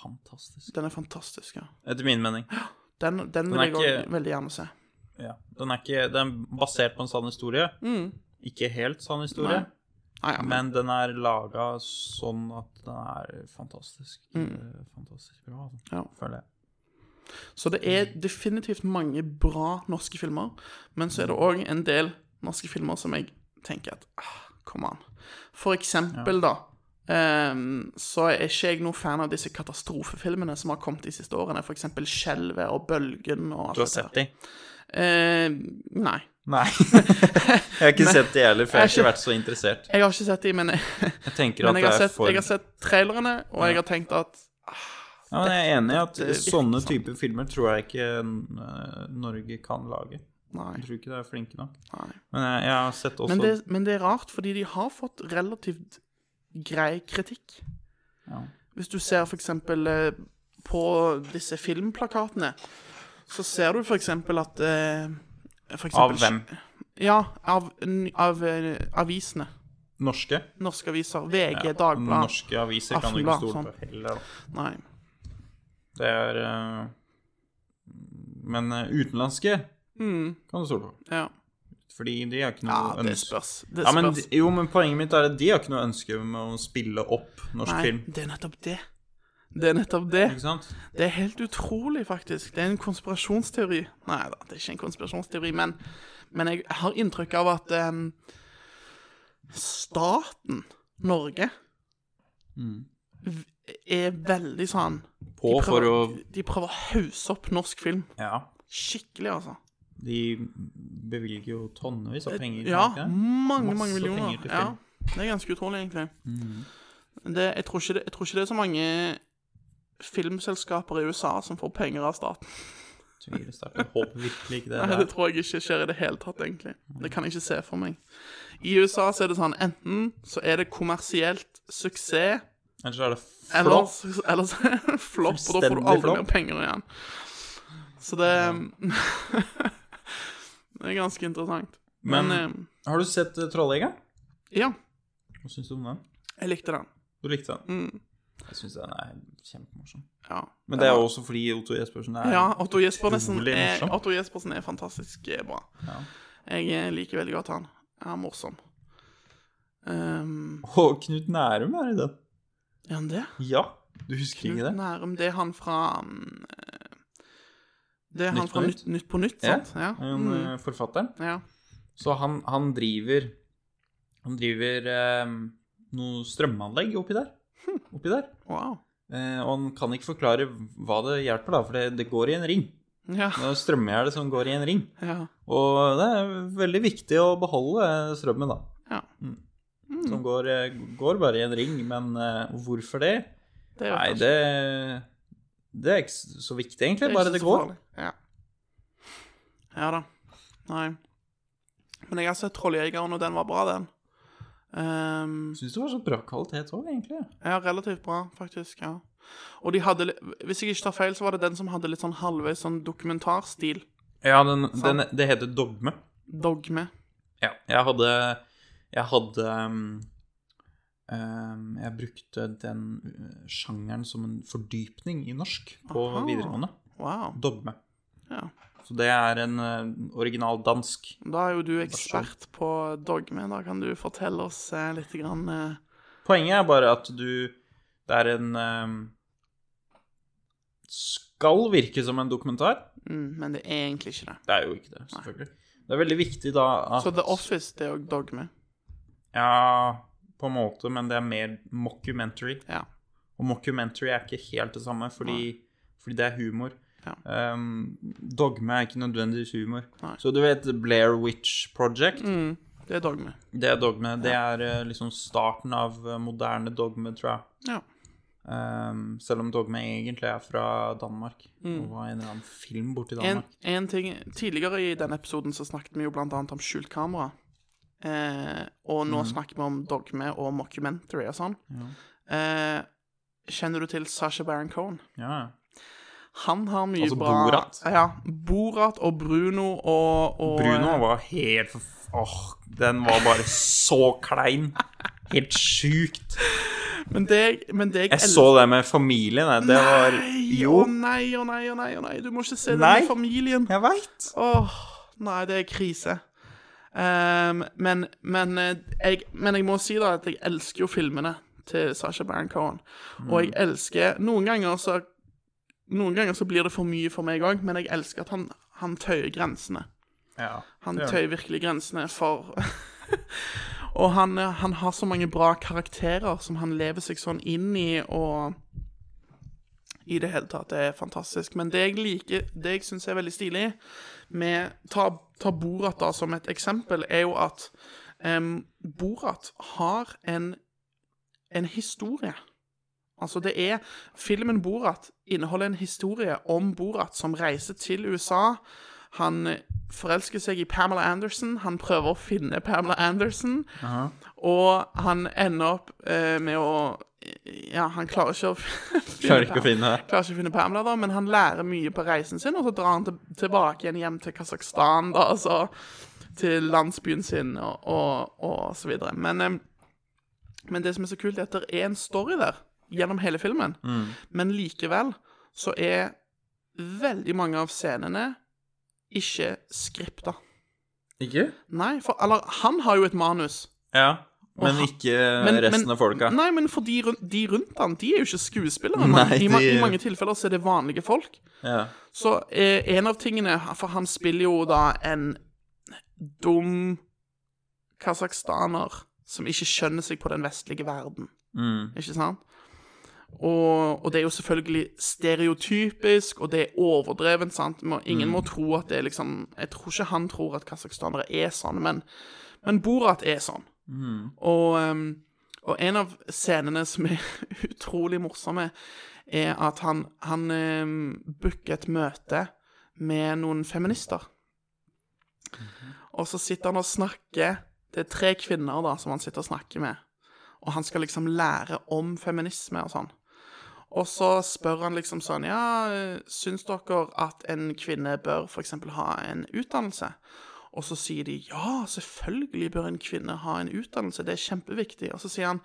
Speaker 3: fantastisk.
Speaker 4: Den er fantastisk, ja.
Speaker 3: Etter min mening.
Speaker 4: Den, den
Speaker 3: er
Speaker 4: vil jeg òg
Speaker 3: ikke-
Speaker 4: veldig gjerne se. Mm.
Speaker 3: Ja. Den, er ikke, den er basert på en sann historie. Ikke helt sann historie.
Speaker 4: Ah, ja, men,
Speaker 3: Men den er laga sånn at den er fantastisk eh, Fantastisk bra, altså.
Speaker 4: Mm. Ja.
Speaker 3: føler jeg.
Speaker 4: så det er
Speaker 3: Mhm.
Speaker 4: definitivt mange bra norske filmer, men så er det òg en del norske filmer som jeg tenker at ah, Kom an. For eksempel, da, ehm, så er ikke jeg noen fan av disse katastrofefilmene som har kommet de siste årene. For eksempel 'Skjelvet' og 'Bølgen' og alt
Speaker 3: Du har sett de?
Speaker 4: Eh, nei.
Speaker 3: Nei. jeg har ikke sett de heller, for
Speaker 4: Jeg
Speaker 3: jeg har ikke
Speaker 4: har
Speaker 3: vært så interessert.
Speaker 4: Jeg har ikke sett de, men jeg,
Speaker 3: Jeg tenker
Speaker 4: men
Speaker 3: at
Speaker 4: jeg,
Speaker 3: det
Speaker 4: har,
Speaker 3: er
Speaker 4: sett,
Speaker 3: for
Speaker 4: jeg har sett trailerne, og jeg har tenkt at
Speaker 3: Ja, men Jeg er enig i at
Speaker 4: Dette virker
Speaker 3: sånne
Speaker 4: sånn.
Speaker 3: typer filmer tror jeg ikke eh, Norge kan lage.
Speaker 4: Nei.
Speaker 3: Jeg tror ikke de er flinke nok.
Speaker 4: nei.
Speaker 3: Men jeg, jeg har sett også
Speaker 4: Men, det, men det er rart, fordi de har fått relativt grei kritikk.
Speaker 3: Ja.
Speaker 4: Hvis du ser for eksempel eh, på disse filmplakatene, så ser du for eksempel at eh, for
Speaker 3: Av
Speaker 4: eksempel,
Speaker 3: hvem?
Speaker 4: Ja, av, n- av eh, avisene.
Speaker 3: Norske?
Speaker 4: Norske aviser. VG,
Speaker 3: Ja,
Speaker 4: Dagbladet.
Speaker 3: Norske aviser kan du ikke
Speaker 4: Aftenblad,
Speaker 3: stole
Speaker 4: sånn.
Speaker 3: på heller. da.
Speaker 4: Nei.
Speaker 3: Det er eh, Men eh, utenlandske kan du stole på.
Speaker 4: Ja.
Speaker 3: Fordi de har ikke
Speaker 4: Hmm. ja,
Speaker 3: noe
Speaker 4: det
Speaker 3: ønske.
Speaker 4: spørs. Det
Speaker 3: Ja, men,
Speaker 4: spørs.
Speaker 3: de- jo, men poenget mitt er at de har ikke noe ønske om å spille opp norsk
Speaker 4: Nei,
Speaker 3: film.
Speaker 4: det er nettopp det. Det er nettopp det.
Speaker 3: Ikke sant?
Speaker 4: Det er helt utrolig, faktisk. Det er en konspirasjonsteori. Nei da, det er ikke en konspirasjonsteori, men, men jeg har inntrykk av at em, staten Norge
Speaker 3: Mm.
Speaker 4: v- er veldig sånn
Speaker 3: På
Speaker 4: de
Speaker 3: for
Speaker 4: prøver,
Speaker 3: å
Speaker 4: De prøver å hause opp norsk film.
Speaker 3: Ja.
Speaker 4: Skikkelig, altså.
Speaker 3: De bevilger jo tonnevis av penger.
Speaker 4: Ja,
Speaker 3: gjør de ikke det?
Speaker 4: mange,
Speaker 3: Masse
Speaker 4: mange millioner.
Speaker 3: penger til
Speaker 4: Ja,
Speaker 3: film. Mm.
Speaker 4: det er ganske utrolig, egentlig. Det, jeg, tror ikke det, jeg tror ikke det er så mange filmselskaper i USA som får penger av staten.
Speaker 3: Tviler sterkt. Jeg håper virkelig ikke det.
Speaker 4: Nei,
Speaker 3: der.
Speaker 4: det tror jeg ikke skjer i det hele tatt, egentlig. Det kan jeg ikke se for meg. I USA så er det sånn enten så er det kommersielt suksess,
Speaker 3: Ellers er det
Speaker 4: eller
Speaker 3: flott.
Speaker 4: eller så er det flopp, og da får du
Speaker 3: Fullstendig
Speaker 4: aldri
Speaker 3: flopp.
Speaker 4: mer penger igjen. Så det Det er ganske interessant. Men,
Speaker 3: Men- Har du sett eh, Trolljegeren?
Speaker 4: eh, ja,
Speaker 3: Hva syns du om den?
Speaker 4: jeg likte den.
Speaker 3: Du likte den? Jeg syns den er kjempemorsom.
Speaker 4: Mm. Ja.
Speaker 3: Men det er jo også fordi Otto Jespersen er
Speaker 4: Ja, Otto Jespersen
Speaker 3: Utrolig
Speaker 4: er,
Speaker 3: morsom.
Speaker 4: Otto Jespersen er fantastisk eh, bra.
Speaker 3: Ja.
Speaker 4: Jeg eh, liker veldig godt han. Han er morsom. Um,
Speaker 3: Og Knut Nærum er i den.
Speaker 4: er han det?
Speaker 3: Ja. Du husker ikke
Speaker 4: Knut
Speaker 3: det?
Speaker 4: Nærum, det er han fra mm, eh, Det er han
Speaker 3: Nytt på
Speaker 4: fra
Speaker 3: Nytt?
Speaker 4: Nytt, nytt på Nytt,
Speaker 3: Ja.
Speaker 4: sant? Ja.
Speaker 3: Han,
Speaker 4: Mm,
Speaker 3: eh, Forfatteren.
Speaker 4: ja.
Speaker 3: Så han, han driver Han driver eh, noe strømanlegg oppi der.
Speaker 4: Hm.
Speaker 3: Oppi der.
Speaker 4: Wow.
Speaker 3: Eh, og han kan ikke forklare hva det hjelper, da, for det, det går i en ring.
Speaker 4: Ja.
Speaker 3: Det er strømgjerde som går i en ring.
Speaker 4: ja.
Speaker 3: Og det er veldig viktig å beholde eh, strømmen, da.
Speaker 4: Ja.
Speaker 3: Mm. Som går, eh, går bare i en ring, men eh, hvorfor det?
Speaker 4: Det er jo
Speaker 3: Nei,
Speaker 4: kanskje-
Speaker 3: det Det er ikke så viktig, egentlig.
Speaker 4: altså. er
Speaker 3: Bare
Speaker 4: ikke
Speaker 3: det
Speaker 4: så
Speaker 3: går.
Speaker 4: farlig. Ja. ja da. Nei. Men jeg har sett Trolljegeren, og den var bra, den. Ehm,
Speaker 3: Jeg syns det var så bra kvalitet òg, egentlig.
Speaker 4: ja, relativt bra, faktisk. ja. Og de hadde li- Hvis jeg ikke tar feil, så var det den som hadde litt sånn halvveis sånn dokumentarstil.
Speaker 3: Ja, den, den, det heter dogme.
Speaker 4: Dogme.
Speaker 3: Ja. Jeg hadde Jeg hadde um, um, Jeg brukte den uh, sjangeren som en fordypning i norsk på
Speaker 4: Aha.
Speaker 3: videregående.
Speaker 4: Wow.
Speaker 3: Dogme.
Speaker 4: Ja.
Speaker 3: Så det er en eh, original dansk
Speaker 4: Da er jo du ekspert på dogme. Da kan du fortelle oss eh, litt grann, eh,
Speaker 3: Poenget er bare at du Det er en ehm, Skal virke som en dokumentar.
Speaker 4: mm, Men det er egentlig ikke det.
Speaker 3: Det er jo ikke det, selvfølgelig. Det er veldig viktig da at
Speaker 4: Så The Office, det er jo dogme.
Speaker 3: Ja, på en måte, men det er mer mockumentary.
Speaker 4: Ja.
Speaker 3: Og mockumentary er ikke helt det samme, fordi, fordi det er humor.
Speaker 4: Ja.
Speaker 3: Ehm, dogme er ikke nødvendigvis humor.
Speaker 4: Nei.
Speaker 3: Så du vet Blair Witch Project?
Speaker 4: Mm, det er dogme.
Speaker 3: Det er dogme. Det er eh, liksom starten av eh, moderne dogme, tror jeg.
Speaker 4: Ja.
Speaker 3: Ehm, selv om dogme egentlig er fra Danmark. Og var en eller annen film borti
Speaker 4: Mm. En,
Speaker 3: Danmark.
Speaker 4: en ting, Tidligere i denne episoden så snakket vi jo blant annet om skjult kamera. Eh, og nå
Speaker 3: Mm.
Speaker 4: snakker vi om dogme og mockumentary og sånn. Eh, kjenner du til Sasha Baron Cohen?
Speaker 3: Ja, ja.
Speaker 4: Han har mye
Speaker 3: Altså
Speaker 4: bra
Speaker 3: Borat?
Speaker 4: Ja. Borat og Bruno og, og eh,
Speaker 3: Bruno var helt forf- Åh, den var bare så klein. Helt sjukt.
Speaker 4: Men det, men det
Speaker 3: Jeg så det med familien, jeg. det var
Speaker 4: Nei,
Speaker 3: Jo,
Speaker 4: Å nei, å nei, å nei, å nei. Du må ikke se det
Speaker 3: Nei.
Speaker 4: med familien.
Speaker 3: jeg veit.
Speaker 4: Åh, nei, det er krise. Ehm, men, men, eh, jeg, men jeg må si da at jeg elsker jo filmene til Sasha Baron Cohen. Og jeg
Speaker 3: Mm.
Speaker 4: elsker Noen ganger så Noen ganger så blir det for mye for meg òg, men jeg elsker at han, han tøyer grensene.
Speaker 3: Ja.
Speaker 4: Han
Speaker 3: det gjør
Speaker 4: tøyer virkelig grensene for Og han, eh, han har så mange bra karakterer som han lever seg sånn inn i, og I det hele tatt, det er fantastisk. Men det jeg liker, det jeg syns er veldig stilig, med ta, ta Borat da som et eksempel, er jo at em, Borat har en, en historie. Altså, det er Filmen Borat inneholder en historie om Borat som reiser til USA. Han forelsker seg i Pamela Anderson. Han prøver å finne Pamela Anderson. Og han ender opp eh, med å Ja, han klarer ikke å
Speaker 3: Klarer ikke å finne det.
Speaker 4: klarer ikke å finne Pamela, da, men han lærer mye på reisen sin, og så drar han til, tilbake igjen hjem til Kasakhstan, da, altså til landsbyen sin og, og, og så videre. Men, em, men det som er så kult, er at det er en story der gjennom hele filmen,
Speaker 3: Mm.
Speaker 4: men likevel så er veldig mange av scenene ikke skripta.
Speaker 3: Ikke?
Speaker 4: Nei, for eller, han har jo et manus.
Speaker 3: Ja. Men
Speaker 4: han-
Speaker 3: ikke
Speaker 4: Men-
Speaker 3: Eh, resten
Speaker 4: men-
Speaker 3: av folka.
Speaker 4: Nei, men for de, run- de rundt han, de er jo ikke skuespillere. man.
Speaker 3: Nei,
Speaker 4: I, ma
Speaker 3: de-
Speaker 4: I mange tilfeller så er det vanlige folk.
Speaker 3: Ja.
Speaker 4: Så eh, en av tingene For han spiller jo da en dum kasakhstaner som ikke skjønner seg på den vestlige verden. Ikke sant? Og, og det er jo selvfølgelig stereotypisk, og det er overdreven, sant? Må, ingen må tro at det er liksom Jeg tror ikke han tror at kasakhstanere er sånn, men, men Borat er sånn. Og, ehm, og en av scenene som er utrolig morsomme, er at han, han ehm, booker et møte med noen feminister. Og så sitter han og snakker Det er tre kvinner da som han sitter og snakker med. Og han skal liksom lære om feminisme og sånn. Og så spør han liksom sånn Ja, eh, syns dere at en kvinne bør f.eks. ha en utdannelse? Og så sier de ja, selvfølgelig bør en kvinne ha en utdannelse, det er kjempeviktig. Og så sier han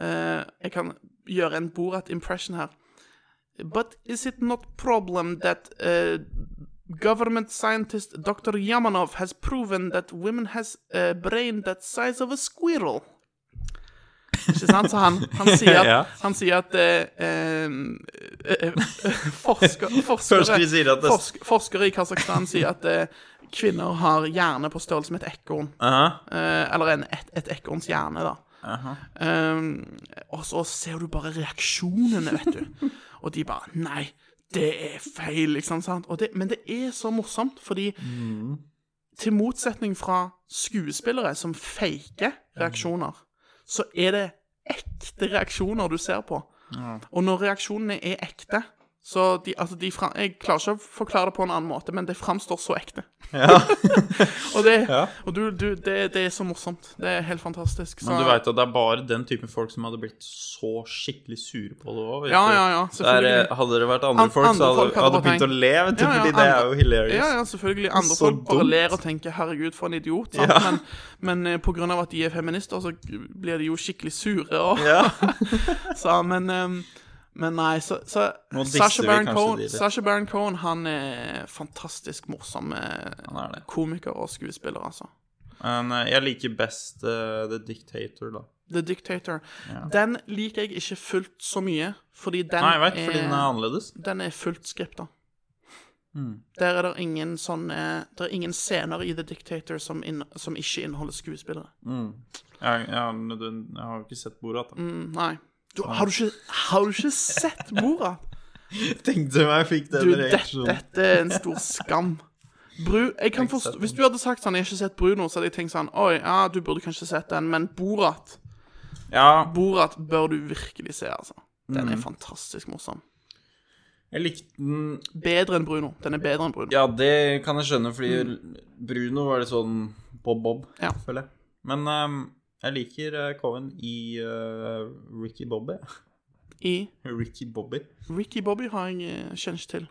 Speaker 4: eh, Jeg kan gjøre en Borat-impression her. But is it not problem that eh, government scientist Dr. Yamanov has proven that women has a brain that size of a squirrel? Ikke sant? Så han, han sier at,
Speaker 3: Ja.
Speaker 4: han sier at eh, eh, eh, forsker,
Speaker 3: Forskere
Speaker 4: forskere,
Speaker 3: sier at det-
Speaker 4: forsk, forskere i Kasakhstan sier at eh, kvinner har hjerne på størrelse med et ekorn.
Speaker 3: Aha.
Speaker 4: Eh, eller en, et, et ekorns hjerne, da. Um, og så ser du bare reaksjonene, vet du. Og de bare Nei, det er feil, liksom. Sant? Og det, men det er så morsomt, fordi
Speaker 3: Mm.
Speaker 4: til motsetning fra skuespillere som faker reaksjoner, så er det ekte reaksjoner du ser på. Og når reaksjonene er ekte så de, altså de fra, Jeg klarer ikke å forklare det på en annen måte, men det framstår så ekte. og det, og du, du, det, det er så morsomt. Det er helt fantastisk. Så,
Speaker 3: Men du veit at det er bare den typen folk som hadde blitt så skikkelig sure på det òg.
Speaker 4: Ja, ja, ja, selvfølgelig.
Speaker 3: Hadde det vært andre
Speaker 4: An-
Speaker 3: folk, så
Speaker 4: andre
Speaker 3: hadde,
Speaker 4: folk hadde
Speaker 3: hadde
Speaker 4: bare
Speaker 3: begynt å
Speaker 4: tenkt-
Speaker 3: le, vet du,
Speaker 4: Ja, ja,
Speaker 3: fordi det er
Speaker 4: andre-
Speaker 3: jo hilarious.
Speaker 4: Ja, ja, selvfølgelig. Andre
Speaker 3: Så
Speaker 4: folk bare
Speaker 3: dumt.
Speaker 4: ler og tenker 'herregud, for en idiot'. Sant? Men, men eh, på grunn av at de er feminister, så blir de jo skikkelig sure. Og, så, men, eh, men nei, så, så
Speaker 3: Nå disser
Speaker 4: Sasha
Speaker 3: vi
Speaker 4: Baron,
Speaker 3: kanskje de
Speaker 4: Cohen,
Speaker 3: litt.
Speaker 4: Sacha Baron Cohen han er fantastisk morsom eh,
Speaker 3: Han er det.
Speaker 4: komiker og skuespiller, altså.
Speaker 3: Men eh, jeg liker best eh, The Dictator, da.
Speaker 4: The Dictator. Den liker jeg ikke fullt så mye, fordi den
Speaker 3: Nei, jeg vet, fordi den er annerledes.
Speaker 4: den er fullt skripta.
Speaker 3: Mm.
Speaker 4: Der er det ingen sånne Det er ingen scener i The Dictator som, inn, som ikke inneholder skuespillere.
Speaker 3: Jeg, jeg, har- nødvendig- jeg har jo ikke sett Borat. da.
Speaker 4: Mm, nei. Du, har, du ikke, har du ikke sett Borat?
Speaker 3: Tenkte meg jeg fikk den
Speaker 4: Du, dette,
Speaker 3: reaksjonen.
Speaker 4: dette er en stor skam. Bru, jeg kan forstå, Hvis du hadde sagt sånn 'Jeg har ikke sett Bruno', så hadde jeg tenkt sånn 'Oi, ja, du burde kanskje sett den', men Borat
Speaker 3: Ja,
Speaker 4: Borat bør du virkelig se, altså. Den
Speaker 3: Mm.
Speaker 4: er fantastisk morsom.
Speaker 3: jeg likte den
Speaker 4: Bedre enn Bruno. Den er bedre enn Bruno.
Speaker 3: Ja, det kan jeg skjønne, fordi Bruno var litt sånn bob-bob,
Speaker 4: Mm. Ja.
Speaker 3: føler jeg. Men ehm, jeg liker eh, Cohen i eh, Ricky Bobby.
Speaker 4: I
Speaker 3: Ricky Bobby.
Speaker 4: Ricky Bobby har jeg eh, kjenner ikke til.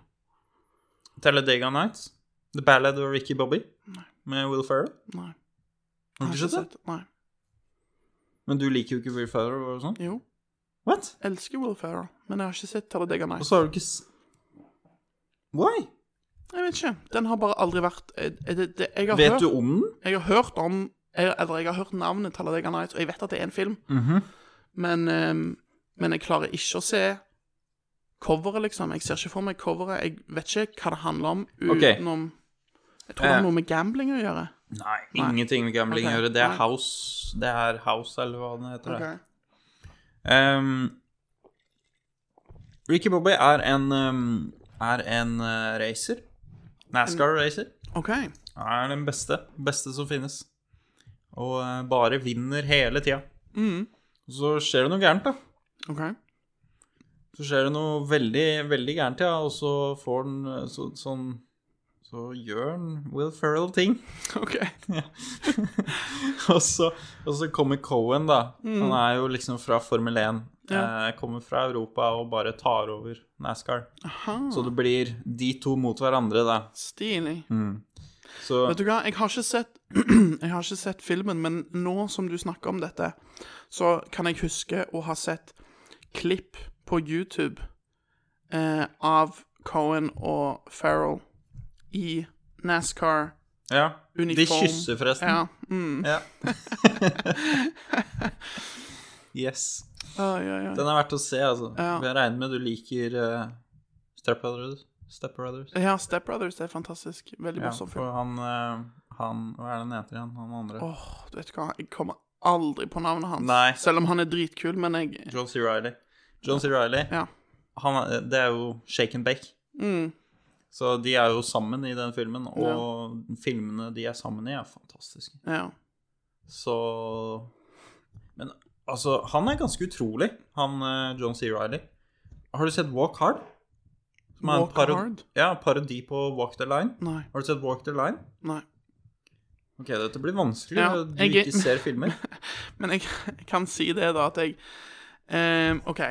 Speaker 3: Talladega Nights. The Ballad of Ricky Bobby med Will Ferrell.
Speaker 4: Nei.
Speaker 3: Har du ikke sett det?
Speaker 4: Nei.
Speaker 3: Men du liker jo ikke Will Ferrell og sånn.
Speaker 4: Jo.
Speaker 3: What?
Speaker 4: elsker Will Ferrell, men jeg har ikke sett Talladega
Speaker 3: Og
Speaker 4: Nights.
Speaker 3: så har du ikke s... Why?
Speaker 4: Jeg vet ikke. Den har bare aldri vært eh, eh, det, det, jeg, har
Speaker 3: Vet
Speaker 4: hørt,
Speaker 3: du om den?
Speaker 4: jeg har hørt om jeg, Eller jeg har hørt navnet Talladega Nights, og jeg vet at det er en film.
Speaker 3: Mhm.
Speaker 4: men, eh, men jeg klarer ikke å se coveret, liksom. Jeg ser ikke for meg coveret. Jeg vet ikke hva det handler om
Speaker 3: Ok.
Speaker 4: utenom Jeg tror det
Speaker 3: Eh.
Speaker 4: har noe med gambling å gjøre.
Speaker 3: Nei, ingenting med gambling å
Speaker 4: Ok,
Speaker 3: gjøre. Det er
Speaker 4: nei.
Speaker 3: House, det er house eller hva den heter.
Speaker 4: Ok.
Speaker 3: Ehm, Ricky Bobby er en ehm, Er en eh, racer. NASCAR-racer.
Speaker 4: OK.
Speaker 3: Er den beste. Beste som finnes. Og eh, bare vinner hele tida.
Speaker 4: Mm.
Speaker 3: Så skjer det noe gærent, da.
Speaker 4: ok.
Speaker 3: Så skjer det noe veldig, veldig gærent, ja, og så får den eh, så, sånn Så gjør den Will Ferrell ting.
Speaker 4: Ok.
Speaker 3: og, så, og så kommer Cohen, da.
Speaker 4: Mm.
Speaker 3: Han er jo liksom fra Formel 1. Eh, kommer fra Europa og bare tar over NASCAR. Så det blir de to mot hverandre, da.
Speaker 4: Stilig.
Speaker 3: Så
Speaker 4: Vet du hva, jeg har ikke sett Jeg har ikke sett filmen, men nå som du snakker om dette, så kan jeg huske å ha sett klipp på YouTube eh, av Cohen og Farrell i NASCAR.
Speaker 3: Ja. De
Speaker 4: Uniform.
Speaker 3: kysser, forresten.
Speaker 4: Ja. Mm.
Speaker 3: Ja. yes.
Speaker 4: Oi, oi, oi.
Speaker 3: Den er verdt å se, altså.
Speaker 4: Ja.
Speaker 3: Jeg regner med du liker uh, Step Brothers. Step Brothers.
Speaker 4: Ja, Step Brothers er fantastisk. Veldig
Speaker 3: Ja,
Speaker 4: morsom
Speaker 3: for
Speaker 4: film.
Speaker 3: han, eh, han Hva er det han heter igjen? Han andre?
Speaker 4: Åh, du vet hva, jeg kommer aldri på navnet hans.
Speaker 3: Nei.
Speaker 4: Selv om han er dritkul, men jeg
Speaker 3: John C. Reilly. John C. Reilly.
Speaker 4: Ja. Mm.
Speaker 3: han, er- det er jo shake and bake. Så de er jo sammen i den filmen, og filmene de er sammen i, er fantastiske.
Speaker 4: Ja.
Speaker 3: Så Men altså, han er ganske utrolig, han eh, John C. Reilly. Har du sett Walk Hard? Som er en
Speaker 4: Walk
Speaker 3: paro-
Speaker 4: Hard?
Speaker 3: Ja, parodi på Walk the Line.
Speaker 4: Nei.
Speaker 3: Har du sett Walk the Line?
Speaker 4: Nei.
Speaker 3: Ok, dette blir vanskelig
Speaker 4: Ja,
Speaker 3: når du
Speaker 4: jeg-
Speaker 3: ikke ser filmer.
Speaker 4: Men jeg, jeg kan si det, da, at jeg ehm, OK.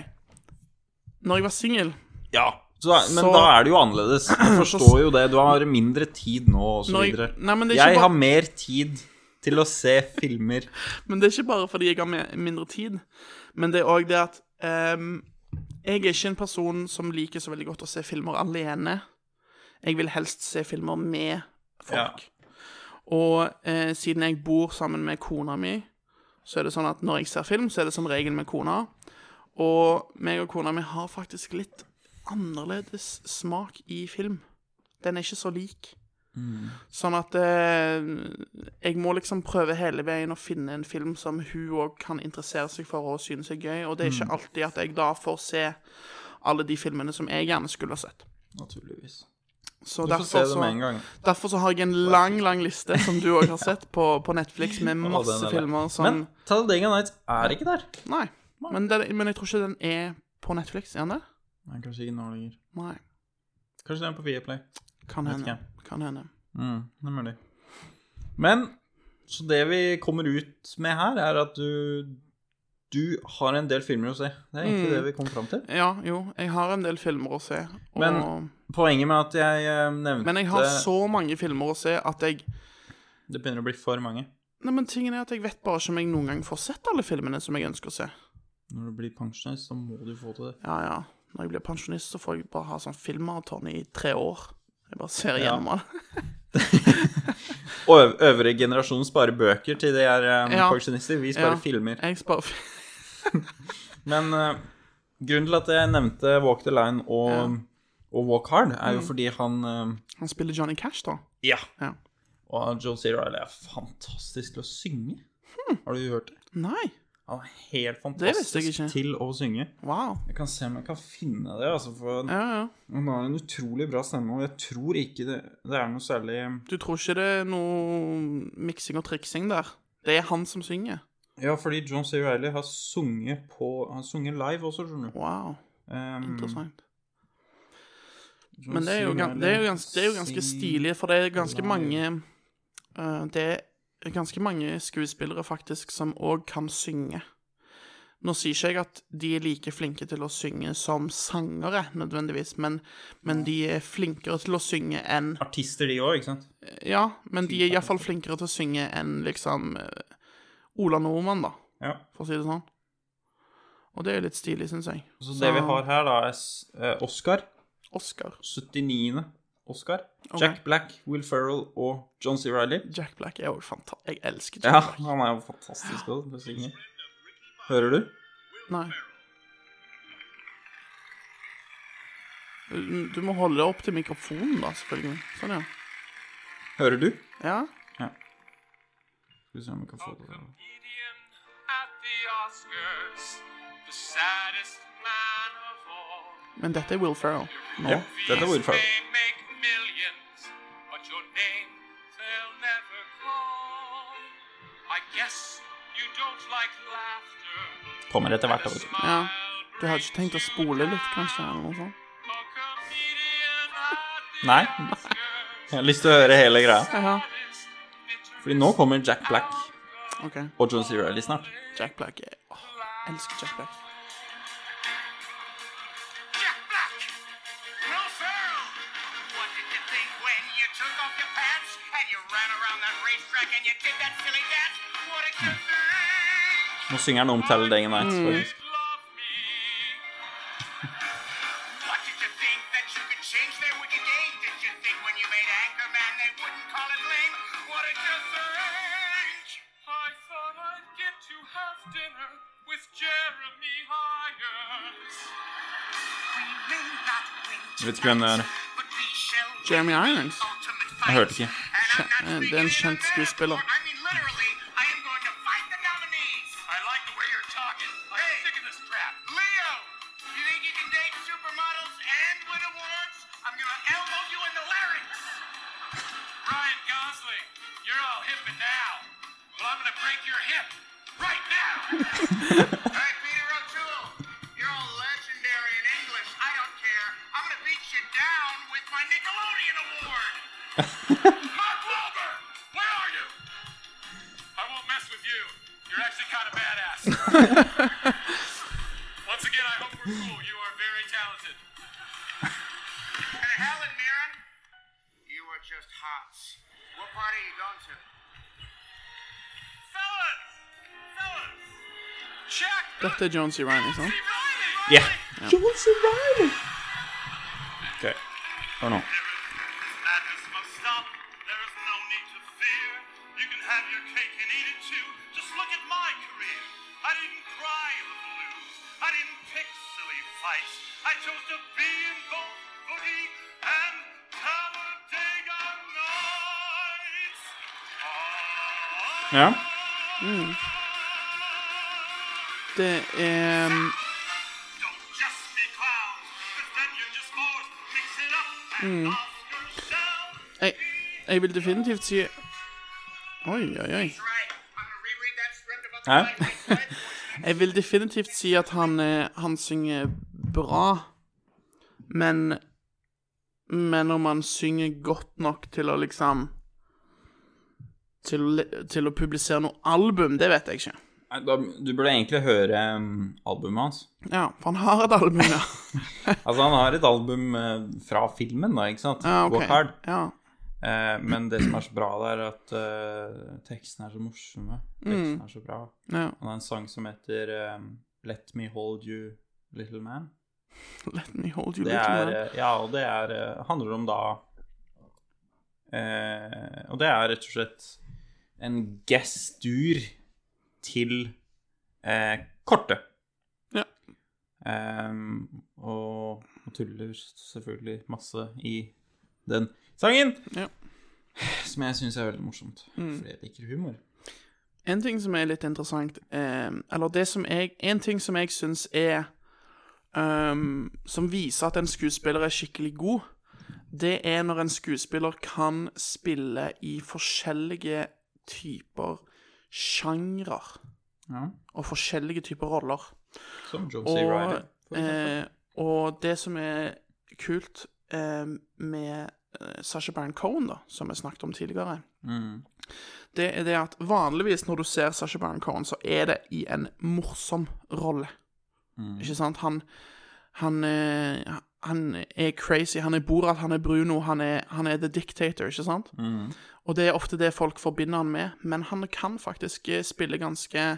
Speaker 4: Når jeg var singel
Speaker 3: Ja, så, er- men
Speaker 4: Så-
Speaker 3: da er det jo annerledes. Jeg forstår jo det. Du har mindre tid nå, og så
Speaker 4: Når jeg-
Speaker 3: videre.
Speaker 4: Nei, men det er ikke
Speaker 3: Jeg
Speaker 4: bare-
Speaker 3: har mer tid til å se filmer.
Speaker 4: Men det er ikke bare fordi jeg har me- mindre tid, men det er òg det at ehm, Jeg er ikke en person som liker så veldig godt å se filmer alene. Jeg vil helst se filmer med folk. Og eh, siden jeg bor sammen med kona mi, så er det sånn at når jeg ser film, så er det som regel med kona. Og meg og kona mi har faktisk litt annerledes smak i film. Den er ikke så lik. Sånn at eh, jeg må liksom prøve hele veien å finne en film som hun òg kan interessere seg for og synes er gøy, og det er
Speaker 3: Mm.
Speaker 4: ikke alltid at jeg da får se alle de filmene som jeg gjerne skulle ha sett.
Speaker 3: Naturligvis.
Speaker 4: Så
Speaker 3: Du får se
Speaker 4: derfor,
Speaker 3: det
Speaker 4: så,
Speaker 3: med en gang.
Speaker 4: derfor så har jeg en lang, lang liste, som du òg har sett, på, på Netflix med
Speaker 3: Å,
Speaker 4: masse
Speaker 3: den er der.
Speaker 4: filmer som
Speaker 3: Men Talladega Nights er ikke der.
Speaker 4: Nei. Men, den, men jeg tror ikke den er på Netflix, er den det?
Speaker 3: Nei, kanskje ikke nå lenger.
Speaker 4: Nei.
Speaker 3: Kanskje den er på Viaplay.
Speaker 4: Kan hende.
Speaker 3: ikke.
Speaker 4: Kan hende.
Speaker 3: Mm, det er mulig. Men så det vi kommer ut med her, er at du Du har en del filmer å se. Det
Speaker 4: Mm.
Speaker 3: er egentlig det vi kom fram til.
Speaker 4: Ja, jo, jeg har en del filmer å se. Og,
Speaker 3: Men- Poenget med at jeg eh, nevnte
Speaker 4: men jeg har så mange filmer å se at jeg
Speaker 3: Det begynner å bli for mange
Speaker 4: Nei, men tingen er at jeg vet bare ikke om jeg noen gang får sett alle filmene som jeg ønsker å se.
Speaker 3: Når du blir pensjonist, så må du få til det
Speaker 4: Ja, ja. Når jeg blir pensjonist, så får jeg bare ha sånn filmmaraton i tre år. Jeg bare ser
Speaker 3: Ja.
Speaker 4: igjennom det.
Speaker 3: Og øv- øvre generasjon sparer bøker til de er eh,
Speaker 4: Ja.
Speaker 3: pensjonister. Vi sparer filmer.
Speaker 4: Jeg sparer fi-
Speaker 3: Men eh, grunnen til at jeg nevnte Walk the Line og, og Walk Hard, er
Speaker 4: Mm.
Speaker 3: jo fordi han eh,
Speaker 4: Han spiller Johnny Cash, da.
Speaker 3: Ja.
Speaker 4: Ja.
Speaker 3: Og Joe C. Reilly er fantastisk til å synge. Har du hørt det?
Speaker 4: Nei.
Speaker 3: Han er helt
Speaker 4: Hm. Det visste jeg
Speaker 3: fantastisk
Speaker 4: ikke.
Speaker 3: til å synge.
Speaker 4: Wow.
Speaker 3: Jeg kan se om jeg kan finne det, altså, for
Speaker 4: Ja, ja.
Speaker 3: han har en utrolig bra stemme, og jeg tror ikke det, det er noe særlig ehm,
Speaker 4: Du tror ikke det er noe miksing og triksing der? Det er han som synger.
Speaker 3: Ja, fordi John C. Reilly har sunget på Han sunget live også, skjønner du.
Speaker 4: Wow.
Speaker 3: Um,
Speaker 4: Interessant.
Speaker 3: John
Speaker 4: Men det er jo,
Speaker 3: C.
Speaker 4: gan- det er jo, ganske, det er jo ganske
Speaker 3: Reilly sing-
Speaker 4: stilig, for det er ganske
Speaker 3: live.
Speaker 4: mange eh, Det er ganske mange skuespillere faktisk som òg kan synge. Nå sier ikke jeg at de er like flinke til å synge som sangere, nødvendigvis, men, men de er flinkere til å synge enn
Speaker 3: Artister, de òg, ikke sant?
Speaker 4: Ja, men de er iallfall flinkere til å synge enn liksom eh, Ola Nordmann, da,
Speaker 3: Ja.
Speaker 4: for å si det sånn. Og det er jo litt stilig, syns jeg.
Speaker 3: Så det vi har her, da, er s- eh, Oscar.
Speaker 4: Oscar.
Speaker 3: 79. Oscar.
Speaker 4: Ok.
Speaker 3: Jack Black, Will Ferrell og John C. Reilly.
Speaker 4: Jack Black er jo fantastisk. Jeg elsker
Speaker 3: Ja,
Speaker 4: Jack Black.
Speaker 3: han er jo fantastisk god til å synge. Hører du?
Speaker 4: Nei. Eh, Du- Du må holde deg opp til mikrofonen, da, selvfølgelig. Sånn, ja.
Speaker 3: Hører du?
Speaker 4: Ja,
Speaker 3: Skal vi se om vi kan få det
Speaker 7: comedian at the Oscars, the saddest man of all.
Speaker 4: Men dette er Will Ferrell.
Speaker 3: Ja, dette er Will Ferrell.
Speaker 7: They make millions, but your name they'll never call. I guess you don't like laughter.
Speaker 3: Kommer etter hvert. da, vet du.
Speaker 4: Ja. Du hadde ikke tenkt å spole litt, kanskje? eller noe sånt?
Speaker 7: A comedian at the
Speaker 3: Nei.
Speaker 7: Oscars,
Speaker 3: Jeg har lyst til å høre hele greia.
Speaker 4: Ja,
Speaker 7: saddest bitter
Speaker 3: Fordi nå kommer Jack Black
Speaker 4: OK.
Speaker 3: og John C. Reilly snart.
Speaker 4: Jack Black er Åh, jeg elsker Jack Black.
Speaker 7: Jack Black! Will Ferrell! What did you think when you took off your pants and you ran around that racetrack and you did that silly dance? What did you think?
Speaker 3: Nå synger han om Talladega Nights,
Speaker 7: Mm.
Speaker 4: Mm-hmm.
Speaker 3: faktisk.
Speaker 7: Love me. what did you think that you could change their wicked game? Did you think when you made Anchorman they wouldn't call it lame? What did you think? I thought I'd get to have dinner with Jeremy Irons. We may not win
Speaker 3: Jeg vet ikke hvem det er.
Speaker 7: but we shall win
Speaker 4: Jeremy Irons.
Speaker 7: the ultimate
Speaker 3: Jeg hørte ikke.
Speaker 7: And
Speaker 4: Eh,
Speaker 7: I'm not
Speaker 4: det er en
Speaker 7: speaking in
Speaker 4: kjent
Speaker 7: a
Speaker 4: skuespiller.
Speaker 7: metaphor. I mean literally, I am going to fight the nominees. I like the way you're talking. I'm hey. sick of this crap. Leo, you think you can date supermodels and win awards? I'm going to elbow you in the larynx. Ryan Gosling, you're all hip and now. Well, I'm going to break your hip right now. all right, Peter O'Toole, you're all legendary in English. I don't care. I'm going to beat you down with my Nickelodeon award. Mark Wahlberg, where are you? I won't mess with you. You're actually kind of badass. Once again, I hope we're cool. You are very talented. And Helen Mirren, you are just hots. What party are you going to? Fellas! Fellas! Check!
Speaker 4: Dette er John C. Reilly, sant?
Speaker 3: Ja. OK. Hør nå.
Speaker 7: There is madness must stop. There is no need to fear. You can have your cake and eat it too. Just look at my career. I didn't cry the blues. I didn't pick silly fights. I chose to be in both boogie and Talladega Nights. Oh,
Speaker 3: Ja.
Speaker 4: Det er um,
Speaker 7: don't just be clowns, 'cause then you're just bored. Mix it up and Oscars down.
Speaker 4: jeg, jeg vil definitivt si Oi, oi, oi.
Speaker 7: Right. I'm gonna reread that script about the
Speaker 3: Ja.
Speaker 7: Black Knight Sweats.
Speaker 4: Jeg vil definitivt si at han, eh, han synger bra, men Men om han synger godt nok til å liksom til, å li- til å publisere noe album, det vet jeg ikke.
Speaker 3: Nei, da- Du burde egentlig høre um, albumet hans.
Speaker 4: Ja, for han har et album, ja.
Speaker 3: Altså, han har et album eh, fra filmen, da, ikke sant?
Speaker 4: Ja, Ah, ok.
Speaker 3: Walk Hard.
Speaker 4: Ja.
Speaker 3: Eh, men det som er så bra, det er at eh, tekstene er så morsomme. Teksten er så bra.
Speaker 4: ja.
Speaker 3: Han har en sang som heter eh, Let Me Hold You Little Man.
Speaker 4: Let me hold you
Speaker 3: Det
Speaker 4: little
Speaker 3: er,
Speaker 4: man.
Speaker 3: eh, ja, og det er, eh, handler om da eh, Og det er rett og slett en gestur til eh, kortet.
Speaker 4: Ja.
Speaker 3: Ehm, og, og tuller selvfølgelig masse i den sangen.
Speaker 4: Ja. Mm.
Speaker 3: Som jeg syns er veldig morsomt, fordi jeg liker humor.
Speaker 4: En ting som er litt interessant, eh, eller det som jeg En ting som jeg syns er ehm, Som viser at en skuespiller er skikkelig god, det er når en skuespiller kan spille i forskjellige typer sjangre
Speaker 3: Ja,
Speaker 4: og forskjellige typer roller.
Speaker 3: som John C.
Speaker 4: Og,
Speaker 3: Reilly. for eksempel.
Speaker 4: eh, og det som er kult eh, med eh, Sacha Baron Cohen, da, som vi snakket om tidligere,
Speaker 3: Mm.
Speaker 4: det er det at vanligvis når du ser Sacha Baron Cohen, så er det i en morsom rolle. Ikke sant? Han, han, eh, han er crazy, han er Borat, han er Bruno, han er, han er The Dictator, ikke sant? Og det er ofte det folk forbinder han med, men han kan faktisk eh, spille ganske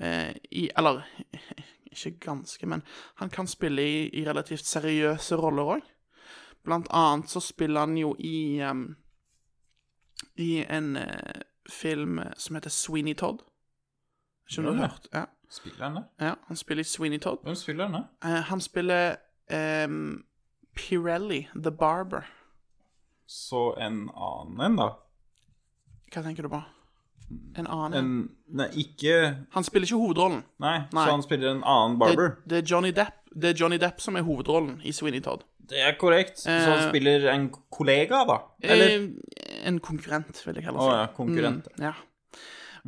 Speaker 4: eh, i Eller ikke ganske, men han kan spille i, i relativt seriøse roller òg. Blant annet så spiller han jo i um, I en eh, film som heter Sweeney Todd. Ikke om du
Speaker 3: Gjør
Speaker 4: har
Speaker 3: det?
Speaker 4: hørt? Ja.
Speaker 3: Spiller han det?
Speaker 4: ja, han spiller i Sweeney Todd.
Speaker 3: Hvem spiller han det?
Speaker 4: Eh, han spiller um, Pirelli, The Barber.
Speaker 3: Så en annen en, da.
Speaker 4: Hva tenker du på? En annen?
Speaker 3: En Nei, ikke
Speaker 4: Han spiller ikke hovedrollen.
Speaker 3: Nei,
Speaker 4: Nei.
Speaker 3: så han spiller en annen barber.
Speaker 4: Det, det, er Johnny Depp, det er Johnny Depp som er hovedrollen i Sweeney Todd.
Speaker 3: Det, er korrekt. så han
Speaker 4: Eh.
Speaker 3: spiller en kollega, da? Eller
Speaker 4: Eh, en konkurrent, vil jeg kalle
Speaker 3: Å ja, konkurrent.
Speaker 4: Mm, ja.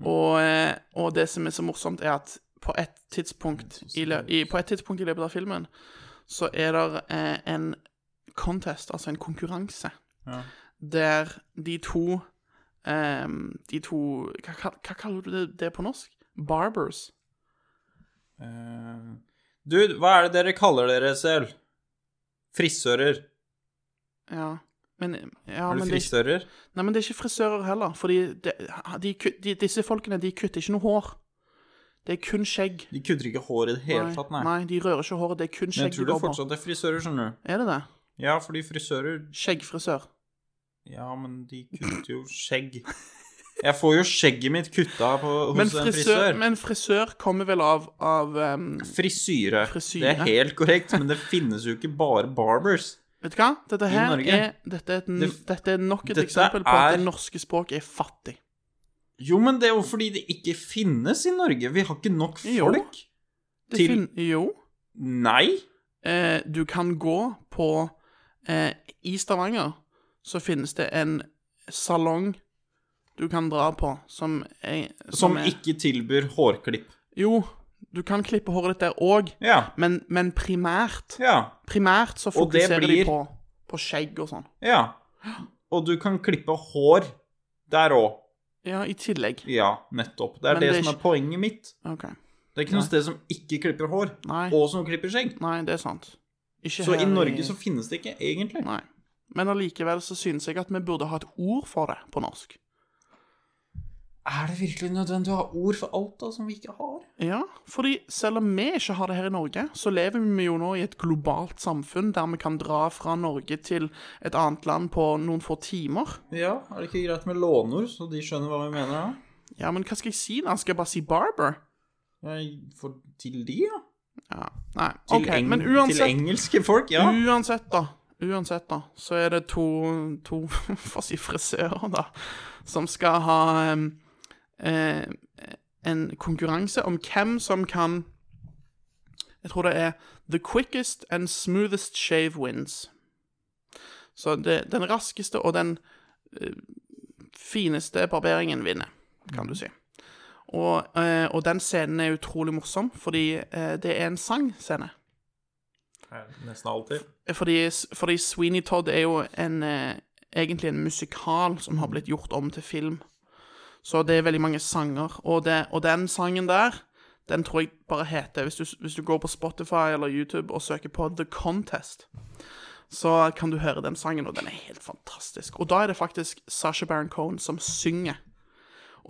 Speaker 4: Og, eh, og det som er så morsomt, er at på et tidspunkt i, lø i, på et tidspunkt i løpet av filmen så er det eh, en contest, altså en konkurranse,
Speaker 3: Ja.
Speaker 4: der de to eh, De to hva, kall- hva kaller du det, det på norsk? Barbers.
Speaker 3: Eh, Dude, hva er det dere kaller dere selv? Frisører.
Speaker 4: Ja. Men, ja,
Speaker 3: er
Speaker 4: men
Speaker 3: du
Speaker 4: det er ikke-
Speaker 3: frisører?
Speaker 4: Nei, men det er ikke frisører heller, fordi det, de, kut- de, disse folkene de kutter ikke noe hår. Det er kun skjegg.
Speaker 3: De kutter ikke hår i det hele tatt, nei.
Speaker 4: de rører ikke håret, det er kun
Speaker 3: Men jeg
Speaker 4: skjegg. de
Speaker 3: tror det
Speaker 4: går på.
Speaker 3: fortsatt er frisører, skjønner du.
Speaker 4: Er det det?
Speaker 3: Ja, fordi frisører
Speaker 4: Skjeggfrisør.
Speaker 3: Ja, men de kutter jo skjegg. Jeg får jo skjegget mitt kutta på, hos
Speaker 4: Men
Speaker 3: en frisør.
Speaker 4: frisør, men frisør kommer vel av, av um,
Speaker 3: Frisyre.
Speaker 4: Frisyre.
Speaker 3: Det er helt korrekt, men det finnes jo ikke bare barbers.
Speaker 4: Vet du hva? Dette her
Speaker 3: Norge.
Speaker 4: er, dette er, et, n-
Speaker 3: Det-
Speaker 4: dette er nok et
Speaker 3: dette
Speaker 4: eksempel på at
Speaker 3: er-
Speaker 4: det norske språket er fattig.
Speaker 3: Jo, men det er jo fordi det ikke finnes i Norge. Vi har ikke nok
Speaker 4: Jo.
Speaker 3: folk.
Speaker 4: Det
Speaker 3: Til-
Speaker 4: fin- Jo.
Speaker 3: Nei.
Speaker 4: Eh, du kan gå på eh, I Stavanger så finnes det en salong du kan dra på som er
Speaker 3: Som
Speaker 4: er-
Speaker 3: ikke tilbyr hårklipp.
Speaker 4: Jo, du kan klippe håret ditt der òg,
Speaker 3: Ja.
Speaker 4: men, men primært
Speaker 3: Ja.
Speaker 4: Primært så
Speaker 3: Og det
Speaker 4: fokuserer de
Speaker 3: blir-
Speaker 4: på, på skjegg og sånn.
Speaker 3: Ja. Og du kan klippe hår der òg.
Speaker 4: Ja, i tillegg.
Speaker 3: Ja, nettopp. Det er
Speaker 4: Men
Speaker 3: det,
Speaker 4: det er
Speaker 3: som er
Speaker 4: ikke-
Speaker 3: poenget mitt.
Speaker 4: OK.
Speaker 3: Det er ikke noe sted som ikke klipper hår,
Speaker 4: Nei.
Speaker 3: og som klipper skjegg.
Speaker 4: Nei, det er sant. Ikke
Speaker 3: Så
Speaker 4: her
Speaker 3: i Norge så finnes det ikke, egentlig.
Speaker 4: Nei. Men allikevel så synes jeg at vi burde ha et ord for det på norsk.
Speaker 3: Er det virkelig nødvendig å ha ord for alt da som vi ikke har?
Speaker 4: Ja, fordi selv om vi ikke har det her i Norge, så lever vi jo nå i et globalt samfunn der vi kan dra fra Norge til et annet land på noen få timer.
Speaker 3: Ja, er det ikke greit med låneord, så de skjønner hva vi mener da?
Speaker 4: Ja, men hva skal jeg si da? Skal jeg bare si barber?
Speaker 3: Ja, for, til de, ja.
Speaker 4: Ja, nei.
Speaker 3: Til,
Speaker 4: ok,
Speaker 3: eng
Speaker 4: men
Speaker 3: til
Speaker 4: uansett,
Speaker 3: engelske folk, ja.
Speaker 4: uansett da, uansett da, så er det to, to for å si frisører da, som skal ha em, eh, en konkurranse om hvem som kan, jeg tror det er the quickest and smoothest shave wins. Så det, den raskeste og den eh, fineste barberingen vinner, kan du si. Og, eh, og den scenen er utrolig morsom, fordi eh, det er en sangscene.
Speaker 3: Nesten alltid.
Speaker 4: Fordi, fordi Sweeney Todd er jo en, eh, egentlig en musikal som har blitt gjort om til film. Så det er veldig mange sanger. Og, det, og den sangen der, den tror jeg bare heter hvis du, hvis du går på Spotify eller YouTube og søker på The Contest, så kan du høre den sangen, og den er helt fantastisk. Og da er det faktisk Sasha Baron Cohen som synger.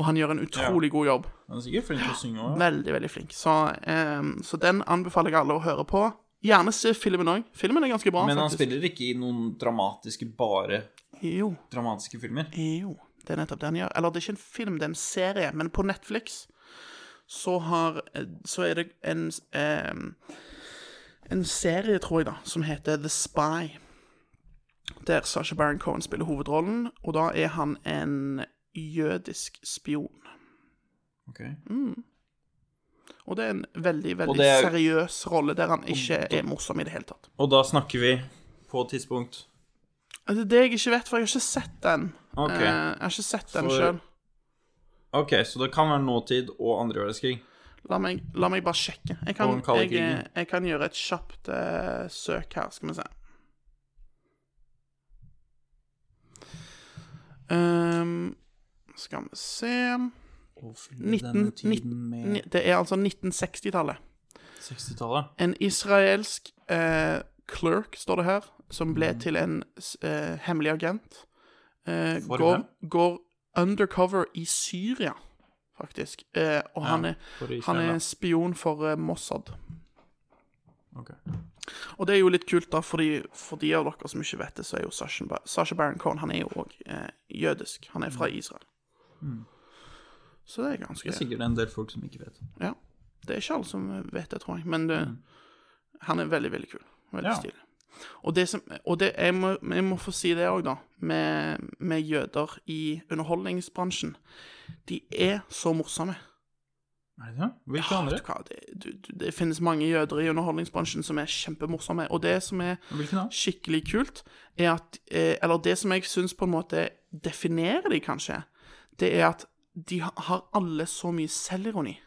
Speaker 4: Og han gjør en utrolig god jobb.
Speaker 3: Han er sikkert flink til å synge også.
Speaker 4: Veldig, veldig flink. Så, ehm, så den anbefaler jeg alle å høre på. Gjerne se filmen òg. Filmen er ganske bra,
Speaker 3: Men han
Speaker 4: faktisk.
Speaker 3: spiller ikke i noen dramatiske, bare
Speaker 4: Jo,
Speaker 3: dramatiske filmer.
Speaker 4: jo. Det er nettopp det han gjør. Eller det er ikke en film, det er en serie. Men på Netflix så har Så er det en ehm, En serie, tror jeg, da, som heter The Spy. Der Sasha Baron Cohen spiller hovedrollen, og da er han en jødisk spion.
Speaker 3: Ok.
Speaker 4: Mm. Og det er en veldig, veldig
Speaker 3: Og det er-
Speaker 4: seriøs rolle der han ikke er morsom i det hele tatt.
Speaker 3: Og da snakker vi på et tidspunkt.
Speaker 4: Altså, Det er det jeg ikke vet, for jeg har ikke sett den.
Speaker 3: Ok.
Speaker 4: Eh, jeg har ikke sett den
Speaker 3: For-
Speaker 4: sjøl.
Speaker 3: Ok, så det kan være nåtid og andre verdenskrig.
Speaker 4: La, meg- la meg bare sjekke. Jeg
Speaker 3: Og
Speaker 4: kan,
Speaker 3: den kalde
Speaker 4: jeg, eh,
Speaker 3: krigen.
Speaker 4: jeg kan gjøre et kjapt eh, søk her, skal vi se. Ehm, skal vi se
Speaker 3: Mm.
Speaker 4: 19, ni- Det er altså 1960-tallet.
Speaker 3: 60-tallet.
Speaker 4: En israelsk eh, clerk, står det her, som ble
Speaker 3: Mm.
Speaker 4: til en s- eh, hemmelig agent, eh,
Speaker 3: For
Speaker 4: går,
Speaker 3: hvem?
Speaker 4: går undercover i Syria, faktisk. Eh, og han, er,
Speaker 3: for Israel,
Speaker 4: han
Speaker 3: ja.
Speaker 4: er spion for eh, Mossad.
Speaker 3: Ok.
Speaker 4: Og det er jo litt kult, da, fordi, for de av dere som ikke vet det, så er jo Sasha, Ba- Sasha Baron Cohen han er jo òg eh, jødisk. Han er fra Israel. Så det er ganske
Speaker 3: Mm. Det er sikkert en del folk som ikke vet.
Speaker 4: Ja. Det er ikke alle som vet det, tror jeg, men det, han er veldig, veldig kul. Veldig
Speaker 3: Mm. Ja.
Speaker 4: stilig. Og det som Og det, jeg, må, jeg må få si det òg, da, med, med jøder i underholdningsbransjen. De er så morsomme.
Speaker 3: Er det det? Hvilke
Speaker 4: Ja,
Speaker 3: andre?
Speaker 4: vet du hva, det, du, du, det finnes mange jøder i underholdningsbransjen som er kjempemorsomme. Og det som er
Speaker 3: Hvilke da?
Speaker 4: skikkelig kult, er at eh, Eller det som jeg syns på en måte definerer de, kanskje, det er at de ha- har alle så mye selvironi.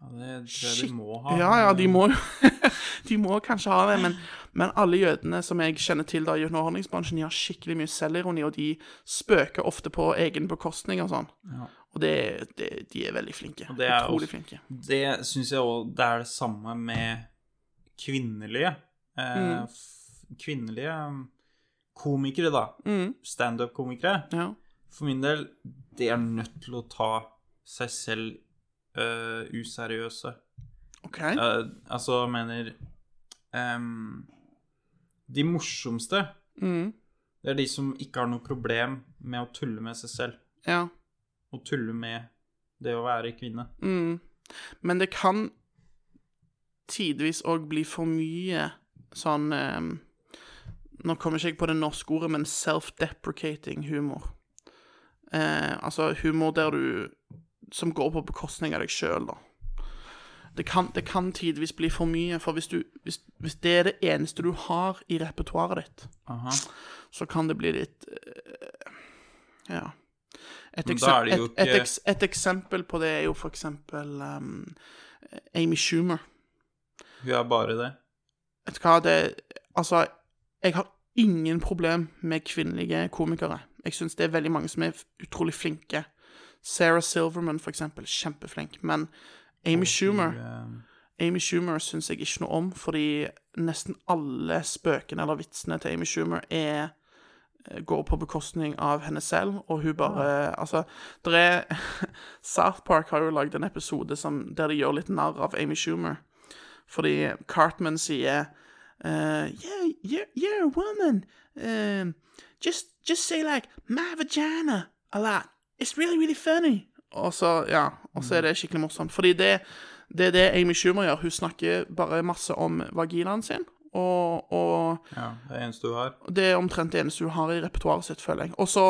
Speaker 3: Ja, det tror jeg de må ha.
Speaker 4: Ja, ja, de må jo De må kanskje ha det, men, men alle jødene som jeg kjenner til da i underholdningsbransjen, de har skikkelig mye selvironi, og de spøker ofte på egen bekostning og sånn. Og det, det, de er veldig flinke.
Speaker 3: det er
Speaker 4: Utrolig
Speaker 3: også-
Speaker 4: flinke.
Speaker 3: Det syns jeg òg Det er det samme med kvinnelige
Speaker 4: Mm.
Speaker 3: eh, f- Kvinnelige mm, komikere, da.
Speaker 4: Mm.
Speaker 3: Standup-komikere.
Speaker 4: Ja.
Speaker 3: For min del, de er nødt til å ta seg selv eh, useriøse.
Speaker 4: OK.
Speaker 3: Eh, altså, jeg mener em, De morsomste,
Speaker 4: Mm.
Speaker 3: det er de som ikke har noe problem med å tulle med seg selv.
Speaker 4: Ja.
Speaker 3: Og tulle med det å være kvinne.
Speaker 4: Mm. Men det kan tidvis òg bli for mye sånn eh, Nå kommer ikke jeg på det norske ordet, men self-deprecating humor. Eh, altså humor der du Som går på bekostning av deg sjøl, da. Det kan, det kan tidvis bli for mye, for hvis, du, hvis, hvis det er det eneste du har i repertoaret ditt,
Speaker 3: Aha.
Speaker 4: så kan det bli litt eh, Ja. Et,
Speaker 3: Men da
Speaker 4: eksem-
Speaker 3: er det jo
Speaker 4: et, et,
Speaker 3: ikke-
Speaker 4: eks et eksempel på det er jo for eksempel ehm, Amy Schumer.
Speaker 3: Hun er bare det.
Speaker 4: Vet du hva, det Altså, jeg har ingen problem med kvinnelige komikere. Jeg syns det er veldig mange som er f- utrolig flinke. Sarah Silverman, for eksempel, kjempeflink. Men Amy Schumer
Speaker 3: Hun,
Speaker 4: Amy Schumer syns jeg ikke noe om, fordi nesten alle spøkene eller vitsene til Amy Schumer er eh, går på bekostning av henne selv, og hun bare Altså, der er South Park har jo lagd en episode som, der de gjør litt narr av Amy Schumer, fordi Cartman sier eh, Yeah, you're, you're a woman. Um, just, just say like my vagina a lot. It's really, really funny. Og så, ja, og så er det skikkelig morsomt. Fordi det, det er det Amy Schumer gjør. Hun snakker bare masse om vaginaen sin. Og, og
Speaker 3: eh, ja, det er eneste hun har.
Speaker 4: det er omtrent det eneste hun har i repertoaret sitt, føler jeg. Og så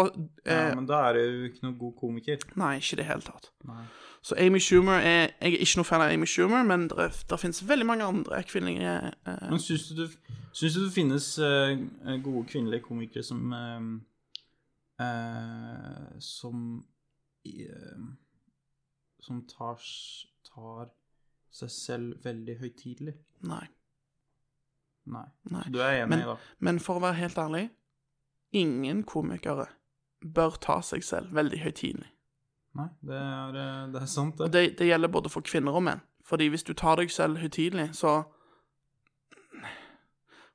Speaker 4: eh,
Speaker 3: Ja, men da er hun ikke noen god komiker.
Speaker 4: Nei, ikke i det hele tatt. Så Amy Schumer er Jeg er ikke noe fan av Amy Schumer, men det, det finnes veldig mange andre kvinnelige eh,
Speaker 3: Men syns du, det- syns du det finnes eh, gode kvinnelige komikere som eh, eh, Som eh, Som tar, s- tar seg selv veldig høytidelig?
Speaker 4: Nei.
Speaker 3: Nei.
Speaker 4: Nei.
Speaker 3: Så du er enig,
Speaker 4: Men-
Speaker 3: da?
Speaker 4: Men for å være helt ærlig, ingen komikere bør ta seg selv veldig høytidelig.
Speaker 3: Nei, det er, eh, det er sant,
Speaker 4: Og
Speaker 3: det.
Speaker 4: det, det gjelder både for kvinner og menn. Fordi hvis du tar deg selv høytidelig, så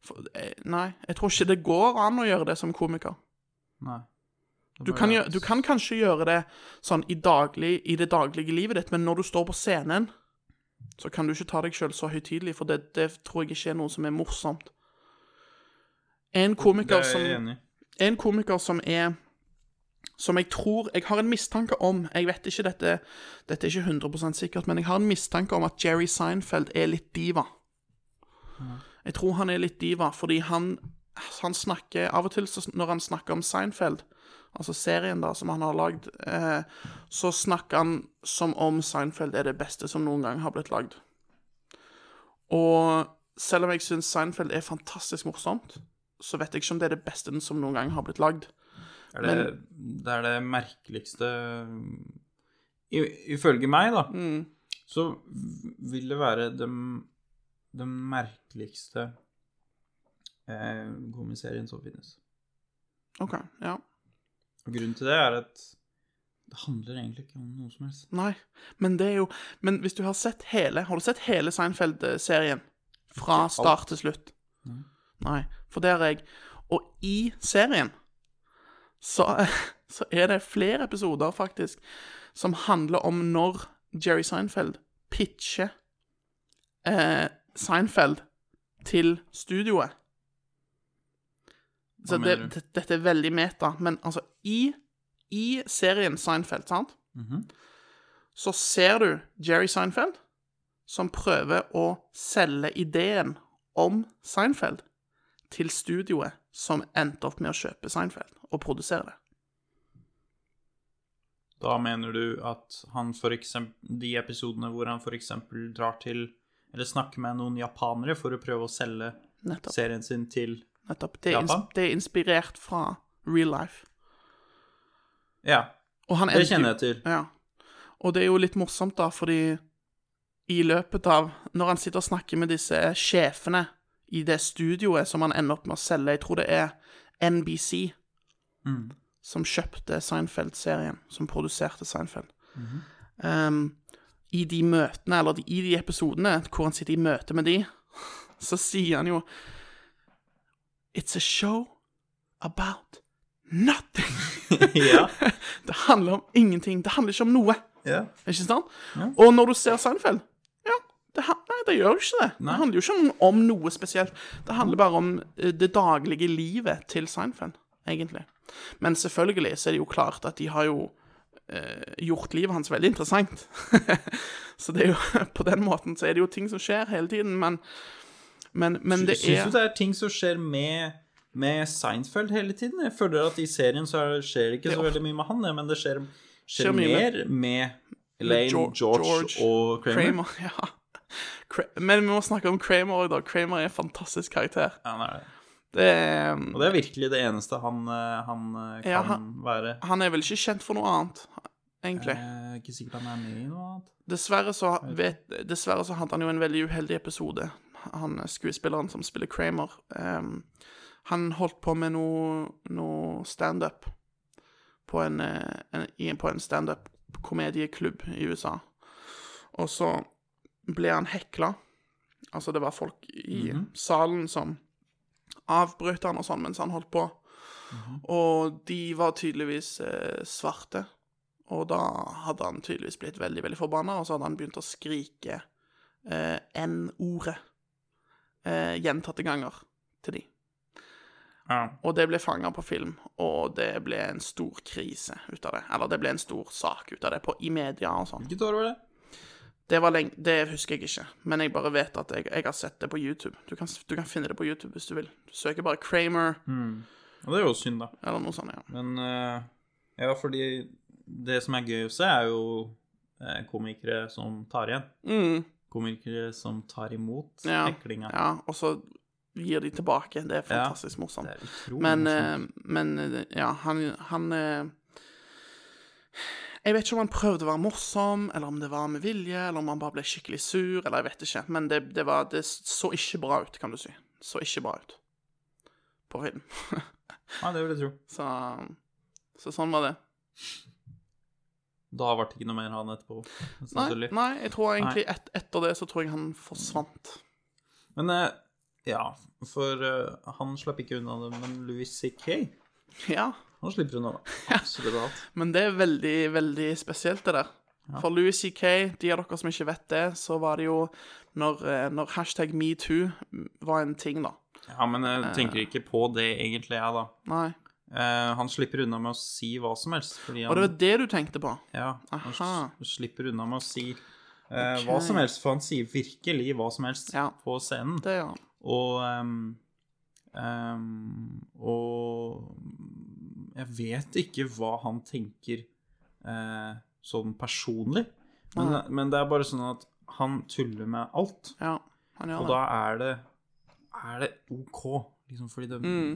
Speaker 4: for, eh, Nei, jeg tror ikke det går an å gjøre det som komiker.
Speaker 3: Nei. Det
Speaker 4: Du
Speaker 3: bare
Speaker 4: kan,
Speaker 3: er-
Speaker 4: gjøre, du kan kanskje gjøre det sånn i, daglig, i det daglige livet ditt, men når du står på scenen, så kan du ikke ta deg sjøl så høytidelig, for det, det tror jeg ikke er noe som er morsomt. En
Speaker 3: Det
Speaker 4: komiker
Speaker 3: er jeg
Speaker 4: som
Speaker 3: enig i.
Speaker 4: en komiker som er Som jeg tror Jeg har en mistanke om Jeg vet ikke dette Dette er ikke 100 sikkert, men jeg har en mistanke om at Jerry Seinfeld er litt diva. Jeg tror han er litt diva, fordi han, han snakker Av og til så, når han snakker om Seinfeld, altså serien da som han har lagd, eh, så snakker han som om Seinfeld er det beste som noen gang har blitt lagd. Og selv om jeg syns Seinfeld er fantastisk morsomt, så vet jeg ikke om det er det beste som noen gang har blitt lagd.
Speaker 3: Det er det, det er det merkeligste i, Ifølge meg, da, så vil det være den den merkeligste eh, komiserien som finnes.
Speaker 4: OK, ja.
Speaker 3: Og grunnen til det er at det handler egentlig ikke om noe som helst.
Speaker 4: Nei, men det er jo Men hvis du har sett hele Har du sett hele Seinfeld-serien? Fra start til slutt? Nei. For der er jeg Og i serien så, så er det flere episoder, faktisk, som handler om når Jerry Seinfeld pitcher eh, Seinfeld til studioet. Så det,
Speaker 3: mener du?
Speaker 4: det- dette er veldig meta, men altså i, i serien Seinfeld, sant?
Speaker 3: Mhm.
Speaker 4: Så ser du Jerry Seinfeld som prøver å selge ideen om Seinfeld til studioet som endte opp med å kjøpe Seinfeld og produsere det.
Speaker 3: Da mener du at han for eksempel De episodene hvor han for eksempel drar til Eller snakker med noen japanere for å prøve å selge
Speaker 4: Nettopp.
Speaker 3: serien sin til
Speaker 4: Nettopp. Det er, ins
Speaker 3: Japan?
Speaker 4: det er inspirert fra real life.
Speaker 3: Ja,
Speaker 4: Og han
Speaker 3: det
Speaker 4: endte jo-
Speaker 3: kjenner jeg til.
Speaker 4: Ja. Og det er jo litt morsomt, da, fordi i løpet av Når han sitter og snakker med disse sjefene i det studioet som han ender opp med å selge Jeg tror det er NBC
Speaker 3: Mm.
Speaker 4: som kjøpte Seinfeld-serien, som produserte Seinfeld.
Speaker 3: Mhm.
Speaker 4: Ehm, I de møtene, eller de, i de episodene hvor han sitter i møte med de, så sier han jo It's a show about nothing.
Speaker 3: Ja,
Speaker 4: Det handler om ingenting. Det handler ikke om noe.
Speaker 3: ja.
Speaker 4: Ikke sant? Og når du ser Seinfeld Ja, det, han- nei, det gjør jo ikke det.
Speaker 3: Nei.
Speaker 4: Det handler jo ikke om, om noe spesielt. Det handler bare om eh, det daglige livet til Seinfeld, egentlig. Men selvfølgelig så er det jo klart at de har jo eh, gjort livet hans veldig interessant. så det er jo På den måten så er det jo ting som skjer hele tiden, men Men, men det
Speaker 3: Syns
Speaker 4: er
Speaker 3: du det er ting som skjer med med Seinfeld hele tiden? Jeg føler at i serien så er- skjer det ikke så
Speaker 4: ofte-
Speaker 3: veldig mye med han, ja, men det skjer, skjer,
Speaker 4: Skjer mye
Speaker 3: mer med Elaine,
Speaker 4: Geor-
Speaker 3: George,
Speaker 4: George,
Speaker 3: og Kramer.
Speaker 4: Kramer, ja. Kra- Men vi må snakke om Kramer òg, da. Kramer er en fantastisk karakter.
Speaker 3: Ja, han er det.
Speaker 4: Det er um,
Speaker 3: Og det er virkelig det eneste han, eh, han eh, kan
Speaker 4: Ja, han-
Speaker 3: være.
Speaker 4: Han er vel ikke kjent for noe annet, egentlig.
Speaker 3: Eh, ikke sikkert han er med i noe annet.
Speaker 4: Dessverre så, vet, dessverre så hadde han jo en veldig uheldig episode. Han eh, skuespilleren som spiller Kramer. ehm, han holdt på med noe, noe standup på en, eh, en, i en- på en standup-komedieklubb i USA. Og så ble han hekla. Altså, det var folk i salen som avbrøt han og sånn mens han holdt på. Og de var tydeligvis eh, svarte. Og da hadde han tydeligvis blitt veldig, veldig forbanna, og så hadde han begynt å skrike eh, N-ordet eh, gjentatte ganger til de.
Speaker 3: Ja.
Speaker 4: Og det ble fanga på film, og det ble en stor krise ut av det. Eller det ble en stor sak ut av det på, i media og sånn.
Speaker 3: Hvilket år var det?
Speaker 4: Det, var lenge, det husker jeg ikke, men jeg bare vet at jeg, jeg har sett det på YouTube. Du kan, du kan finne det på YouTube hvis du vil. Du søker bare Kramer,
Speaker 3: Ja, det er jo synd, da.
Speaker 4: eller noe sånt. ja.
Speaker 3: Men eh, ja, fordi det som er gøy å se, er jo eh, komikere som tar igjen.
Speaker 4: Mm.
Speaker 3: Komikere som tar imot
Speaker 4: Ja.
Speaker 3: heklinga.
Speaker 4: ja. Og så gir de tilbake. Det er
Speaker 3: Ja.
Speaker 4: fantastisk morsomt.
Speaker 3: Det er utrolig
Speaker 4: Men,
Speaker 3: morsomt.
Speaker 4: eh, men eh, ja, han, han eh, Jeg vet ikke om han prøvde å være morsom, eller om det var med vilje, eller om han bare ble skikkelig sur, eller jeg vet ikke. Men det, det, var, det så ikke bra ut, kan du si. Så ikke bra ut på film.
Speaker 3: Nei, det vil jeg tro.
Speaker 4: så, så sånn var det.
Speaker 3: Da ble det ikke noe mer han etterpå.
Speaker 4: Nei,
Speaker 3: sannsynlig.
Speaker 4: nei jeg tror egentlig et, etter det så tror jeg han forsvant.
Speaker 3: Men eh, ja, for eh, han slapp ikke unna det, men Louis C.K.
Speaker 4: Ja,
Speaker 3: Han slipper unna det. Absolutt alt.
Speaker 4: men det er veldig, veldig spesielt, det der. For Louis C.K., de av dere som ikke vet det, så var det jo når, eh, når hashtag metoo var en ting, da.
Speaker 3: Ja, men
Speaker 4: Eh.
Speaker 3: jeg tenker ikke på det egentlig, jeg, da.
Speaker 4: Nei.
Speaker 3: Eh, han slipper unna med å si hva som helst. Fordi han,
Speaker 4: Og det var det du tenkte på?
Speaker 3: Ja, han
Speaker 4: Aha.
Speaker 3: s- slipper unna med å si eh, hva som helst, for han sier virkelig hva som helst
Speaker 4: Ja.
Speaker 3: på scenen.
Speaker 4: Det gjør han.
Speaker 3: Og ehm, ehm, Og jeg vet ikke hva han tenker eh, sånn personlig, men, men det er bare sånn at han tuller med alt.
Speaker 4: Ja, han gjør det.
Speaker 3: Og da er det Er det OK, liksom, fordi det
Speaker 4: Mm.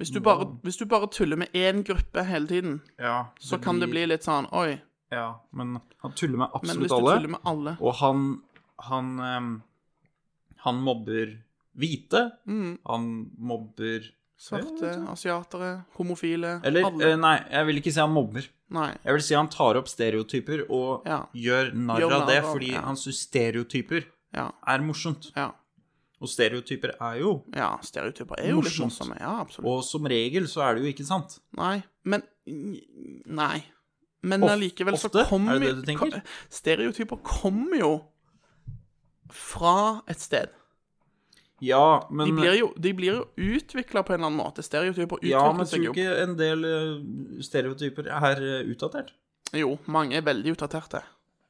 Speaker 4: Hvis du, bare, hvis du bare tuller med én gruppe hele tiden,
Speaker 3: Ja,
Speaker 4: så kan det bli litt sånn Oi.
Speaker 3: Ja, men han tuller med
Speaker 4: Men hvis
Speaker 3: absolutt
Speaker 4: du
Speaker 3: alle.
Speaker 4: tuller med alle
Speaker 3: Og han han, em, han mobber hvite.
Speaker 4: Mm.
Speaker 3: Han mobber
Speaker 4: Svarte, eh, asiatere, homofile
Speaker 3: sånn. Eller
Speaker 4: alle.
Speaker 3: eh, nei, jeg vil ikke si han mobber.
Speaker 4: Nei.
Speaker 3: Jeg vil si han tar opp stereotyper og
Speaker 4: Ja.
Speaker 3: gjør narr
Speaker 4: Gjør narr
Speaker 3: av det,
Speaker 4: av-
Speaker 3: fordi
Speaker 4: ja.
Speaker 3: han syns stereotyper
Speaker 4: Ja.
Speaker 3: er morsomt.
Speaker 4: Ja.
Speaker 3: Og stereotyper er jo
Speaker 4: ja stereotyper er jo litt
Speaker 3: Morsomt.
Speaker 4: morsomme. Ja, absolutt.
Speaker 3: Og som regel så er det jo ikke sant.
Speaker 4: Nei. Men Nei. Men
Speaker 3: Of-
Speaker 4: allikevel så
Speaker 3: ofte?
Speaker 4: kommer
Speaker 3: Er det det du tenker?
Speaker 4: Stereotyper kommer jo fra et sted.
Speaker 3: Ja, men
Speaker 4: De blir jo, de blir jo utvikla på en eller annen måte. Stereotyper utvikler
Speaker 3: Ja, men
Speaker 4: seg
Speaker 3: tror du
Speaker 4: jo.
Speaker 3: ikke en del eh, stereotyper er eh, utdatert?
Speaker 4: Jo, mange er veldig utdaterte.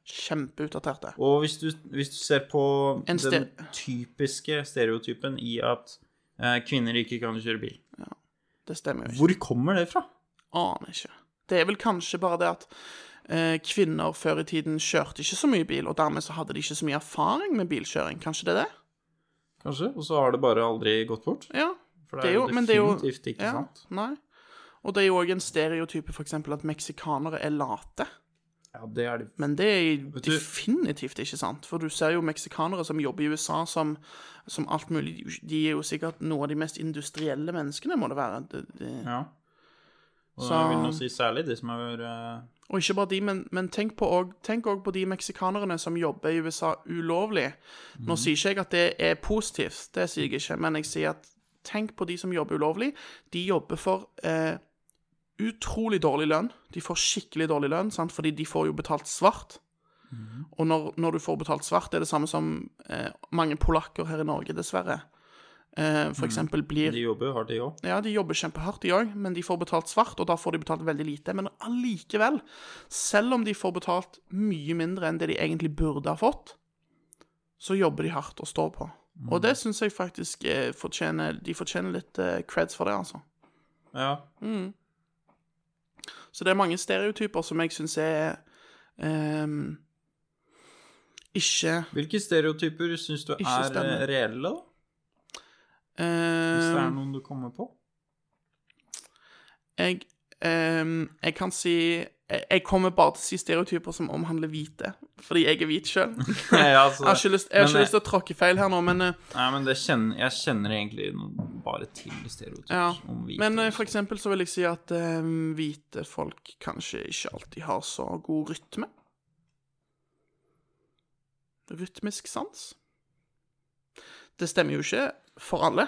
Speaker 4: Kjempeutdaterte.
Speaker 3: Og hvis du, hvis du ser på
Speaker 4: En ste-
Speaker 3: den typiske stereotypen i at eh, kvinner ikke kan kjøre bil
Speaker 4: Det stemmer jo ikke.
Speaker 3: Hvor kommer det fra?
Speaker 4: Aner ikke. Det er vel kanskje bare det at eh, kvinner før i tiden kjørte ikke så mye bil, og dermed så hadde de ikke så mye erfaring med bilkjøring. Kanskje det er det?
Speaker 3: Kanskje? Og så har det bare aldri gått bort?
Speaker 4: Ja.
Speaker 3: For
Speaker 4: Det er jo, men det er jo
Speaker 3: definitivt ikke
Speaker 4: ja,
Speaker 3: sant.
Speaker 4: Nei. Og det er jo òg en stereotype, for eksempel, at meksikanere er late.
Speaker 3: Ja, det er det.
Speaker 4: Men det er
Speaker 3: du-
Speaker 4: definitivt ikke sant. For du ser jo meksikanere som jobber i USA som, som alt mulig De er jo sikkert noen av de mest industrielle menneskene, må det være. Det, det.
Speaker 3: Ja. Og
Speaker 4: Så-
Speaker 3: jeg vil nå si særlig de som har eh,
Speaker 4: Og ikke bare de, men, men tenk på òg Tenk også på de meksikanerne som jobber i USA ulovlig. Nå sier ikke jeg at det er positivt, det sier jeg ikke, men jeg sier at tenk på de som jobber ulovlig. De jobber for eh, utrolig dårlig lønn. De får skikkelig dårlig lønn, sant? fordi de får jo betalt svart. Og når, når du får betalt svart, det er det samme som eh, mange polakker her i Norge, dessverre. Eh, for eksempel blir
Speaker 3: De jobber jo hardt, de òg.
Speaker 4: ja, de jobber kjempehardt, de òg, men de får betalt svart, og da får de betalt veldig lite. Men allikevel, selv om de får betalt mye mindre enn det de egentlig burde ha fått, så jobber de hardt og står på. Og
Speaker 3: Mm.
Speaker 4: det syns jeg faktisk eh, fortjener De fortjener litt eh, creds for det, altså.
Speaker 3: Ja.
Speaker 4: Så det er mange stereotyper som jeg syns er ehm, ikke
Speaker 3: Hvilke stereotyper syns du er
Speaker 4: Ikke stemmer.
Speaker 3: eh, reelle, da?
Speaker 4: eh,
Speaker 3: Hvis det er
Speaker 4: ehm,
Speaker 3: noen du kommer på?
Speaker 4: jeg, ehm, jeg kan si jeg- Jeg kommer bare til å si stereotyper som omhandler hvite, fordi jeg er hvit sjøl.
Speaker 3: ja, altså,
Speaker 4: Jeg har ikke lyst, jeg har
Speaker 3: Men,
Speaker 4: ikke lyst til å tråkke feil her nå, men, eh,
Speaker 3: Nei, men det kjenner, jeg kjenner egentlig noen- bare til stereotyper
Speaker 4: ja.
Speaker 3: om hvite.
Speaker 4: men eh, for eksempel så vil jeg si at eh, hvite folk kanskje ikke alltid har så god rytme. Rytmisk sans. Det stemmer jo ikke for alle,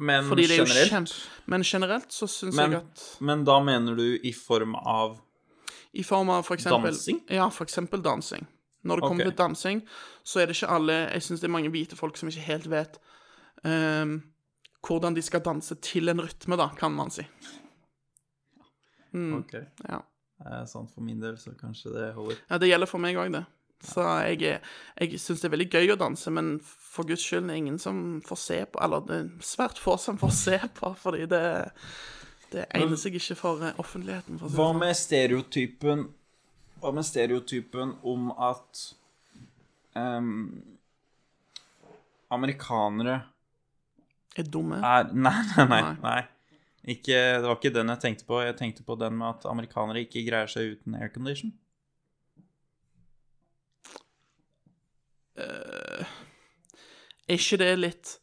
Speaker 3: men
Speaker 4: fordi det er jo
Speaker 3: generelt.
Speaker 4: kjempe... Men generelt så syns
Speaker 3: Men-
Speaker 4: jeg at
Speaker 3: Men da mener du i form av
Speaker 4: I form av for eksempel,
Speaker 3: Dansing?
Speaker 4: Ja, for eksempel dansing. Når det kommer
Speaker 3: Ok.
Speaker 4: til dansing, så er det ikke alle Jeg syns det er mange hvite folk som ikke helt vet ehm, hvordan de skal danse til en rytme, da, kan man si. Mm.
Speaker 3: Ok.
Speaker 4: Ja.
Speaker 3: Eh, sånn for min del, så kanskje det holder.
Speaker 4: ja, det gjelder for meg òg, det. Så jeg, er- jeg syns det er veldig gøy å danse, men for guds skyld det er ingen som får se på Eller det er svært få som får se på, fordi det, det egner seg ikke for eh, offentligheten. For å si det
Speaker 3: Hva
Speaker 4: sånn.
Speaker 3: med stereotypen Hva med stereotypen om at ehm, Amerikanere
Speaker 4: Er dumme?
Speaker 3: er nei, nei, nei.
Speaker 4: Nei.
Speaker 3: nei. Ikke, det var ikke den jeg tenkte på. Jeg tenkte på den med at amerikanere ikke greier seg uten aircondition.
Speaker 4: Er ikke det litt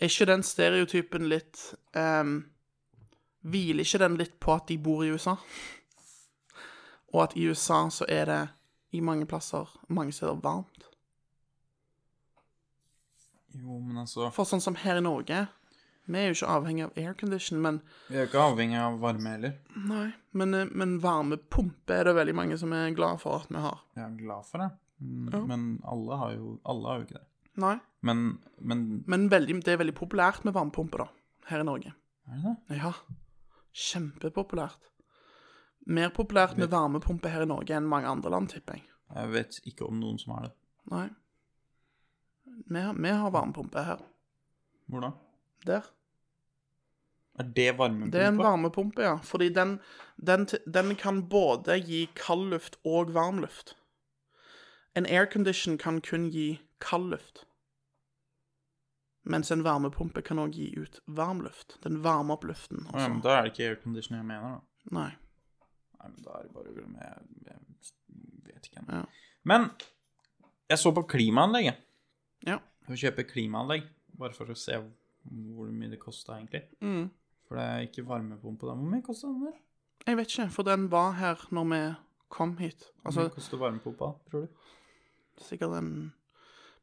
Speaker 4: Er ikke den stereotypen litt ehm, Hviler ikke den litt på at de bor i USA? Og at i USA så er det i mange plasser, mange steder, varmt.
Speaker 3: Jo, men altså
Speaker 4: For sånn som her i Norge Vi er jo ikke avhengig av aircondition, men,
Speaker 3: Vi er jo ikke avhengig av varme heller.
Speaker 4: nei, men, eh, men varmepumpe er det veldig mange som er glad for at vi har.
Speaker 3: Jeg er glad for det. Mm, Men alle har jo, alle har jo ikke det.
Speaker 4: Nei,
Speaker 3: Men, men
Speaker 4: Men veldig, det er veldig populært med varmepumpe, da, her i Norge.
Speaker 3: Er det det?
Speaker 4: Ja. Kjempepopulært. Mer populært med varmepumpe her i Norge enn mange andre land, tipper jeg.
Speaker 3: Jeg vet ikke om noen som har det.
Speaker 4: Nei. Vi, har- vi har varmepumpe her.
Speaker 3: Hvor da?
Speaker 4: Der.
Speaker 3: Er det varmepumpa?
Speaker 4: Det er en varmepumpe, ja. Fordi den, den, t- den kan både gi kald luft og varm luft. En aircondition kan kun gi kald luft. Mens en varmepumpe kan òg gi ut varm luft. Den varmer opp luften.
Speaker 3: Å ja, men
Speaker 4: Altså.
Speaker 3: da er det ikke aircondition jeg mener, da.
Speaker 4: Nei.
Speaker 3: Nei, men da er det bare å glemme. Jeg, jeg vet ikke.
Speaker 4: Ja.
Speaker 3: Men jeg så på klimaanlegget.
Speaker 4: Ja.
Speaker 3: Å kjøpe klimaanlegg, bare for å se hvor mye det kosta, egentlig.
Speaker 4: Mm.
Speaker 3: For det er ikke varmepumpe da. Hvor mye kosta den der?
Speaker 4: Jeg vet ikke, for den var her når vi kom hit.
Speaker 3: Hvor mye
Speaker 4: Altså
Speaker 3: koster varmepumpa, tror du?
Speaker 4: sikkert en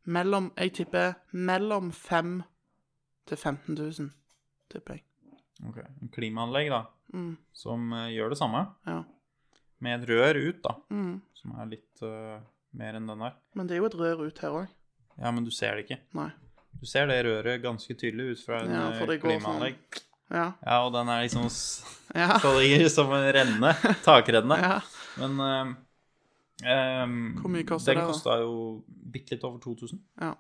Speaker 4: Mellom Jeg tipper mellom 5 til 15 000, tipper jeg.
Speaker 3: Ok, En klimaanlegg, da,
Speaker 4: Mm.
Speaker 3: som eh, gjør det samme,
Speaker 4: Ja.
Speaker 3: med et rør ut, da,
Speaker 4: Mm.
Speaker 3: som er litt eh, mer enn den der.
Speaker 4: Men det er jo et rør ut her òg.
Speaker 3: Ja, men du ser det ikke.
Speaker 4: Nei.
Speaker 3: Du ser det røret ganske tydelig ut fra en
Speaker 4: Ja, for det
Speaker 3: eh,
Speaker 4: går sånn.
Speaker 3: klimaanlegg.
Speaker 4: Ja.
Speaker 3: Ja, og den er liksom s-
Speaker 4: Ja.
Speaker 3: så ligger som en renne. Takrenne.
Speaker 4: ja.
Speaker 3: Men ehm, ehm,
Speaker 4: Hvor mye koster det,
Speaker 3: den
Speaker 4: da?
Speaker 3: kosta jo bitte litt over 2000.
Speaker 4: ja.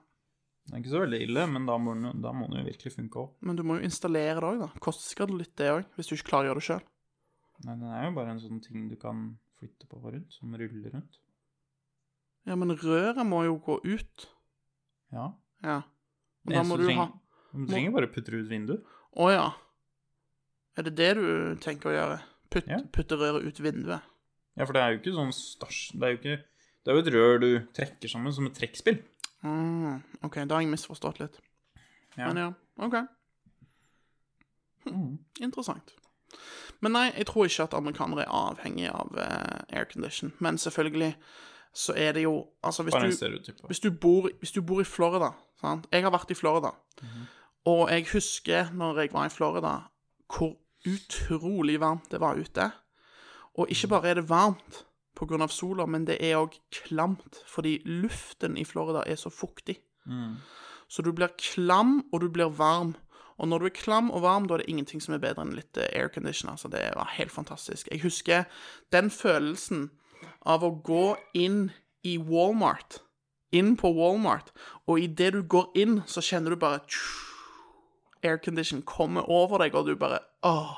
Speaker 3: Det er ikke så veldig ille, men da må den, jo- da må den jo virkelig funke òg.
Speaker 4: Men du må jo installere det òg, da. Koster det litt, det òg? Hvis du ikke klarer å gjøre det sjøl.
Speaker 3: Nei, den er jo bare en sånn ting du kan flytte på og rundt, som ruller rundt.
Speaker 4: Ja, men røret må jo gå ut.
Speaker 3: Ja.
Speaker 4: Ja. Og
Speaker 3: Det
Speaker 4: da
Speaker 3: eneste
Speaker 4: må du ha
Speaker 3: trenger, Du trenger bare putte det ut vinduet.
Speaker 4: Å ja. Er det det du tenker å gjøre? Putt,
Speaker 3: Ja.
Speaker 4: Putte røret ut vinduet?
Speaker 3: Ja, for det er jo ikke sånn stasj... Det er jo ikke Det er jo et rør du trekker sammen som et trekkspill.
Speaker 4: Mm, OK, da har jeg misforstått litt.
Speaker 3: Ja. Mm.
Speaker 4: Men ja, OK. Hm, Interessant. Men nei, jeg tror ikke at amerikanere er avhengig av eh, aircondition. Men selvfølgelig så er det jo Altså, hvis
Speaker 3: Bare en
Speaker 4: du
Speaker 3: stereotyp.
Speaker 4: hvis du, bor, hvis du bor i Florida sant? Jeg har vært i Florida. Og jeg husker når jeg var i Florida, hvor utrolig varmt det var ute. Og ikke bare er det varmt pga. sola, men det er òg klamt fordi luften i Florida er så fuktig. Så du blir klam, og du blir varm. Og når du er klam og varm, da er det ingenting som er bedre enn litt eh, aircondition. Altså, det var helt fantastisk. Jeg husker den følelsen av å gå inn i Walmart inn på Walmart, og idet du går inn, så kjenner du bare Aircondition kommer over deg, og du bare Åh.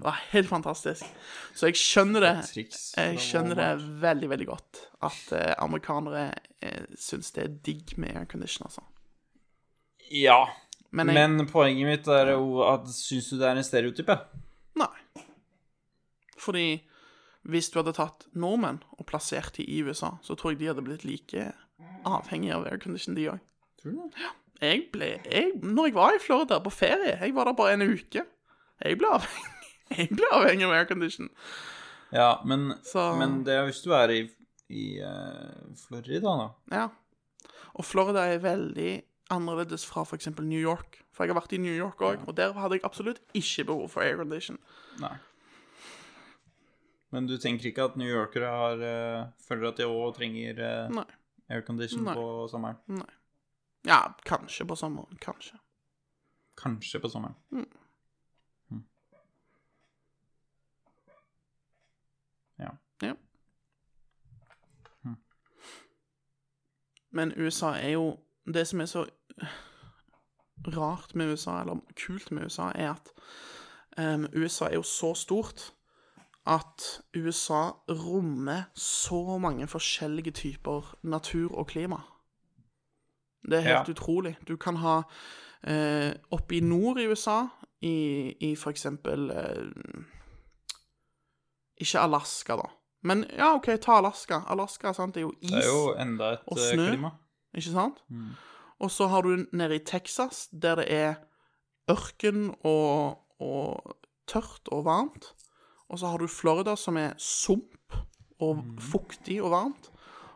Speaker 4: Det var helt fantastisk. Så jeg skjønner det.
Speaker 3: Et triks fra
Speaker 4: Jeg skjønner det veldig, veldig godt at eh, amerikanere eh, syns det er digg med aircondition, altså.
Speaker 3: Ja.
Speaker 4: Men
Speaker 3: Men,
Speaker 4: jeg
Speaker 3: poenget mitt er jo at syns du det er en stereotyp, ja?
Speaker 4: Nei. Fordi hvis du hadde tatt nordmenn og plassert de i USA, så tror jeg de hadde blitt like avhengige av aircondition, de òg.
Speaker 3: Tror du det?
Speaker 4: jeg ble jeg, Når jeg var i Florida på ferie Jeg var der bare en uke. Jeg ble avhengig, jeg ble avhengig av aircondition.
Speaker 3: Ja, men,
Speaker 4: Så-
Speaker 3: men det er hvis du er i, i eh, Florida, da.
Speaker 4: Ja. Og Florida er veldig annerledes fra f.eks. New York. For jeg har vært i New York òg, og der hadde jeg absolutt ikke behov for aircondition.
Speaker 3: Nei. Men du tenker ikke at New Yorkere har, eh, føler at de òg trenger eh,
Speaker 4: Nei.
Speaker 3: aircondition
Speaker 4: Nei.
Speaker 3: på sommeren?
Speaker 4: Ja, kanskje på sommeren. Kanskje.
Speaker 3: Kanskje på sommeren.
Speaker 4: Mm.
Speaker 3: Mm.
Speaker 4: Ja. Men USA er jo Det som er så rart med USA, eller kult med USA, er at em, USA er jo så stort at USA rommer så mange forskjellige typer natur og klima. Det er helt
Speaker 3: Ja.
Speaker 4: utrolig. Du kan ha eh, Oppe i nord i USA, i, i for eksempel eh, ikke Alaska, da. Men ja, OK, ta Alaska. Alaska sant, det er jo is,
Speaker 3: Det er jo enda et
Speaker 4: Og
Speaker 3: eh,
Speaker 4: snø.
Speaker 3: klima.
Speaker 4: ikke sant?
Speaker 3: Mm.
Speaker 4: Og så har du nede i Texas, der det er ørken og, og tørt og varmt. Og så har du Florida, som er sump og
Speaker 3: Mm.
Speaker 4: fuktig og varmt.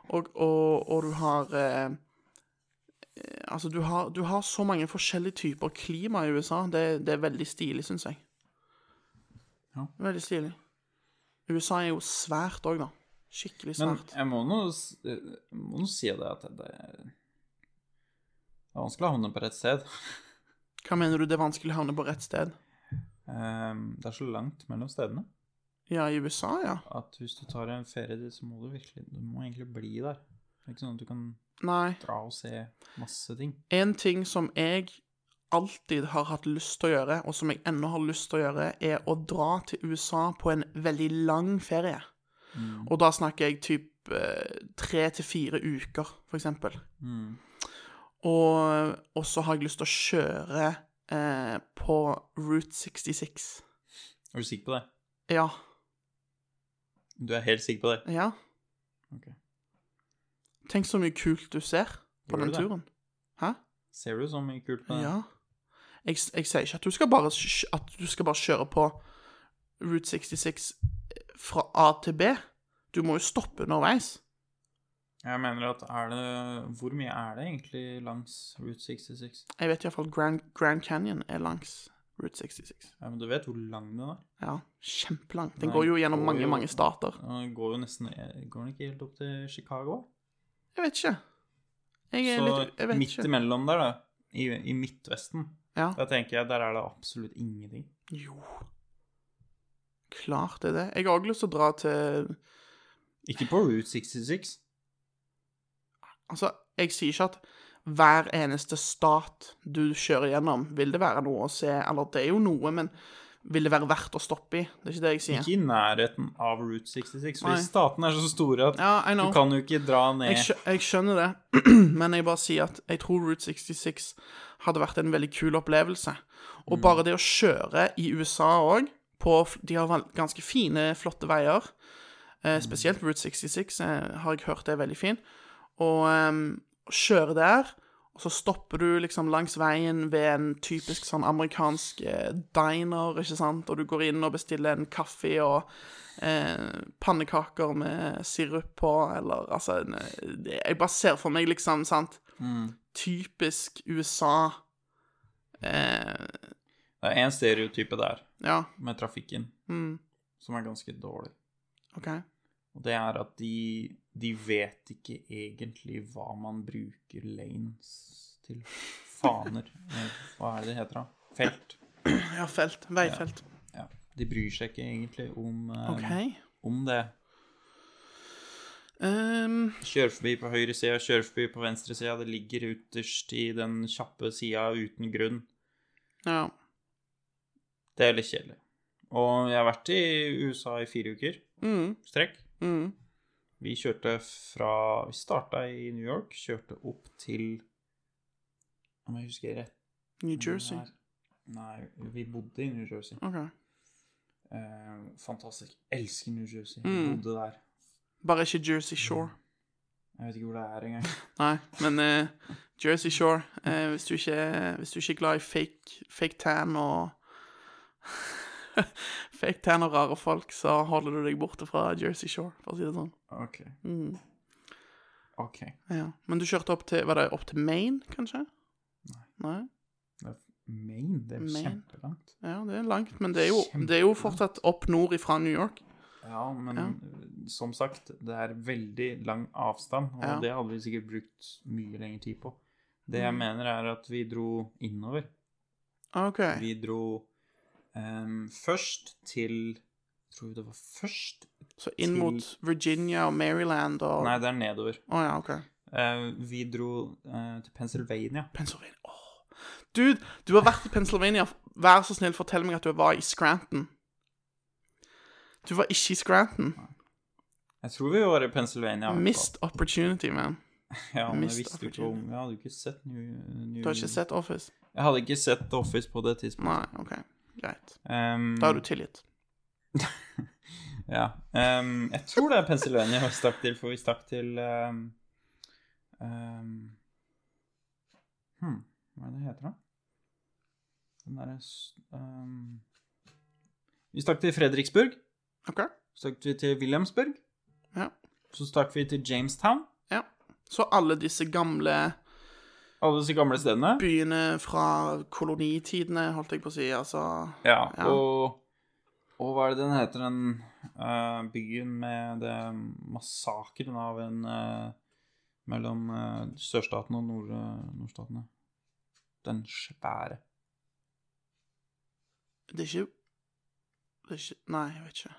Speaker 4: Og, og, og du har eh, eh, Altså, du har, du har så mange forskjellige typer klima i USA. Det, det er veldig stilig, syns jeg.
Speaker 3: Ja.
Speaker 4: Veldig stilig. USA er jo svært òg, da. Skikkelig
Speaker 3: Men
Speaker 4: svært.
Speaker 3: jeg må nå, s- eh, må nå si det at det er, det er vanskelig å havne på rett sted.
Speaker 4: Hva mener du det er vanskelig å havne på rett sted?
Speaker 3: Ehm, det er så langt mellom stedene
Speaker 4: Ja, i USA, ja.
Speaker 3: at hvis du tar en ferie, dit, så må du virkelig Du må egentlig bli der. Det er ikke sånn at du kan
Speaker 4: Nei.
Speaker 3: dra og se masse ting.
Speaker 4: En ting som jeg alltid har hatt lyst til å gjøre, og som jeg ennå har lyst til å gjøre, er å dra til USA på en veldig lang ferie.
Speaker 3: Mm.
Speaker 4: Og da snakker jeg typ eh, tre til fire uker, for eksempel.
Speaker 3: Mm.
Speaker 4: Og, og så har jeg lyst til å kjøre eh, på Route 66.
Speaker 3: Er du sikker på det?
Speaker 4: Ja.
Speaker 3: Du er helt sikker på det?
Speaker 4: Ja.
Speaker 3: Ok.
Speaker 4: Tenk så mye kult du ser på
Speaker 3: Gjør
Speaker 4: den
Speaker 3: du det?
Speaker 4: turen. Hæ?
Speaker 3: Ser du så mye kult på det?
Speaker 4: Ja. Jeg, jeg sier ikke at du skal bare, kj- at du skal bare kjøre på Route 66 fra A til B. Du må jo stoppe underveis.
Speaker 3: Jeg mener at er det Hvor mye er det egentlig langs Route 66?
Speaker 4: Jeg vet iallfall Grand, Grand Canyon er langs Route 66.
Speaker 3: Ja, men du vet hvor lang den er?
Speaker 4: Ja, kjempelang. Den
Speaker 3: Nei,
Speaker 4: går jo gjennom
Speaker 3: går
Speaker 4: mange,
Speaker 3: jo-
Speaker 4: mange stater.
Speaker 3: Den går jo nesten Går den ikke helt opp til Chicago?
Speaker 4: Jeg vet ikke. Jeg er
Speaker 3: Så
Speaker 4: litt Jeg vet
Speaker 3: midt
Speaker 4: ikke.
Speaker 3: imellom der, da, i, i Midtvesten,
Speaker 4: Ja.
Speaker 3: da tenker jeg der er det absolutt ingenting.
Speaker 4: Jo. Klart det er det. Jeg har òg lyst til å dra til
Speaker 3: Ikke på Route 66.
Speaker 4: Altså, jeg sier ikke at hver eneste stat du kjører gjennom, vil det være noe å se Eller det er jo noe, men vil det være verdt å stoppe i? Det er ikke det jeg sier.
Speaker 3: Ikke i nærheten av Route 66, fordi
Speaker 4: Nei.
Speaker 3: statene er så store at
Speaker 4: Ja, I
Speaker 3: du
Speaker 4: know.
Speaker 3: kan jo ikke dra ned
Speaker 4: Jeg, skjø jeg skjønner det, men jeg bare sier at jeg tror Route 66 hadde vært en veldig kul opplevelse. Og bare det å kjøre i USA òg, de har val- ganske fine, flotte veier. Eh, spesielt Route 66 eh, har jeg hørt er veldig fin. Og ehm, kjøre der, og så stopper du liksom langs veien ved en typisk sånn amerikansk eh, diner, ikke sant, og du går inn og bestiller en kaffe og eh, pannekaker med sirup på, eller altså en, eh, Jeg bare ser for meg liksom, sant Typisk USA. Eh,
Speaker 3: Det er én stereotype der,
Speaker 4: ja,
Speaker 3: med trafikken,
Speaker 4: Mm.
Speaker 3: som er ganske dårlig.
Speaker 4: OK.
Speaker 3: Og det er at de, de vet ikke egentlig hva man bruker lanes til. Faner. Eh, Hva er det det heter, da? Felt.
Speaker 4: Ja, felt. Veifelt.
Speaker 3: Ja. De bryr seg ikke egentlig om, eh,
Speaker 4: OK.
Speaker 3: om det.
Speaker 4: Ehm,
Speaker 3: Kjør forbi på høyre side, kjør forbi på venstre side. Det ligger ytterst i den kjappe sida uten grunn.
Speaker 4: ja.
Speaker 3: Det er litt kjedelig. Og jeg har vært i USA i fire uker
Speaker 4: Mm,
Speaker 3: strekk.
Speaker 4: mm.
Speaker 3: Vi kjørte fra Vi starta i New York, kjørte opp til Om jeg husker rett
Speaker 4: New Jersey.
Speaker 3: Nei, Nei, vi bodde i New Jersey.
Speaker 4: OK.
Speaker 3: Eh, fantastisk. Elsker New Jersey. Vi
Speaker 4: Mm.
Speaker 3: bodde der.
Speaker 4: Bare ikke Jersey Shore.
Speaker 3: Jeg vet ikke hvor det er engang.
Speaker 4: Nei, men eh, Jersey Shore eh, hvis, du ikke, hvis du ikke er glad i fake, fake tan og Fake tan og rare folk, så holder du deg borte fra Jersey Shore, for å si det sånn.
Speaker 3: Ok.
Speaker 4: Mm,
Speaker 3: ok.
Speaker 4: ja. Men du kjørte opp til Var det opp til Maine, kanskje? Nei.
Speaker 3: Det er Maine. Det er jo
Speaker 4: Maine.
Speaker 3: kjempelangt.
Speaker 4: Ja, det er langt, men det er jo, det er jo fortsatt opp nord ifra New York.
Speaker 3: Ja, men som sagt, det er veldig lang avstand, og
Speaker 4: Ja. Mm.
Speaker 3: det hadde vi sikkert brukt mye lengre tid på. Det jeg mener, er at vi dro innover.
Speaker 4: OK.
Speaker 3: Vi dro em, først til Tror vi det var først?
Speaker 4: Så inn mot Virginia og Maryland og
Speaker 3: Nei,
Speaker 4: Å
Speaker 3: det er nedover.
Speaker 4: ja, OK.
Speaker 3: Eh, vi dro eh, til Pennsylvania.
Speaker 4: Pennsylvania. Åh. Dude, du har vært i Pennsylvania. Vær så snill, fortell meg at du var i Scranton. Du var ikke i Scranton.
Speaker 3: Jeg tror vi var i Pennsylvania. i hvert
Speaker 4: Missed opportunity, man.
Speaker 3: fall. Ja, men jeg
Speaker 4: missed
Speaker 3: visste jo ikke om Jeg hadde jo ikke sett New, New
Speaker 4: Du har ikke sett Office?
Speaker 3: Jeg hadde ikke sett The Office på det tidspunktet.
Speaker 4: Nei, OK. Greit.
Speaker 3: Ehm,
Speaker 4: Da er du tilgitt.
Speaker 3: ja. Ehm, jeg tror det er Pennsylvania vi stakk til, for vi stakk til ehm, ehm, hmm, Hva er det det heter, da? Den derre s- ehm, Vi stakk til Fredriksburg.
Speaker 4: OK?
Speaker 3: Så stakk vi til Wilhelmsburg.
Speaker 4: Ja.
Speaker 3: Så stakk vi til Jamestown.
Speaker 4: Ja. Så alle disse gamle
Speaker 3: Alle disse gamle stedene.
Speaker 4: byene fra kolonitidene, holdt jeg på å si, altså
Speaker 3: Ja,
Speaker 4: Ja.
Speaker 3: Og, og hva er det den heter, den eh, byen med det massakren av en eh, Mellom uh, sørstatene og nord, eh, nordstatene. Den svære.
Speaker 4: Det er ikke Det er ikke Nei, jeg vet ikke.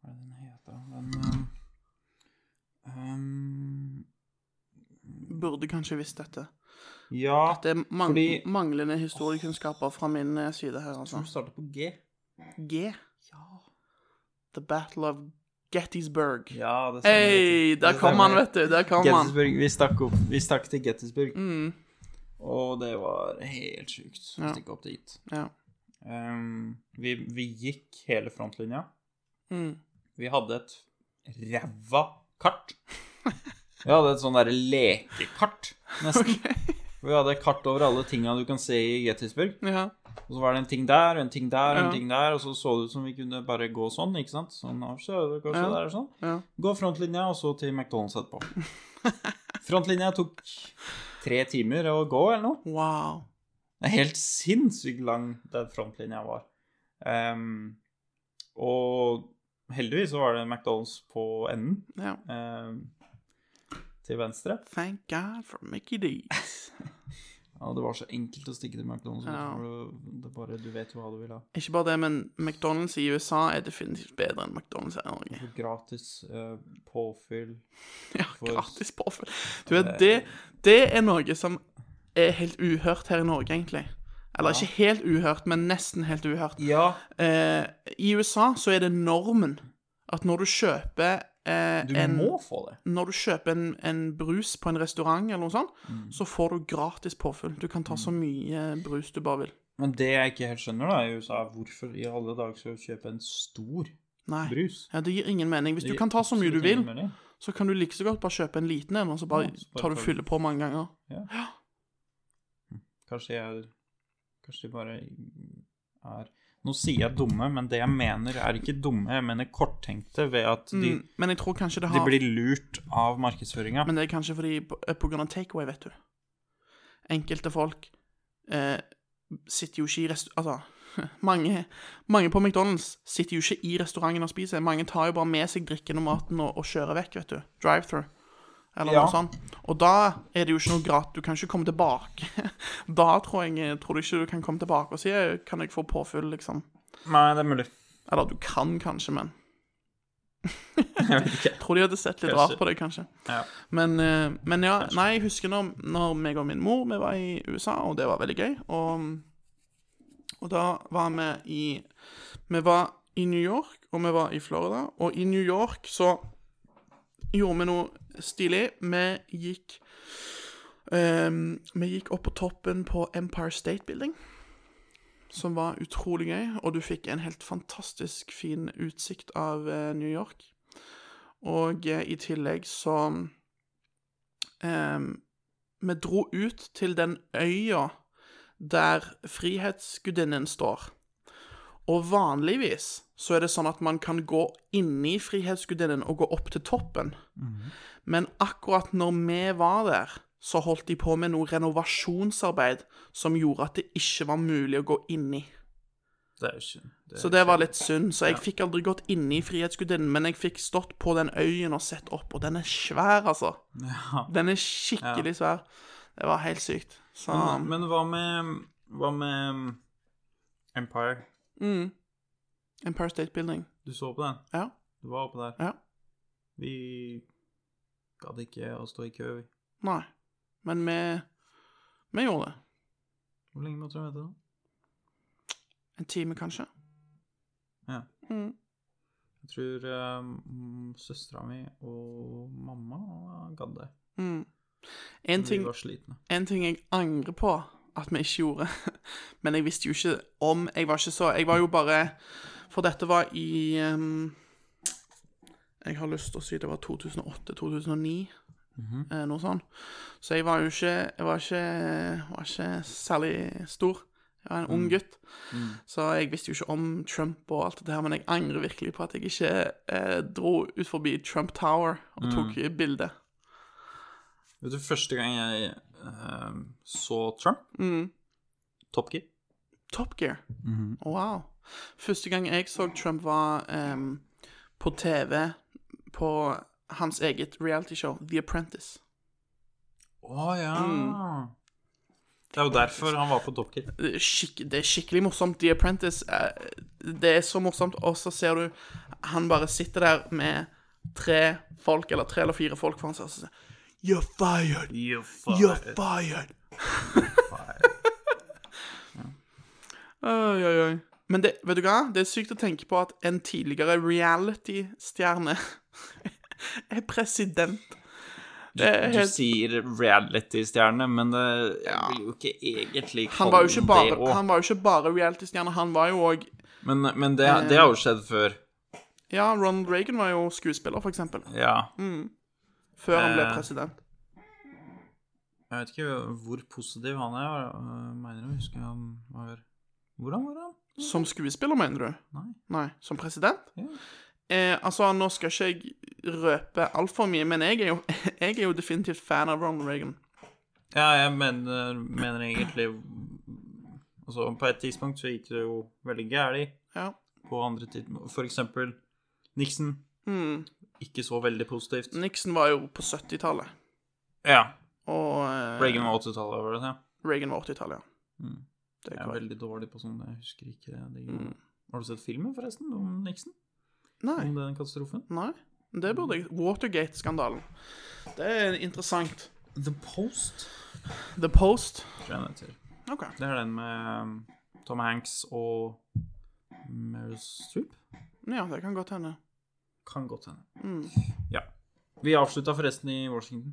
Speaker 3: Hva er det den heter, da? Den eh, ehm,
Speaker 4: Burde kanskje visst dette.
Speaker 3: Ja,
Speaker 4: Det er mang
Speaker 3: Fordi-
Speaker 4: manglende historiekunnskaper fra min eh, side her, altså.
Speaker 3: som starter på G.
Speaker 4: G. The Battle of Gettysburg.
Speaker 3: Ja, det stemmer.
Speaker 4: Hei, der kom han, vet du. Der kom han.
Speaker 3: Gettysburg, vi stakk, opp, vi stakk til Gettysburg,
Speaker 4: Mm,
Speaker 3: og det var helt sjukt å
Speaker 4: Ja.
Speaker 3: stikke opp dit.
Speaker 4: ja.
Speaker 3: Ehm, vi, vi gikk hele frontlinja.
Speaker 4: Mm.
Speaker 3: Vi hadde et ræva kart. Vi hadde et sånn derre lekekart, nesten. Vi hadde et kart over alle tinga du kan se i Gettysburg.
Speaker 4: ja.
Speaker 3: Og så var det en ting der, og en ting der, og en
Speaker 4: Ja.
Speaker 3: ting der. Og så så det ut som vi kunne bare gå sånn, ikke sant. Sånn, og så, og så
Speaker 4: Ja.
Speaker 3: der, og sånn.
Speaker 4: Ja.
Speaker 3: Gå frontlinja, og så til McDonald's etterpå. Frontlinja tok tre timer å gå, eller noe.
Speaker 4: Wow.
Speaker 3: Det er helt sinnssykt lang den frontlinja var. Ehm, og heldigvis så var det McDonald's på enden.
Speaker 4: Ja.
Speaker 3: Ehm, til venstre.
Speaker 4: Thank God for Mickey D's.
Speaker 3: Ja, det var så enkelt å stikke til McDonald's.
Speaker 4: Ja.
Speaker 3: for Det er bare, du vet jo hva du vil ha.
Speaker 4: Ikke bare det, men McDonald's i USA er definitivt bedre enn McDonald's her i Norge.
Speaker 3: For gratis eh, påfyll.
Speaker 4: Ja,
Speaker 3: For-
Speaker 4: gratis påfyll. Du vet,
Speaker 3: Eh.
Speaker 4: det, det er noe som er helt uhørt her i Norge, egentlig. Eller ikke helt uhørt, men nesten helt uhørt.
Speaker 3: Ja,
Speaker 4: Eh, I USA så er det normen at når du kjøper eh,
Speaker 3: du
Speaker 4: en
Speaker 3: må få det.
Speaker 4: Når du kjøper en, en brus på en restaurant, eller noe sånt,
Speaker 3: Mm.
Speaker 4: så får du gratis påfyll. Du kan ta så mye brus du bare vil.
Speaker 3: Men det jeg ikke helt skjønner, da, i USA, er hvorfor i alle dager skal du kjøpe en stor
Speaker 4: Nei.
Speaker 3: brus?
Speaker 4: Ja, det gir ingen mening. Hvis
Speaker 3: Det
Speaker 4: du
Speaker 3: gir
Speaker 4: kan ta så mye du
Speaker 3: absolutt
Speaker 4: vil,
Speaker 3: ingen mening.
Speaker 4: så kan du like så godt bare kjøpe en liten en, og så bare
Speaker 3: Ja, så bare
Speaker 4: tar du
Speaker 3: tar du-
Speaker 4: fylle på mange ganger.
Speaker 3: Kanskje jeg Kanskje de bare er Nå sier jeg dumme, men det jeg mener, er ikke dumme. Jeg mener korttenkte ved at de,
Speaker 4: Mm, men jeg tror kanskje det
Speaker 3: de
Speaker 4: har
Speaker 3: blir lurt av markedsføringa.
Speaker 4: Men det er kanskje fordi på- eh, på grunn av takeaway, vet du. Enkelte folk eh, sitter jo ikke i rest... Altså, mange, mange på McDonald's sitter jo ikke i restauranten og spiser. Mange tar jo bare med seg drikken og maten og, og kjører vekk, vet du. Drive-through. Eller
Speaker 3: Ja.
Speaker 4: noe sånt. Og da er det jo ikke noe gratis. Du kan ikke komme tilbake. da tror jeg tror du ikke du kan komme tilbake og si eh, 'Kan jeg få påfyll', liksom.
Speaker 3: Nei, det er mulig.
Speaker 4: Eller du kan kanskje, men
Speaker 3: Jeg vet ikke.
Speaker 4: tror de hadde sett litt
Speaker 3: Kanskje.
Speaker 4: rart på deg, kanskje.
Speaker 3: Ja.
Speaker 4: Men, eh, men ja, nei, jeg husker når, når meg og min mor vi var i USA, og det var veldig gøy. Og, og da var vi i Vi var i New York, og vi var i Florida. Og i New York så gjorde vi noe stilig. Vi gikk eh, Vi gikk opp på toppen på Empire State Building. Som var utrolig gøy, og du fikk en helt fantastisk fin utsikt av eh, New York. Og eh, i tillegg så ehm, Vi dro ut til den øya der Frihetsgudinnen står. Og vanligvis så er det sånn at man kan gå inni Frihetsgudinnen og gå opp til toppen. Men akkurat når vi var der, så holdt de på med noe renovasjonsarbeid som gjorde at det ikke var mulig å gå inni.
Speaker 3: Det er jo synd. Det er
Speaker 4: Så det var litt synd. Så jeg fikk aldri gått inn i Frihetsgudinnen, men jeg fikk stått på den øyen og sett opp, og den er svær, altså. Den er skikkelig svær. Det var helt sykt. Så um,
Speaker 3: Men, men hva med Hva med Empire?
Speaker 4: mm. Empire State Building.
Speaker 3: Du så på den?
Speaker 4: Ja.
Speaker 3: Du var oppe der?
Speaker 4: Ja.
Speaker 3: Vi gadd ikke å stå i kø, vi.
Speaker 4: Nei. Men vi Vi gjorde det.
Speaker 3: Hvor lenge måtte du vente? da?
Speaker 4: En time, kanskje.
Speaker 3: Ja.
Speaker 4: Mm.
Speaker 3: Jeg tror um, søstera mi og mamma gadd det.
Speaker 4: Mm. En
Speaker 3: Vi
Speaker 4: ting
Speaker 3: var slitne.
Speaker 4: En ting jeg angrer på at vi ikke gjorde, men jeg visste jo ikke om Jeg var ikke så Jeg var jo bare For dette var i ehm, Jeg har lyst til å si det var 2008-2009, eh, noe sånt. Så jeg var jo ikke Jeg var ikke, var ikke særlig stor. Jeg var en ung gutt. Så jeg visste jo ikke om Trump og alt det her, men jeg angrer virkelig på at jeg ikke eh, dro ut forbi Trump Tower og tok bilde.
Speaker 3: Vet du, første gang jeg um, så Trump
Speaker 4: Mm.
Speaker 3: Top Gear.
Speaker 4: Top Gear. Wow. Første gang jeg så Trump var em, på TV på hans eget realityshow, The Apprentice.
Speaker 3: Å ja.
Speaker 4: Mm.
Speaker 3: Det er jo derfor han var på Top Gear.
Speaker 4: Det er skikk- det er skikkelig morsomt. The Apprentice eh, Det er så morsomt, og så ser du han bare sitter der med tre folk, eller tre eller fire folk foran seg, og så sier You're fired!
Speaker 3: You
Speaker 4: You're fired! Oi, oi, oi. Men det, vet du hva? Det er sykt å tenke på at en tidligere reality-stjerne er president. Det er
Speaker 3: Du
Speaker 4: helt...
Speaker 3: sier reality-stjerne, men det jeg vil jo ikke egentlig
Speaker 4: Han var jo ikke bare,
Speaker 3: det òg.
Speaker 4: han var jo ikke bare reality-stjerne, han var Eh. jo òg
Speaker 3: Men, men det, det har jo skjedd før.
Speaker 4: Ja, Ronald Reagan var jo skuespiller, for eksempel.
Speaker 3: Ja.
Speaker 4: Mm. Før han ble
Speaker 3: Eh.
Speaker 4: president.
Speaker 3: Jeg vet ikke hvor positiv han er. Jeg mener å huske han var Hvordan var han?
Speaker 4: Som skuespiller, mener du?
Speaker 3: Nei.
Speaker 4: Nei. Som president?
Speaker 3: Ja.
Speaker 4: Eh, altså, nå skal ikke jeg røpe altfor mye, men jeg er, jo, jeg er jo definitivt fan av Ronald Reagan.
Speaker 3: Ja, jeg mener, mener egentlig Altså, på et tidspunkt så gikk det jo veldig gæli.
Speaker 4: Ja.
Speaker 3: På andre tidspunkt For eksempel
Speaker 4: Mm.
Speaker 3: Nixon. Ikke så veldig positivt.
Speaker 4: Nixon var jo på 70-tallet.
Speaker 3: Ja.
Speaker 4: Og eh,
Speaker 3: Reagan var 80-tallet, var det det?
Speaker 4: Reagan var 80-tallet, ja.
Speaker 3: Mm.
Speaker 4: Det er
Speaker 3: Jeg er
Speaker 4: korrekt.
Speaker 3: veldig dårlig på sånn, jeg husker ikke det.
Speaker 4: Mm.
Speaker 3: Har du sett filmen, forresten, om Nixon?
Speaker 4: Nei. Mm.
Speaker 3: Om den katastrofen?
Speaker 4: Nei. Det burde jeg Watergate-skandalen. Det er interessant.
Speaker 3: The Post?
Speaker 4: The Post.
Speaker 3: Tror jeg den heter.
Speaker 4: OK.
Speaker 3: Det er den med um, Tom Hanks og Meryl Streep?
Speaker 4: Ja, det kan godt hende.
Speaker 3: Kan godt hende.
Speaker 4: Mm.
Speaker 3: Ja. Vi avslutta forresten i Washington.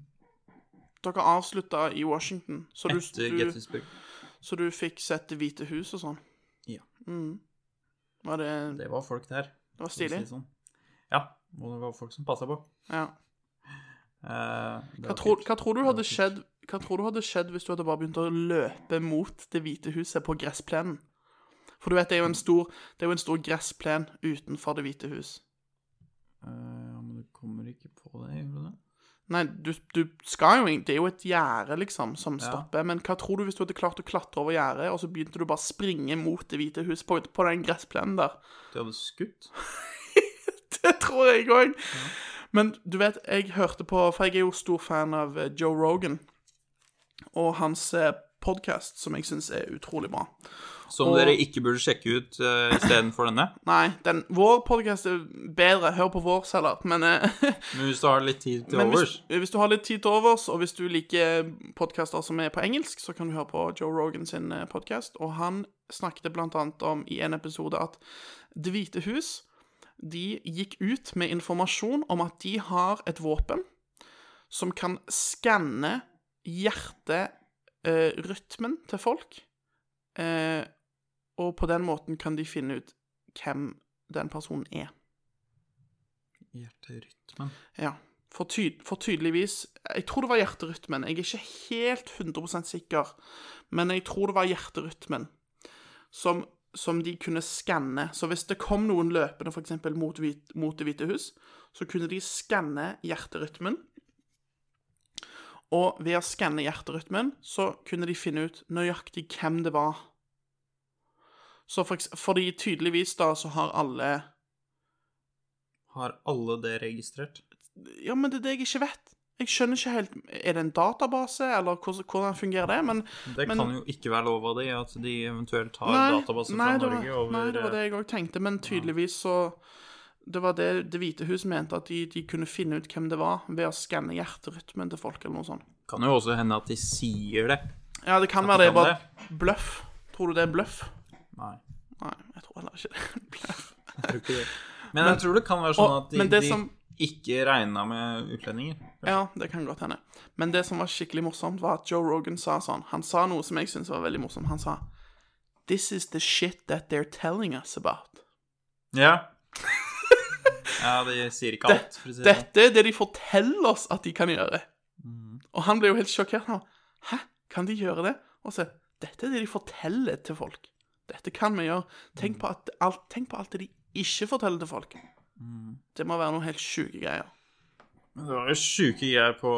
Speaker 4: Dere avslutta i Washington, så du,
Speaker 3: Etter
Speaker 4: du,
Speaker 3: Gettysburg.
Speaker 4: så du fikk sett Det hvite hus og sånn?
Speaker 3: Ja.
Speaker 4: Mm. Var det, det
Speaker 3: Det var folk der.
Speaker 4: var
Speaker 3: for å si
Speaker 4: stilig?
Speaker 3: det sånn. Ja. Og det var folk som passa på.
Speaker 4: Ja.
Speaker 3: Eh, det
Speaker 4: Hva
Speaker 3: var
Speaker 4: tror,
Speaker 3: kult.
Speaker 4: hva tror du hadde
Speaker 3: Det var
Speaker 4: skjedd Hva tror du hadde skjedd hvis du hadde bare begynt å løpe mot Det hvite huset på gressplenen? For du vet, det er jo en stor, det er jo en stor gressplen utenfor Det hvite hus.
Speaker 3: Eh, ja, men du kommer ikke på det, gjør du det?
Speaker 4: Nei, du, du skal jo ing- Det er jo et gjerde, liksom, som
Speaker 3: Ja.
Speaker 4: stopper. Men hva tror du hvis du hadde klart å klatre over gjerdet, og så begynte du bare å springe mot Det hvite hus på, på den gressplenen der?
Speaker 3: De hadde skutt?
Speaker 4: Det tror jeg òg. Men du vet, jeg hørte på For jeg er jo stor fan av eh, Joe Rogan og hans podkast, som jeg syns er utrolig bra.
Speaker 3: Som
Speaker 4: Og-
Speaker 3: dere ikke burde sjekke ut uh, istedenfor denne.
Speaker 4: Nei, den, vår podkast er bedre. Hør på vår, Sellert. Men, eh,
Speaker 3: Men hvis du har litt tid til
Speaker 4: men hvis,
Speaker 3: overs
Speaker 4: hvis du har litt tid til overs, og hvis du liker podkaster som er på engelsk, så kan du høre på Joe Rogan sin podkast. Og han snakket blant annet om i en episode at Det hvite hus de gikk ut med informasjon om at de har et våpen som kan skanne hjerterytmen til folk. Eh, og på den måten kan de finne ut hvem den personen er.
Speaker 3: Hjerterytmen.
Speaker 4: Ja. For, tyd for tydeligvis Jeg tror det var hjerterytmen. Jeg er ikke helt 100 sikker, men jeg tror det var hjerterytmen som, som de kunne skanne. Så hvis det kom noen løpende for eksempel mot, hvit, mot Det hvite hus, så kunne de skanne hjerterytmen. Og ved å skanne hjerterytmen så kunne de finne ut nøyaktig hvem det var. Så for, eks- fordi tydeligvis da så har alle
Speaker 3: Har alle det registrert?
Speaker 4: Ja, men det er det jeg ikke vet. Jeg skjønner ikke helt Er det en database, eller hvordan, hvordan fungerer det? Men
Speaker 3: Det
Speaker 4: Men-
Speaker 3: kan jo ikke være lov av de, at de eventuelt har databaser fra
Speaker 4: nei, det var-
Speaker 3: Norge over
Speaker 4: Nei, det var
Speaker 3: eh,
Speaker 4: det jeg òg tenkte, men tydeligvis så Det var det Det hvite hus mente, at de, de kunne finne ut hvem det var ved å skanne hjerterytmen til folk, eller noe sånt.
Speaker 3: eh, Kan jo også hende at de sier det.
Speaker 4: Ja, det kan
Speaker 3: At
Speaker 4: være det
Speaker 3: de
Speaker 4: er
Speaker 3: kan
Speaker 4: bare bløff. Tror du det er bløff?
Speaker 3: Nei,
Speaker 4: Nei, jeg tror heller ikke det. er bløff.
Speaker 3: jeg tror ikke det. Men, jeg tror det kan være sånn
Speaker 4: og-
Speaker 3: at de,
Speaker 4: men det
Speaker 3: de
Speaker 4: som-
Speaker 3: ikke regna med utlendinger.
Speaker 4: Ja, det kan godt hende. Men det som var skikkelig morsomt, var at Joe Rogan sa sånn Han sa noe som jeg syntes var veldig morsomt. Han sa This is the shit that they're telling us about.
Speaker 3: Ja. ja, de sier ikke alt, for å si det sånn.
Speaker 4: Dette er det de forteller oss at de kan gjøre. Og han ble jo helt sjokkert. Han, Hæ, kan de gjøre det? Og så Dette er det de forteller til folk. Dette kan vi gjøre. Tenk på, at, alt, tenk på alt det de ikke forteller til folk. Det må være noen helt sjuke greier.
Speaker 3: Men det var jo sjuke greier på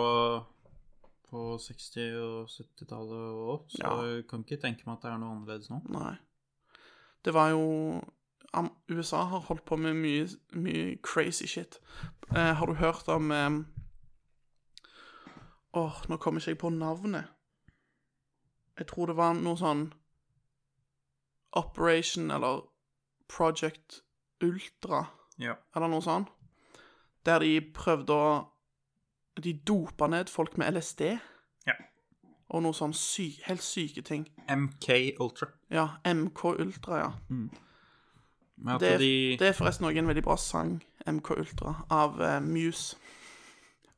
Speaker 3: på 60- og 70-tallet òg, så
Speaker 4: Ja.
Speaker 3: jeg kan ikke tenke meg at det er noe annerledes nå.
Speaker 4: Nei. Det var jo am- USA har holdt på med mye, mye crazy shit. Eh, har du hørt om eh, Åh, nå kommer ikke jeg på navnet. Jeg tror det var noe sånn Operation eller Project Ultra
Speaker 3: Ja.
Speaker 4: eller noe sånt. Der de prøvde å De dopa ned folk med LSD.
Speaker 3: Ja.
Speaker 4: Og noe sånn sy, helt syke ting.
Speaker 3: MK Ultra.
Speaker 4: Ja, MK Ultra, ja.
Speaker 3: Men at
Speaker 4: Det,
Speaker 3: de
Speaker 4: det er forresten også en veldig bra sang, MK Ultra, av eh, Muse.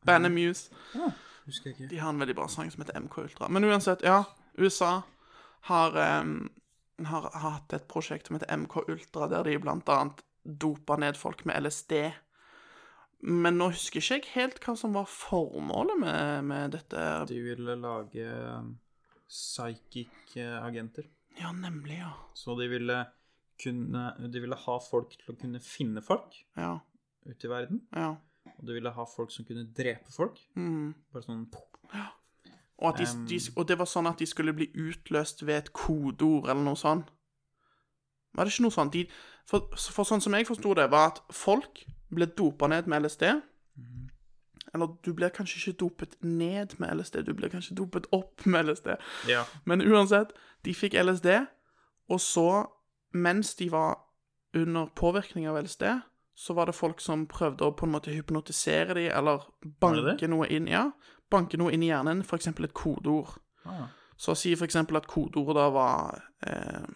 Speaker 4: Bandet Muse.
Speaker 3: Mm. Husker jeg ikke.
Speaker 4: De har en veldig bra sang som heter MK Ultra. Men uansett, ja. USA har, eh, har hatt et prosjekt som heter MK Ultra, der de blant annet dopa ned folk med LSD. Men nå husker ikke jeg helt hva som var formålet med, med dette.
Speaker 3: De ville lage um, psychic eh, agenter.
Speaker 4: Ja, nemlig, ja.
Speaker 3: Så de ville kunne De ville ha folk til å kunne finne folk
Speaker 4: Ja.
Speaker 3: ute i verden.
Speaker 4: ja.
Speaker 3: Og de ville ha folk som kunne drepe folk.
Speaker 4: Mm.
Speaker 3: Bare sånn
Speaker 4: Og, at de,
Speaker 3: Ehm.
Speaker 4: de, og det var sånn at de skulle bli utløst ved et kodeord eller noe sånt. Var det ikke noe sånt? De, sånn for, for sånn som jeg forsto det, var at folk ble dopa ned med LSD, Eller du blir kanskje ikke dopet ned med LSD, du blir kanskje dopet opp med LSD.
Speaker 3: Ja.
Speaker 4: Men uansett, de fikk LSD, og så, mens de var under påvirkning av LSD, så var det folk som prøvde å på en måte hypnotisere dem, eller
Speaker 3: det
Speaker 4: banke noe inn, ja, banke noe inn i hjernen, for eksempel et kodeord.
Speaker 3: Ah.
Speaker 4: Så si for eksempel at kodeordet da var eh,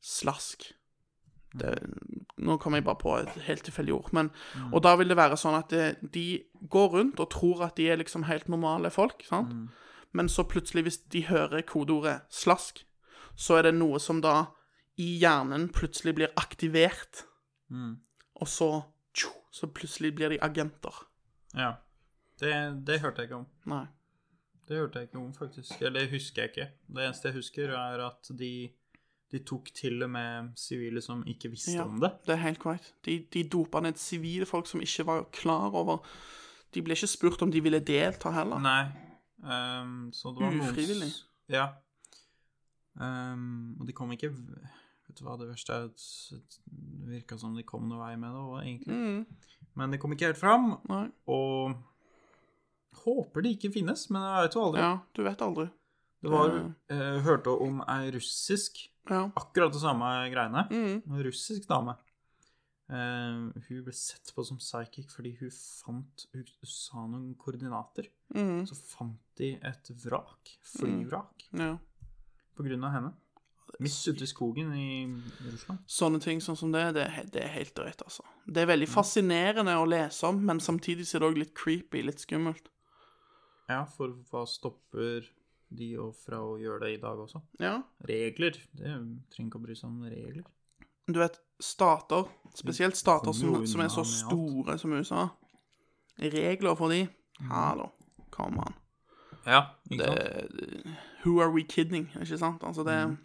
Speaker 4: slask. Det, nå kommer jeg bare på et helt tilfeldig ord. Men,
Speaker 3: Mm.
Speaker 4: Og da vil det være sånn at eh, de går rundt og tror at de er liksom helt normale folk. sant?
Speaker 3: Mm.
Speaker 4: Men så plutselig, hvis de hører kodeordet slask, så er det noe som da i hjernen plutselig blir aktivert.
Speaker 3: Mm.
Speaker 4: Og så tjo, Så plutselig blir de agenter.
Speaker 3: ja. Det, det hørte jeg ikke om.
Speaker 4: Nei.
Speaker 3: Det hørte jeg ikke om, faktisk. Eller det husker jeg ikke. Det eneste jeg husker, er at de, de tok til og med sivile som ikke visste
Speaker 4: Ja,
Speaker 3: om det.
Speaker 4: det er helt korrekt. De, de dopa ned sivile folk som ikke var klar over De ble ikke spurt om de ville delta heller.
Speaker 3: Nei. ehm, så det var noen s-
Speaker 4: Ufrivillig.
Speaker 3: Ja. Ehm, og de kom ikke v- Vet du hva, det verste er at at det virka som de kom noen vei med det òg, egentlig.
Speaker 4: Mm,
Speaker 3: Men de kom ikke helt fram,
Speaker 4: nei.
Speaker 3: og Håper de ikke finnes, men jeg vet jo aldri.
Speaker 4: Ja, du vet aldri.
Speaker 3: Det var
Speaker 4: Ja.
Speaker 3: eh, Hørte om ei russisk
Speaker 4: Ja.
Speaker 3: Akkurat det samme greiene.
Speaker 4: Mm,
Speaker 3: en russisk dame. Eh, hun ble sett på som psychic fordi hun fant Hun sa noen koordinater.
Speaker 4: mm,
Speaker 3: Så fant de et vrak. Flyvrak.
Speaker 4: ja.
Speaker 3: På grunn av henne. Midt ute i skogen i Russland.
Speaker 4: Sånne ting sånn som det, det, er he- det er helt drøyt, altså. Det er
Speaker 3: Mm.
Speaker 4: veldig fascinerende å lese om, men samtidig så er det òg litt creepy, litt skummelt.
Speaker 3: Ja, for hva stopper de og fra å gjøre det i dag også?
Speaker 4: Ja.
Speaker 3: Regler. Det trenger ikke å bry seg om regler.
Speaker 4: Du vet, stater, spesielt stater som,
Speaker 3: kommer jo
Speaker 4: som er
Speaker 3: unna
Speaker 4: så
Speaker 3: med
Speaker 4: store
Speaker 3: alt.
Speaker 4: som USA Regler for de? Hallo, kom an.
Speaker 3: Ja, ikke sant?
Speaker 4: det, Who are we kidding? Ikke sant? Altså det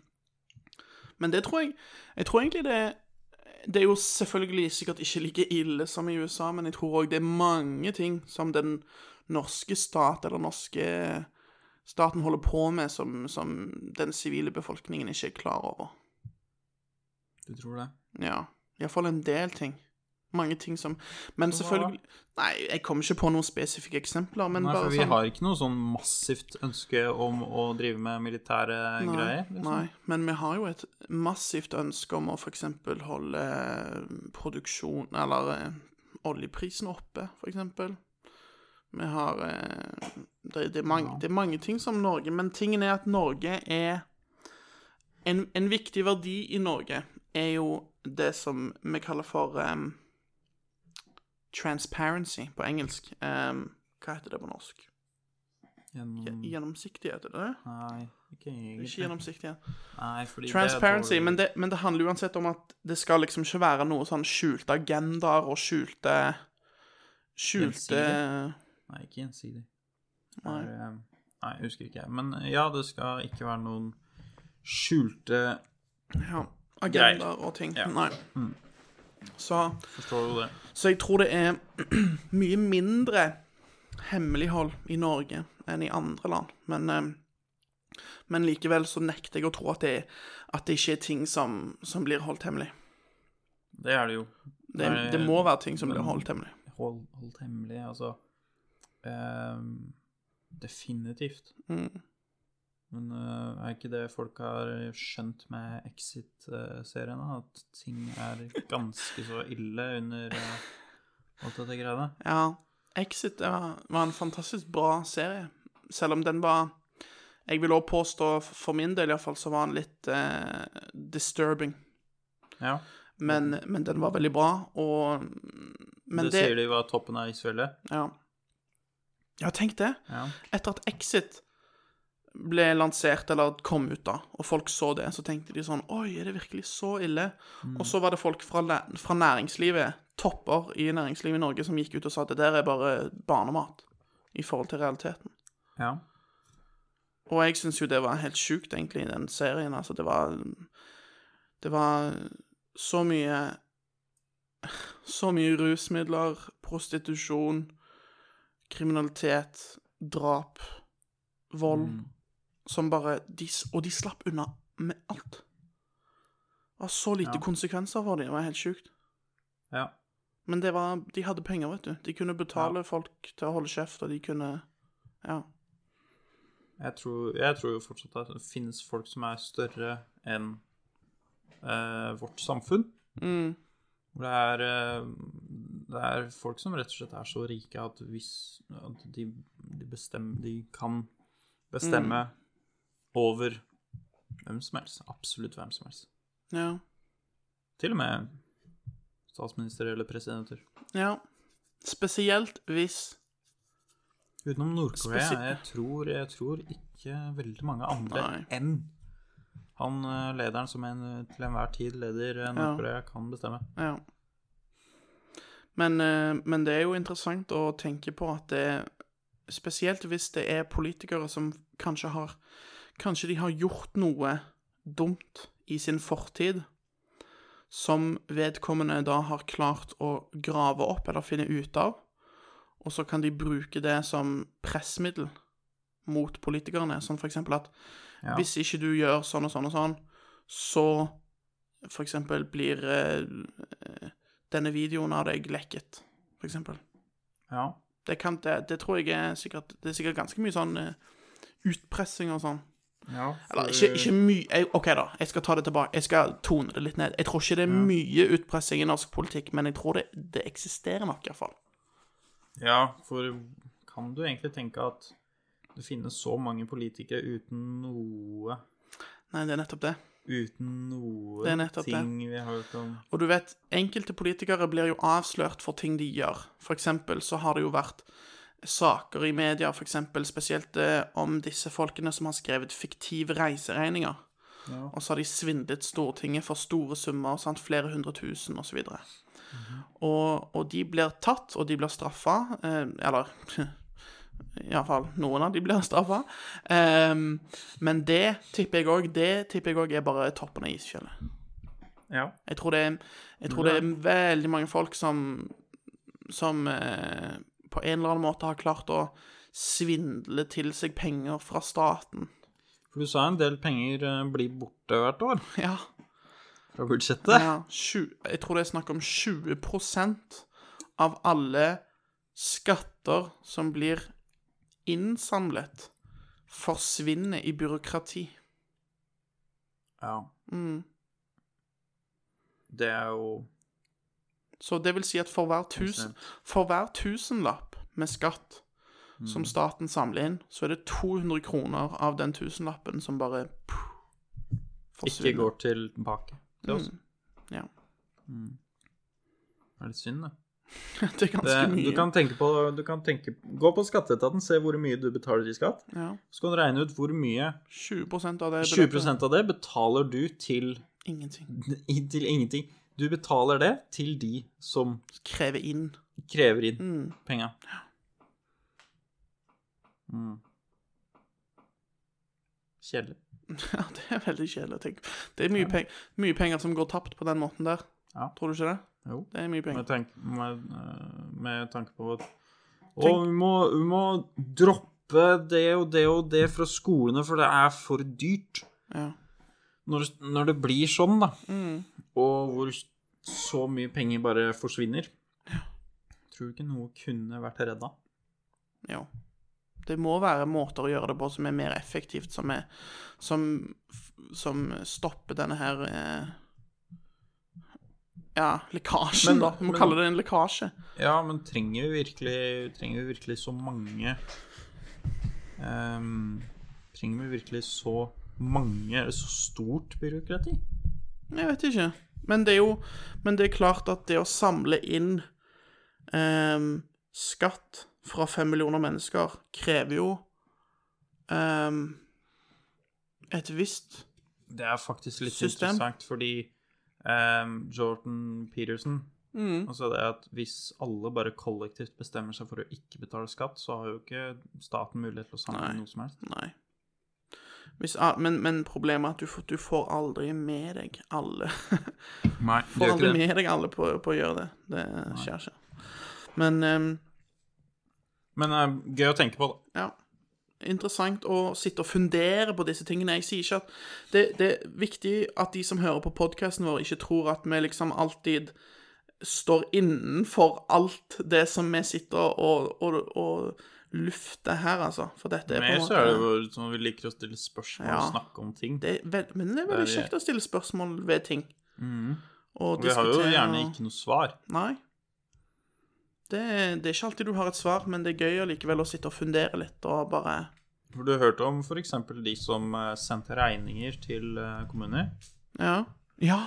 Speaker 4: Men det tror jeg Jeg tror egentlig det Det er jo selvfølgelig sikkert ikke like ille som i USA, men jeg tror òg det er mange ting som den norske stat eller norske staten holder på med, som, som den sivile befolkningen ikke er klar over.
Speaker 3: Du tror det?
Speaker 4: Ja. Iallfall en del ting. Mange ting som Men
Speaker 3: Så hva da?
Speaker 4: selvfølgelig Nei, jeg kommer ikke på noen spesifikke eksempler, men
Speaker 3: Nei,
Speaker 4: bare
Speaker 3: for vi
Speaker 4: sånn
Speaker 3: har ikke noe sånn massivt ønske om å drive med militære greier. liksom.
Speaker 4: Nei, men vi har jo et massivt ønske om å f.eks. holde eh, produksjon Eller eh, oljeprisen oppe, f.eks. Vi har eh, det, det, er mange, det er mange ting som Norge Men tingen er at Norge er En, en viktig verdi i Norge er jo det som vi kaller for em, transparency på engelsk. Em, hva heter det på norsk?
Speaker 3: Gjennom...
Speaker 4: Gjennomsiktighet, er det det?
Speaker 3: Nei, ikke egentlig.
Speaker 4: Ikke gjennomsiktighet.
Speaker 3: Nei, fordi det er
Speaker 4: Transparency,
Speaker 3: dårlig.
Speaker 4: men det, men det handler uansett om at det skal liksom ikke være noe sånn skjulte agendaer og skjulte Skjulte
Speaker 3: Gjensidige? Nei, ikke gjensidig. Det er, eh, Nei, jeg husker ikke. jeg. Men eh, ja, det skal ikke være noen skjulte
Speaker 4: ja, agendaer og ting.
Speaker 3: Ja.
Speaker 4: Nei. Så,
Speaker 3: Forstår du det?
Speaker 4: så jeg tror det er mye mindre hemmelighold i Norge enn i andre land, men eh, men likevel så nekter jeg å tro at det, at det ikke er ting som, som blir holdt hemmelig.
Speaker 3: Det er det jo.
Speaker 4: Det,
Speaker 3: Nei,
Speaker 4: det må være ting som blir
Speaker 3: men-
Speaker 4: holdt hemmelig.
Speaker 3: Hold, holdt hemmelig, altså. Ehm, definitivt.
Speaker 4: Mm.
Speaker 3: Men eh, er ikke det folk har skjønt med Exit-serien, da? At ting er ganske så ille under eh, alt dette greiene?
Speaker 4: Ja, Exit ja, var en fantastisk bra serie. Selv om den var Jeg vil også påstå, for min del iallfall, så var den litt eh, disturbing.
Speaker 3: Ja.
Speaker 4: Men, men den var veldig bra, og mm, Men
Speaker 3: det,
Speaker 4: det,
Speaker 3: sier de var toppen av isfjellet.
Speaker 4: Ja. ja, tenk det.
Speaker 3: Ja.
Speaker 4: Etter at Exit ble lansert, eller kom ut, da, og folk så det, så tenkte de sånn Oi, er det virkelig så ille? Og så var det folk fra, læ- fra næringslivet, topper i næringslivet i Norge, som gikk ut og sa at det der er bare barnemat i forhold til realiteten.
Speaker 3: ja.
Speaker 4: Og jeg syns jo det var helt sjukt, egentlig, i den serien. Altså, det var Det var så mye Så mye rusmidler, prostitusjon, kriminalitet, drap, vold Som bare de, s- Og de slapp unna med alt. Det var så lite
Speaker 3: Ja.
Speaker 4: konsekvenser for dem. Det var helt sjukt.
Speaker 3: ja.
Speaker 4: Men det var, de hadde penger, vet du. De kunne betale folk til å holde kjeft, og de kunne Ja.
Speaker 3: Jeg tror, jeg tror jo fortsatt at det finnes folk som er større enn eh, vårt samfunn. Hvor det er, eh, det er folk som rett og slett er så rike at hvis at de, de, bestem, de kan bestemme over hvem som helst. Absolutt hvem som helst.
Speaker 4: Ja.
Speaker 3: Til og med statsminister eller presidenter.
Speaker 4: ja. Spesielt hvis
Speaker 3: Utenom Nord-Korea.
Speaker 4: Spesi-
Speaker 3: Jeg, tror- jeg tror ikke veldig mange andre
Speaker 4: Nei.
Speaker 3: enn han eh, lederen som en, til enhver tid leder eh, Nord-Korea, kan bestemme.
Speaker 4: Ja. Men, eh, men det er jo interessant å tenke på at det Spesielt hvis det er politikere som kanskje har Kanskje de har gjort noe dumt i sin fortid som vedkommende da har klart å grave opp eller finne ut av, og så kan de bruke det som pressmiddel mot politikerne. Sånn for eksempel at
Speaker 3: Ja.
Speaker 4: hvis ikke du gjør sånn og sånn og sånn, så for eksempel blir eh, eh, denne videoen av deg lekket, for eksempel.
Speaker 3: Ja.
Speaker 4: Det, kan, det, det tror jeg er sikkert Det er sikkert ganske mye sånn eh, utpressing og sånn.
Speaker 3: ja for,
Speaker 4: Eller ikke, ikke mye jeg- OK, da. Jeg skal ta det tilbake. Jeg skal tone det litt ned. Jeg tror ikke det er mye utpressing i norsk politikk, men jeg tror det, det eksisterer nok, iallfall.
Speaker 3: Ja, for kan du egentlig tenke at det finnes så mange politikere uten noe
Speaker 4: Nei, det er nettopp det.
Speaker 3: Uten noe
Speaker 4: Det er nettopp det.
Speaker 3: ting vi har hørt om
Speaker 4: Og du vet, enkelte politikere blir jo avslørt for ting de gjør. For eksempel så har det jo vært saker i media, for eksempel spesielt eh, om disse folkene som har skrevet fiktive reiseregninger. Og så har de svindlet Stortinget for store summer, sant? flere hundre tusen osv. Og, og, og de blir tatt, og de blir straffa. Eh, eller iallfall noen av de blir straffa. Eh, men det tipper jeg òg Det tipper jeg også er bare toppen av isfjellet.
Speaker 3: Ja.
Speaker 4: Jeg tror det er, jeg tror det er veldig mange folk som Som eh, på en eller annen måte har klart å svindle til seg penger fra staten.
Speaker 3: For du sa en del penger eh, blir borte hvert år
Speaker 4: Ja.
Speaker 3: fra budsjettet.
Speaker 4: ja tju- jeg tror det er snakk om 20 av alle skatter som blir innsamlet, forsvinner i byråkrati.
Speaker 3: Ja.
Speaker 4: Mm.
Speaker 3: Det er jo
Speaker 4: Så det vil si at for hver, tusen, for hver tusenlapp med skatt
Speaker 3: Mm.
Speaker 4: som staten samler inn, så er det 200 kroner av den tusenlappen som bare puh,
Speaker 3: Ikke
Speaker 4: forsvinner.
Speaker 3: går tilbake til oss.
Speaker 4: Mm. Ja.
Speaker 3: Det er litt synd, det.
Speaker 4: Det er
Speaker 3: det
Speaker 4: ganske mye.
Speaker 3: du kan tenke på du kan tenke, Gå på skatteetaten, se hvor mye du betaler i skatt.
Speaker 4: Ja.
Speaker 3: Så kan du regne ut hvor mye
Speaker 4: 20 av det
Speaker 3: 20 av det betaler du til,
Speaker 4: Ingenting.
Speaker 3: til ingenting. Du betaler det til de som
Speaker 4: Krever inn.
Speaker 3: krever inn penga. Mm. Kjedelig.
Speaker 4: Ja, det er veldig kjedelig å tenke på. Det er mye, peng mye penger som går tapt på den måten der.
Speaker 3: Ja.
Speaker 4: Tror du ikke det?
Speaker 3: Jo.
Speaker 4: Det er mye
Speaker 3: Med,
Speaker 4: penger.
Speaker 3: tank, med, øh, med tanke på at
Speaker 4: Tenk-
Speaker 3: Og vi må, vi må droppe det og det og det fra skolene, for det er for dyrt.
Speaker 4: Ja. Mm.
Speaker 3: Når, når det blir sånn, da, og hvor så mye penger bare forsvinner Tror du ikke noe kunne vært redda?
Speaker 4: Jo. Det må være måter å gjøre det på som er mer effektivt, som, er, som, som stopper denne her eh, Ja, lekkasjen,
Speaker 3: Men-
Speaker 4: da. Vi må
Speaker 3: men-
Speaker 4: kalle det en lekkasje.
Speaker 3: Ja, men trenger vi virkelig, trenger vi virkelig så mange ehm, Trenger vi virkelig så mange, eller så stort byråkrati?
Speaker 4: Jeg vet ikke. Men det er jo Men det er klart at det å samle inn ehm, skatt fra fem millioner mennesker krever jo ehm, et visst
Speaker 3: Det er faktisk litt
Speaker 4: System.
Speaker 3: interessant, fordi ehm, Jordan Peterson
Speaker 4: Mm.
Speaker 3: Altså det at hvis alle bare kollektivt bestemmer seg for å ikke betale skatt, så har jo ikke staten mulighet til å samle
Speaker 4: Nei.
Speaker 3: noe som helst.
Speaker 4: Nei. Hvis, ah, men, men problemet er at du, får- du får aldri med deg alle.
Speaker 3: Nei,
Speaker 4: får aldri med deg alle på, på å gjøre det. Det skjer ikke. Men ehm,
Speaker 3: Men eh, gøy å tenke på, da.
Speaker 4: ja. Interessant å sitte og fundere på disse tingene. Jeg sier ikke at Det, det er viktig at de som hører på podkasten vår, ikke tror at vi liksom alltid står innenfor alt det som vi sitter og, og, og lufter her, altså. For dette er på en
Speaker 3: Mer
Speaker 4: måte
Speaker 3: så er det jo sånn vi liker å stille spørsmål og
Speaker 4: Ja.
Speaker 3: snakke om ting.
Speaker 4: det er veld, Men det er veldig
Speaker 3: Det er-
Speaker 4: kjekt å stille spørsmål ved ting. Og
Speaker 3: Vi har jo
Speaker 4: diskutere
Speaker 3: gjerne
Speaker 4: og-
Speaker 3: ikke noe svar.
Speaker 4: Nei. Det, det er ikke alltid du har et svar, men det er gøy allikevel å sitte og fundere litt og bare
Speaker 3: For du hørte om f.eks. de som eh, sendte regninger til eh, kommuner?
Speaker 4: Ja. Ja.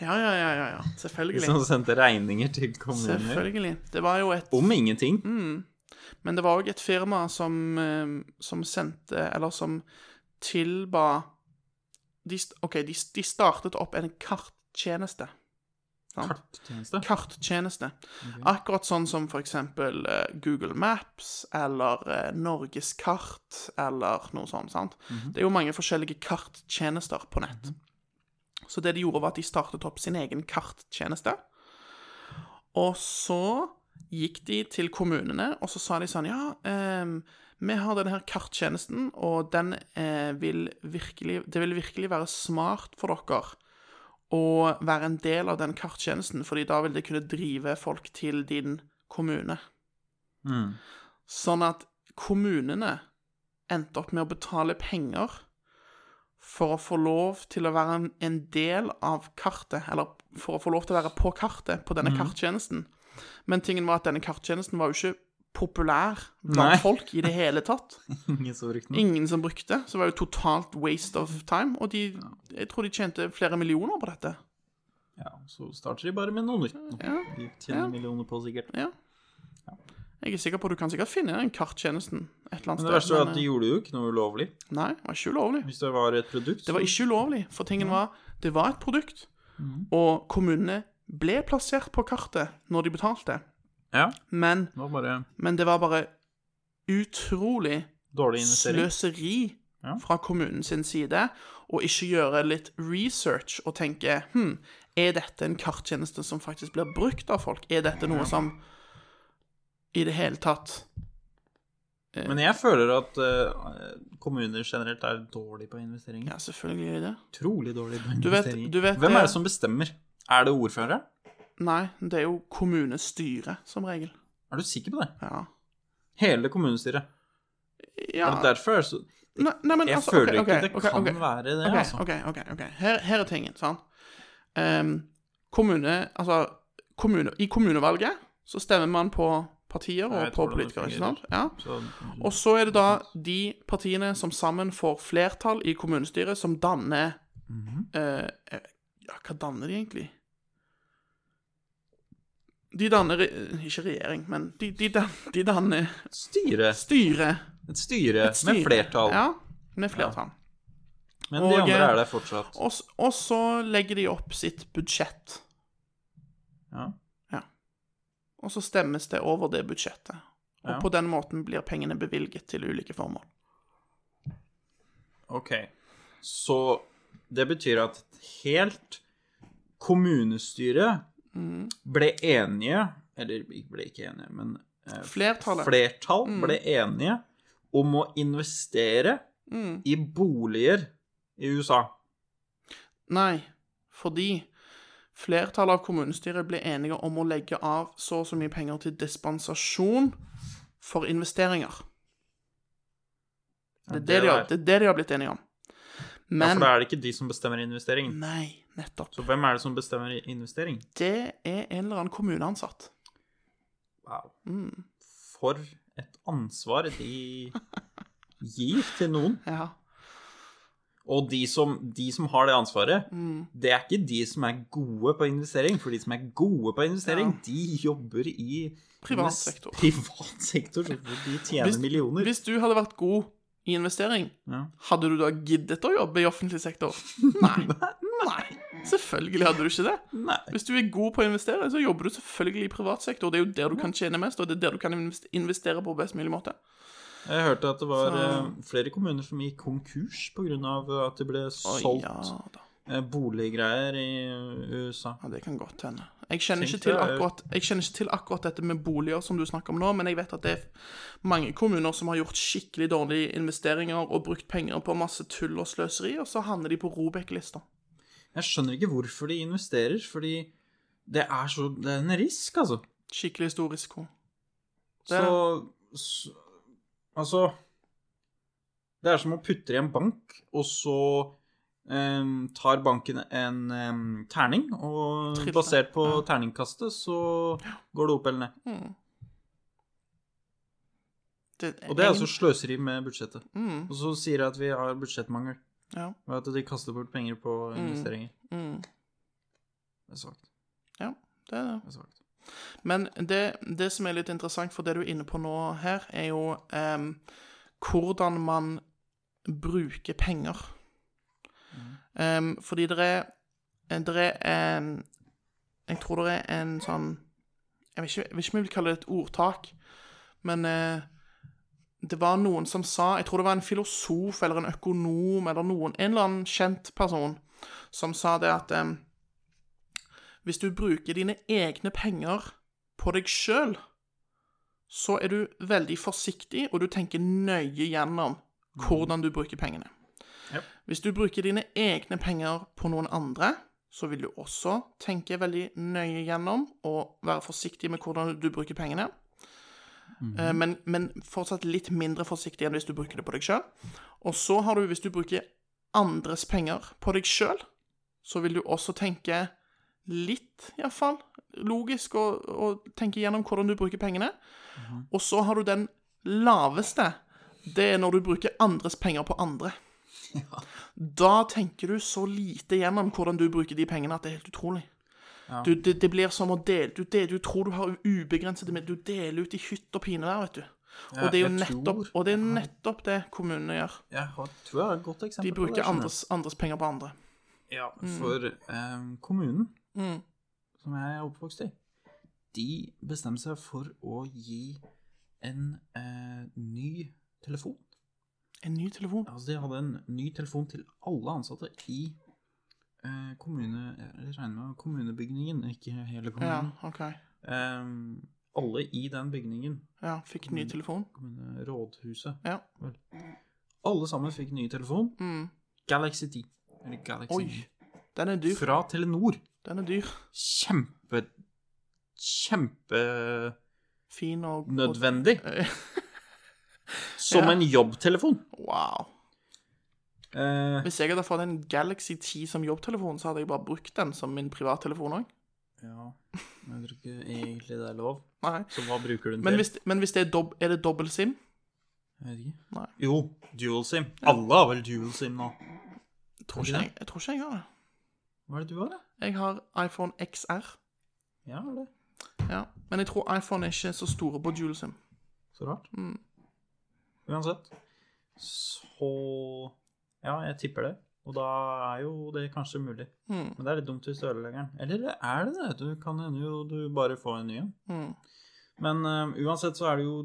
Speaker 4: Ja, ja, ja, ja. ja.
Speaker 3: De som
Speaker 4: Selvfølgelig.
Speaker 3: sendte regninger til kommuner
Speaker 4: Selvfølgelig. Mm. Det var jo et
Speaker 3: om ingenting?
Speaker 4: Men det var òg et firma som, eh, som sendte Eller som tilba de, st- OK, de, s- de startet opp en karttjeneste. Sant?
Speaker 3: Karttjeneste?
Speaker 4: Karttjeneste. Akkurat sånn som for eksempel eh, Google Maps eller eh, Norges kart eller noe sånt. sant? Det er jo mange forskjellige karttjenester på nett. Så det de gjorde, var at de startet opp sin egen karttjeneste. Og så gikk de til kommunene, og så sa de sånn Ja, ehm, vi har denne her karttjenesten, og den eh, vil virkelig Det vil virkelig være smart for dere å være en del av den karttjenesten, fordi da vil det kunne drive folk til din kommune.
Speaker 3: Mm.
Speaker 4: Sånn at kommunene endte opp med å betale penger for å få lov til å være en- en del av kartet, eller for å få lov til å være på kartet på denne karttjenesten. Men tingen var at denne karttjenesten var jo ikke populær blant
Speaker 3: Nei.
Speaker 4: folk i det hele tatt.
Speaker 3: Ingen som brukte den?
Speaker 4: Ingen som brukte, så det var jo totalt waste of time. Og de, jeg tror de tjente flere millioner på dette.
Speaker 3: Ja, så starter de bare med noe nytt. nå.
Speaker 4: Ja,
Speaker 3: De tjener
Speaker 4: ja.
Speaker 3: millioner på sikkert.
Speaker 4: Ja. Jeg er sikker på at du kan sikkert finne den karttjenesten et eller annet
Speaker 3: Men det verste var at
Speaker 4: men,
Speaker 3: de gjorde jo ikke noe ulovlig.
Speaker 4: eh, Nei, det var ikke ulovlig.
Speaker 3: Hvis det var et produkt,
Speaker 4: Det var ikke ulovlig, for tingen var Det var et produkt,
Speaker 3: Mhm.
Speaker 4: og kommunene ble plassert på kartet når de betalte,
Speaker 3: Ja,
Speaker 4: men,
Speaker 3: det var bare
Speaker 4: men det var bare utrolig
Speaker 3: dårlig investering.
Speaker 4: sløseri
Speaker 3: Ja.
Speaker 4: fra kommunen sin side og ikke gjøre litt research og tenke hm, er dette en karttjeneste som faktisk blir brukt av folk? Er dette noe som i det hele tatt
Speaker 3: Men jeg føler at eh, kommuner generelt er dårlig på investeringer.
Speaker 4: Ja, selvfølgelig gjør jeg det.
Speaker 3: Utrolig dårlig på
Speaker 4: Du vet-
Speaker 3: investeringer.
Speaker 4: du vet
Speaker 3: Hvem
Speaker 4: det-
Speaker 3: er det som bestemmer? Er det ordføreren?
Speaker 4: Nei, det er jo kommunestyret som regel.
Speaker 3: Er du sikker på det?
Speaker 4: Ja.
Speaker 3: Hele kommunestyret.
Speaker 4: ja.
Speaker 3: Er det derfor er det så
Speaker 4: Nei, nei, men
Speaker 3: Jeg
Speaker 4: altså,
Speaker 3: føler
Speaker 4: ok, ok,
Speaker 3: ikke det
Speaker 4: ok,
Speaker 3: kan
Speaker 4: ok.
Speaker 3: være det,
Speaker 4: Ok,
Speaker 3: altså.
Speaker 4: OK, ok. ok. Her, her er tingen, sant. Ehm, kommune Altså, kommune, i kommunevalget så stemmer man på partier
Speaker 3: Ja,
Speaker 4: og
Speaker 3: jeg
Speaker 4: på
Speaker 3: tror det
Speaker 4: politikere, ikke
Speaker 3: fungerer.
Speaker 4: sant? Ja.
Speaker 3: Så,
Speaker 4: Og så er det da de partiene som sammen får flertall i kommunestyret, som danner
Speaker 3: Mhm.
Speaker 4: eh, eh, Ja, hva danner de egentlig? De danner re- Ikke regjering, men de, de, dan, de danner
Speaker 3: styre.
Speaker 4: styre.
Speaker 3: Et styre
Speaker 4: Et styre.
Speaker 3: med flertall.
Speaker 4: Ja, med flertall.
Speaker 3: Men de
Speaker 4: Og,
Speaker 3: andre
Speaker 4: eh,
Speaker 3: er der fortsatt.
Speaker 4: Og, s- og så legger de opp sitt budsjett,
Speaker 3: Ja.
Speaker 4: og så stemmes det over det budsjettet. Og
Speaker 3: Ja.
Speaker 4: på den måten blir pengene bevilget til ulike formål.
Speaker 3: Ok. Så det betyr at et helt kommunestyre ble enige Eller ble ikke enige, men eh,
Speaker 4: Flertallet. Mm.
Speaker 3: flertall ble enige om å investere
Speaker 4: Mm.
Speaker 3: i boliger i USA.
Speaker 4: Nei, fordi flertallet av kommunestyret ble enige om å legge av så og så mye penger til dispensasjon for investeringer. Det er det,
Speaker 3: det
Speaker 4: de, har,
Speaker 3: der.
Speaker 4: det er det de har blitt enige om.
Speaker 3: Ja,
Speaker 4: Men
Speaker 3: for da er det ikke de som bestemmer investeringen.
Speaker 4: Nei, nettopp.
Speaker 3: Så hvem er det som bestemmer investering?
Speaker 4: Det er en eller annen kommuneansatt.
Speaker 3: Wow.
Speaker 4: Mm.
Speaker 3: For et ansvar de gir til noen.
Speaker 4: Ja.
Speaker 3: Og de som, de som har det ansvaret,
Speaker 4: Mm.
Speaker 3: det er ikke de som er gode på investering. For de som er gode på investering, de jobber i
Speaker 4: Privat
Speaker 3: invest-
Speaker 4: sektor.
Speaker 3: Privat sektor, så hvor de tjener
Speaker 4: Hvis,
Speaker 3: millioner.
Speaker 4: hvis du hadde vært god i investering,
Speaker 3: Ja.
Speaker 4: hadde du da giddet å jobbe i offentlig sektor? Nei. Nei. Selvfølgelig hadde du ikke det.
Speaker 3: Nei.
Speaker 4: Hvis du er god på å investere, så jobber du selvfølgelig i privat sektor. Det er jo der du kan tjene mest, og det er der du kan invest- investere på best mulig måte.
Speaker 3: Jeg hørte at det var
Speaker 4: Så-
Speaker 3: eh, flere kommuner som gikk konkurs pga. at det ble
Speaker 4: Å,
Speaker 3: solgt
Speaker 4: ja da.
Speaker 3: eh, boliggreier i eh, USA.
Speaker 4: Ja, det kan godt hende. Jeg kjenner,
Speaker 3: Tenk
Speaker 4: ikke til
Speaker 3: det, jeg-
Speaker 4: akkurat, jeg kjenner ikke til akkurat dette med boliger som du snakker om nå, men jeg vet at det er mange kommuner som har gjort skikkelig dårlige investeringer og brukt penger på masse tull og sløseri, og så havner de på Robek-lista.
Speaker 3: Jeg skjønner ikke hvorfor de investerer, fordi Det er så Det er en risk, altså.
Speaker 4: Skikkelig stor risiko. Det er
Speaker 3: Så, s- Altså Det er som å putte det i en bank, og så em, tar banken en em, terning, og
Speaker 4: Triller.
Speaker 3: basert på
Speaker 4: Ja.
Speaker 3: terningkastet så går det opp eller ned.
Speaker 4: Mm.
Speaker 3: Og det er altså sløseri med budsjettet.
Speaker 4: mm,
Speaker 3: Og så sier jeg at vi har budsjettmangel,
Speaker 4: ja,
Speaker 3: og at de kaster bort penger på investeringer.
Speaker 4: mm,
Speaker 3: Det er svakt.
Speaker 4: det er det.
Speaker 3: Det er svakt.
Speaker 4: Men det, det som er litt interessant, for det du er inne på nå her, er jo em, hvordan man bruker penger. Em, fordi det er, det er en Jeg tror det er en sånn Jeg vet ikke, jeg vet ikke om jeg vil kalle det et ordtak, men eh, det var noen som sa Jeg tror det var en filosof eller en økonom eller noen, en eller annen kjent person som sa det at em, hvis du bruker dine egne penger på deg sjøl, så er du veldig forsiktig, og du tenker nøye gjennom hvordan du bruker pengene.
Speaker 3: Ja.
Speaker 4: Hvis du bruker dine egne penger på noen andre, så vil du også tenke veldig nøye gjennom og være forsiktig med hvordan du bruker pengene. Eh, Men, men fortsatt litt mindre forsiktig enn hvis du bruker det på deg sjøl. Og så har du, hvis du bruker andres penger på deg sjøl, så vil du også tenke litt, iallfall, logisk og, og tenke gjennom hvordan du bruker pengene. Og så har du den laveste. Det er når du bruker andres penger på andre. Da tenker du så lite gjennom hvordan du bruker de pengene, at det er helt utrolig. Du, det, det blir som å dele du, del- du tror du har ubegrenset med Du deler ut i hytt og pine der, vet du. Og det er jo
Speaker 3: jeg
Speaker 4: nettopp,
Speaker 3: tror-
Speaker 4: og det, er nettopp det kommunene gjør.
Speaker 3: Jeg har, tror jeg har et godt eksempel
Speaker 4: De
Speaker 3: på det,
Speaker 4: bruker
Speaker 3: skjønner du.
Speaker 4: andres, Mm. andres penger på andre.
Speaker 3: Ja, for eh, kommunen,
Speaker 4: Mm.
Speaker 3: som jeg er oppvokst i, de bestemte seg for å gi en eh, ny telefon.
Speaker 4: En ny telefon.
Speaker 3: Altså, de hadde en ny telefon til alle ansatte i eh, kommune... Jeg regner med kommunebygningen, ikke hele
Speaker 4: Ja,
Speaker 3: kommunen.
Speaker 4: OK.
Speaker 3: Em, alle i den bygningen,
Speaker 4: Ja, fikk ny telefon.
Speaker 3: kommunerådhuset.
Speaker 4: Ja.
Speaker 3: vel. Alle sammen fikk ny telefon.
Speaker 4: Mm.
Speaker 3: Galaxy 10. Eller Galaxy
Speaker 4: Oi, den er
Speaker 3: 9.
Speaker 4: dyr.
Speaker 3: Fra Telenor.
Speaker 4: Den er dyr.
Speaker 3: kjempe Kjempenødvendig.
Speaker 4: Fin og og-
Speaker 3: Som
Speaker 4: Ja.
Speaker 3: en jobbtelefon.
Speaker 4: Wow.
Speaker 3: Eh,
Speaker 4: Hvis jeg hadde fått en Galaxy 10 som jobbtelefon, så hadde jeg bare brukt den som min privattelefon òg.
Speaker 3: ja, men jeg tror ikke egentlig det er lov.
Speaker 4: Nei.
Speaker 3: Så hva bruker du den
Speaker 4: Men
Speaker 3: til?
Speaker 4: hvis, men hvis det er dob Er det dobbel SIM?
Speaker 3: Jeg vet ikke.
Speaker 4: Nei.
Speaker 3: Jo, dual sim. Alle har vel dual sim nå.
Speaker 4: Jeg tror ikke jeg, jeg, tror ikke jeg har det.
Speaker 3: Hva er det du har, da?
Speaker 4: Jeg har iPhone XR.
Speaker 3: Ja, det.
Speaker 4: Ja. Men jeg tror iPhone er ikke så store på dual SIM.
Speaker 3: Så rart.
Speaker 4: Mm.
Speaker 3: Uansett. Så Ja, jeg tipper det. Og da er jo det kanskje mulig.
Speaker 4: Mm.
Speaker 3: Men det er litt dumt hvis du ødelegger den. Eller er det det? Du kan hende jo du bare får en ny en.
Speaker 4: Mm.
Speaker 3: Men eh, uansett så er det jo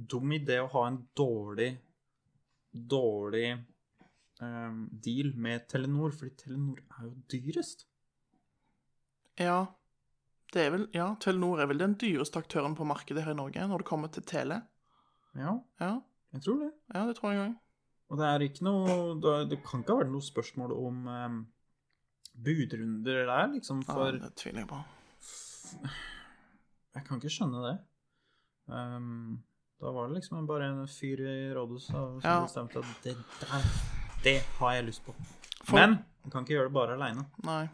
Speaker 3: dum idé å ha en dårlig dårlig eh, deal med Telenor, fordi Telenor er jo dyrest.
Speaker 4: Ja. Det er vel, ja, Telenor er vel den dyreste aktøren på markedet her i Norge når det kommer til tele.
Speaker 3: Ja,
Speaker 4: Ja,
Speaker 3: jeg tror det.
Speaker 4: ja det tror jeg òg.
Speaker 3: Og det er ikke noe Det, det kan ikke ha vært noe spørsmål om eh, budrunder der, liksom,
Speaker 4: Ja,
Speaker 3: for
Speaker 4: det tviler jeg på.
Speaker 3: Jeg kan ikke skjønne det. Ehm, da var det liksom bare en fyr i rådhuset som
Speaker 4: Ja.
Speaker 3: bestemte at det der, det har jeg lyst på.
Speaker 4: For-
Speaker 3: Men jeg kan ikke gjøre det bare aleine.
Speaker 4: Nei.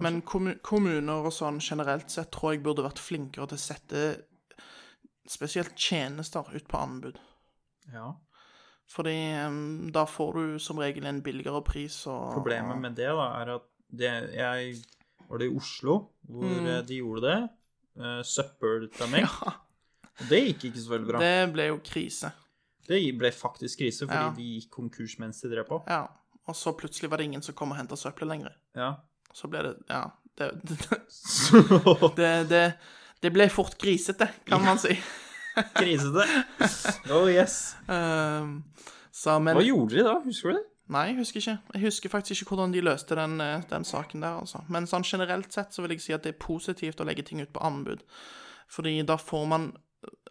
Speaker 4: Men kommu kommuner og sånn generelt sett tror jeg burde vært flinkere til å sette spesielt tjenester ut på anbud.
Speaker 3: Ja.
Speaker 4: Fordi em, da får du som regel en billigere pris og
Speaker 3: Problemet med det da, er at det, jeg var det i Oslo hvor eh, de gjorde det. Uh, Søppeltømming.
Speaker 4: Ja,
Speaker 3: Og Det gikk ikke så veldig bra. Det,
Speaker 4: det ble jo krise.
Speaker 3: ble faktisk krise, fordi
Speaker 4: Ja.
Speaker 3: de gikk konkurs mens de drev på.
Speaker 4: Ja. Og så plutselig var det ingen som kom og henta søppelet lenger.
Speaker 3: Ja.
Speaker 4: Så ble det Ja. Det, det,
Speaker 3: Så
Speaker 4: det, det, det ble fort grisete, kan man si.
Speaker 3: krisete. Oh yes.
Speaker 4: Em, Ehm, så, men
Speaker 3: Hva gjorde de da? Husker du det?
Speaker 4: Nei, jeg husker ikke. Jeg husker faktisk ikke hvordan de løste den, eh, den saken der, altså. Men sånn generelt sett så vil jeg si at det er positivt å legge ting ut på anbud. Fordi da får man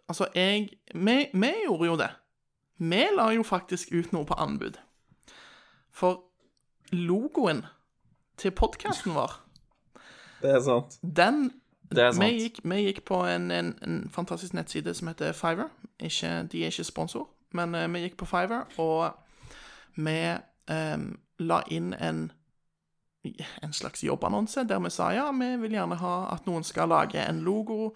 Speaker 4: Altså, jeg Vi, vi gjorde jo det. Vi la jo faktisk ut noe på anbud. For logoen til podkasten vår,
Speaker 3: Det er sant.
Speaker 4: Den
Speaker 3: Det er
Speaker 4: vi
Speaker 3: sant.
Speaker 4: gikk, vi gikk på en, en, en fantastisk nettside som heter Fiverr. Ikke, de er ikke sponsor, men eh, vi gikk på Fiverr, og vi em, la inn en, en slags jobbannonse der vi sa ja, vi vil gjerne ha at noen skal lage en logo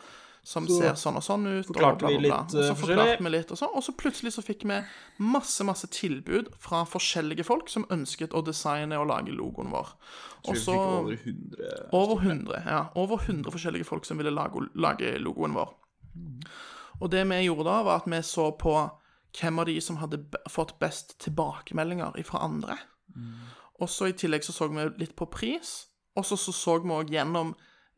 Speaker 4: som ser sånn og sånn ut.
Speaker 3: forklarte
Speaker 4: og bla, bla,
Speaker 3: vi
Speaker 4: bla.
Speaker 3: litt,
Speaker 4: Og
Speaker 3: eh,
Speaker 4: så
Speaker 3: forskjellig.
Speaker 4: forklarte vi litt, og sånn. Og så plutselig så fikk vi masse, masse tilbud fra forskjellige folk som ønsket å designe og lage logoen vår. Og
Speaker 3: Vi
Speaker 4: så
Speaker 3: fikk over 100
Speaker 4: over 100, ja. Over 100 forskjellige folk som ville lage, lage logoen vår. Og det vi gjorde da, var at vi så på hvem av de som hadde b fått best tilbakemeldinger fra andre. Og så i tillegg så så vi litt på pris, og så så, så vi òg gjennom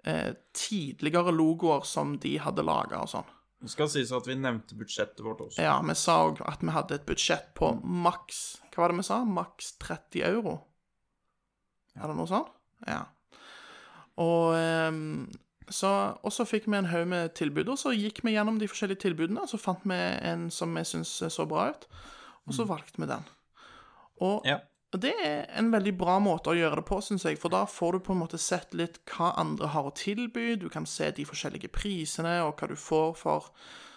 Speaker 4: eh, tidligere logoer som de hadde laga og sånn.
Speaker 3: Det skal sies at vi nevnte budsjettet vårt også.
Speaker 4: Ja, vi sa òg at vi hadde et budsjett på maks Hva var det vi sa? Maks 30 euro? Er det noe sånt? Ja. Og ehm, så, og så fikk vi en haug med tilbud, og så gikk vi gjennom de forskjellige tilbudene, og så fant vi en som vi syntes så bra ut, og så valgte vi den. Og
Speaker 3: Ja.
Speaker 4: og det er en veldig bra måte å gjøre det på, syns jeg, for da får du på en måte sett litt hva andre har å tilby, du kan se de forskjellige prisene, og hva du får for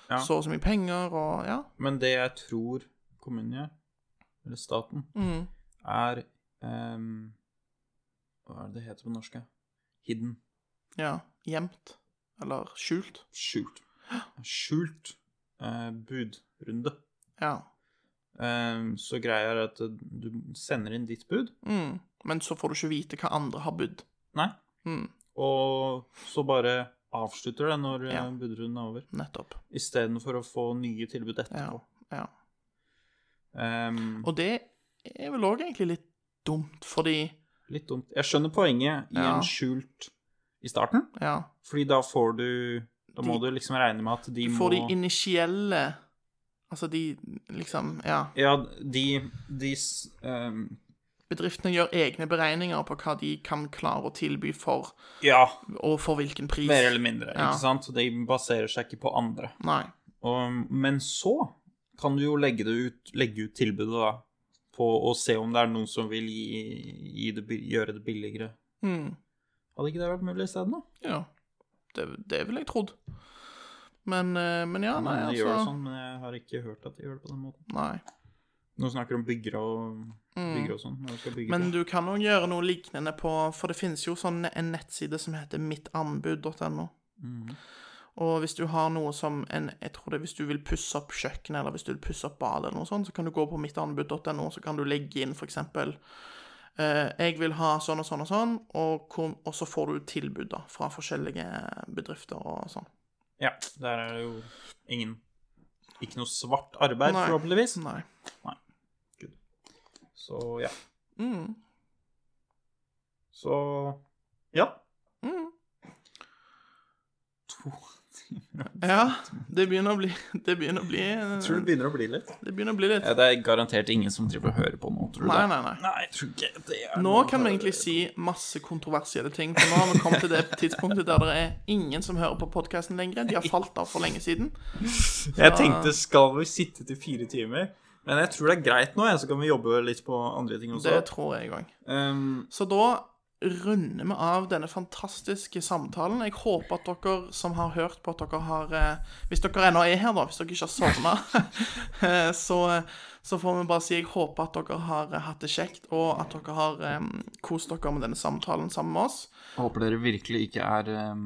Speaker 3: Ja.
Speaker 4: så og så mye penger, og ja.
Speaker 3: Men det jeg tror kommunen gjør, eller staten,
Speaker 4: Mhm.
Speaker 3: er ehm, Hva er det det heter på norsk? ja? Hidden.
Speaker 4: Ja, gjemt. Eller skjult.
Speaker 3: Skjult. Skjult eh, budrunde.
Speaker 4: Ja.
Speaker 3: Ehm, så greia er at du sender inn ditt bud,
Speaker 4: Mm. Men så får du ikke vite hva andre har budd.
Speaker 3: nei,
Speaker 4: Mm.
Speaker 3: og så bare avslutter det når
Speaker 4: Ja.
Speaker 3: eh, budrunden er over,
Speaker 4: Nettopp.
Speaker 3: istedenfor å få nye tilbud
Speaker 4: Ja.
Speaker 3: etterpå.
Speaker 4: ja.
Speaker 3: Ehm,
Speaker 4: Og det er vel òg egentlig litt dumt, fordi
Speaker 3: litt dumt. Jeg skjønner poenget i
Speaker 4: Ja.
Speaker 3: en skjult i starten.
Speaker 4: Ja.
Speaker 3: Fordi da får du Da må
Speaker 4: De-
Speaker 3: du liksom regne med at de
Speaker 4: Du
Speaker 3: må
Speaker 4: får de initielle Altså de liksom Ja.
Speaker 3: Ja, de, de s- ehm,
Speaker 4: Bedriftene gjør egne beregninger på hva de kan klare å tilby for,
Speaker 3: Ja,
Speaker 4: og for hvilken pris.
Speaker 3: mer eller mindre,
Speaker 4: Ja.
Speaker 3: ikke sant? De baserer seg ikke på andre.
Speaker 4: Nei.
Speaker 3: Og, men så kan du jo legge, det ut, legge ut tilbudet, da, på å se om det er noen som vil gi, gi det, bi- gjøre det billigere.
Speaker 4: Mm.
Speaker 3: Hadde ikke det vært mulig isteden, da?
Speaker 4: Ja. Det, det ville jeg trodd. Men, eh, men ja, nei,
Speaker 3: Men de gjør det
Speaker 4: altså
Speaker 3: sånn, men jeg har ikke hørt at de gjør det på den måten.
Speaker 4: Nei.
Speaker 3: Nå snakker de om byggere og,
Speaker 4: Mm.
Speaker 3: byggere og sånn. når de skal bygge
Speaker 4: Men
Speaker 3: ting.
Speaker 4: du kan òg gjøre noe lignende på For det finnes jo sånn en nettside som heter mittanbud.no.
Speaker 3: Mhm.
Speaker 4: Og hvis du har noe som en Jeg tror det er hvis du vil pusse opp kjøkkenet, eller hvis du vil pusse opp badet, eller noe sånt, så kan du gå på mittanbud.no, så kan du legge inn f.eks. Eh, jeg vil ha sånn og sånn og sånn, og, hvor, og så får du tilbud da, fra forskjellige bedrifter og sånn.
Speaker 3: Ja, der er det jo ingen Ikke noe svart arbeid,
Speaker 4: Nei.
Speaker 3: forhåpentligvis.
Speaker 4: Nei.
Speaker 3: Så ja.
Speaker 4: Mm.
Speaker 3: Så Ja.
Speaker 4: Mm.
Speaker 3: To timer.
Speaker 4: Ja, det begynner å bli Det begynner å bli
Speaker 3: Tror
Speaker 4: Det
Speaker 3: det begynner å bli litt.
Speaker 4: begynner å bli litt
Speaker 3: Ja, det er garantert ingen som driver og hører på nå, tror du
Speaker 4: Nei,
Speaker 3: det?
Speaker 4: nei, nei.
Speaker 3: jeg tror ikke det er
Speaker 4: Nå
Speaker 3: noen
Speaker 4: kan vi
Speaker 3: hører-
Speaker 4: egentlig si masse kontroversielle ting, for nå har vi kommet til det tidspunktet der det er ingen som hører på podkasten lenger. De har falt av for lenge siden.
Speaker 3: Jeg tenkte skal vi sitte til fire timer? Men jeg tror det er greit nå, jeg, så kan vi jobbe litt på andre ting også.
Speaker 4: Det tror jeg òg.
Speaker 3: Ehm,
Speaker 4: Så da runder vi av denne fantastiske samtalen. Jeg håper at dere som har hørt på, at dere har eh, Hvis dere ennå er her, da, hvis dere ikke har sovna, så, så får vi bare si jeg håper at dere har eh, hatt det kjekt, og at dere har eh, kost dere med denne samtalen sammen med oss.
Speaker 3: håper dere virkelig ikke er ehm,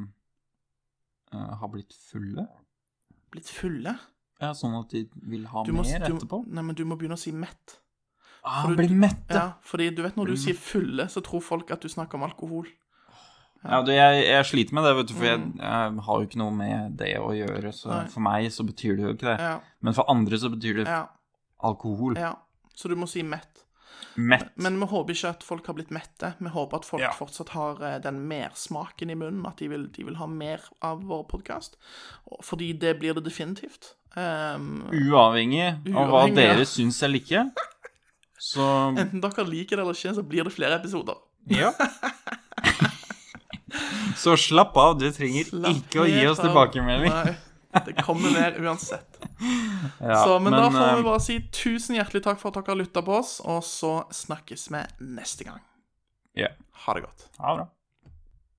Speaker 3: eh, har blitt fulle.
Speaker 4: Blitt fulle.
Speaker 3: Ja, sånn at de vil ha
Speaker 4: Du må,
Speaker 3: mer
Speaker 4: du,
Speaker 3: etterpå.
Speaker 4: nei, men du må begynne å si mett.
Speaker 3: Ah,
Speaker 4: for du-
Speaker 3: bli mette!
Speaker 4: Ja, fordi du vet
Speaker 3: Mm.
Speaker 4: når du sier fulle, så tror folk at du snakker om alkohol.
Speaker 3: Ja, du, jeg, jeg sliter med det, vet du, for jeg, jeg har jo ikke noe med det å gjøre. Så
Speaker 4: Mm. Nei.
Speaker 3: for meg så betyr det jo ikke det.
Speaker 4: Ja,
Speaker 3: Men for andre så betyr det
Speaker 4: ja,
Speaker 3: alkohol.
Speaker 4: ja. Så du må si mett.
Speaker 3: Mett.
Speaker 4: Men vi håper ikke at folk har blitt mette. Vi håper at folk
Speaker 3: Ja.
Speaker 4: fortsatt har eh, den mersmaken i munnen, at de vil, de vil ha mer av vår podkast. Fordi det blir det definitivt. Ehm,
Speaker 3: Mm. Uavhengig av hva
Speaker 4: Uavhengig, ja.
Speaker 3: dere syns eller ikke. Så
Speaker 4: enten dere liker det eller ikke, så blir det flere episoder.
Speaker 3: Ja. så slapp av, du trenger
Speaker 4: Slapp
Speaker 3: ikke å gi
Speaker 4: helt
Speaker 3: oss
Speaker 4: av.
Speaker 3: tilbakemelding.
Speaker 4: Nei, det kommer mer uansett.
Speaker 3: Ja,
Speaker 4: så, men, da får vi
Speaker 3: eh,
Speaker 4: bare si tusen hjertelig takk for at dere har lytta på oss, og så snakkes vi neste gang.
Speaker 3: Ja.
Speaker 4: Ha det godt.
Speaker 3: Ha det bra.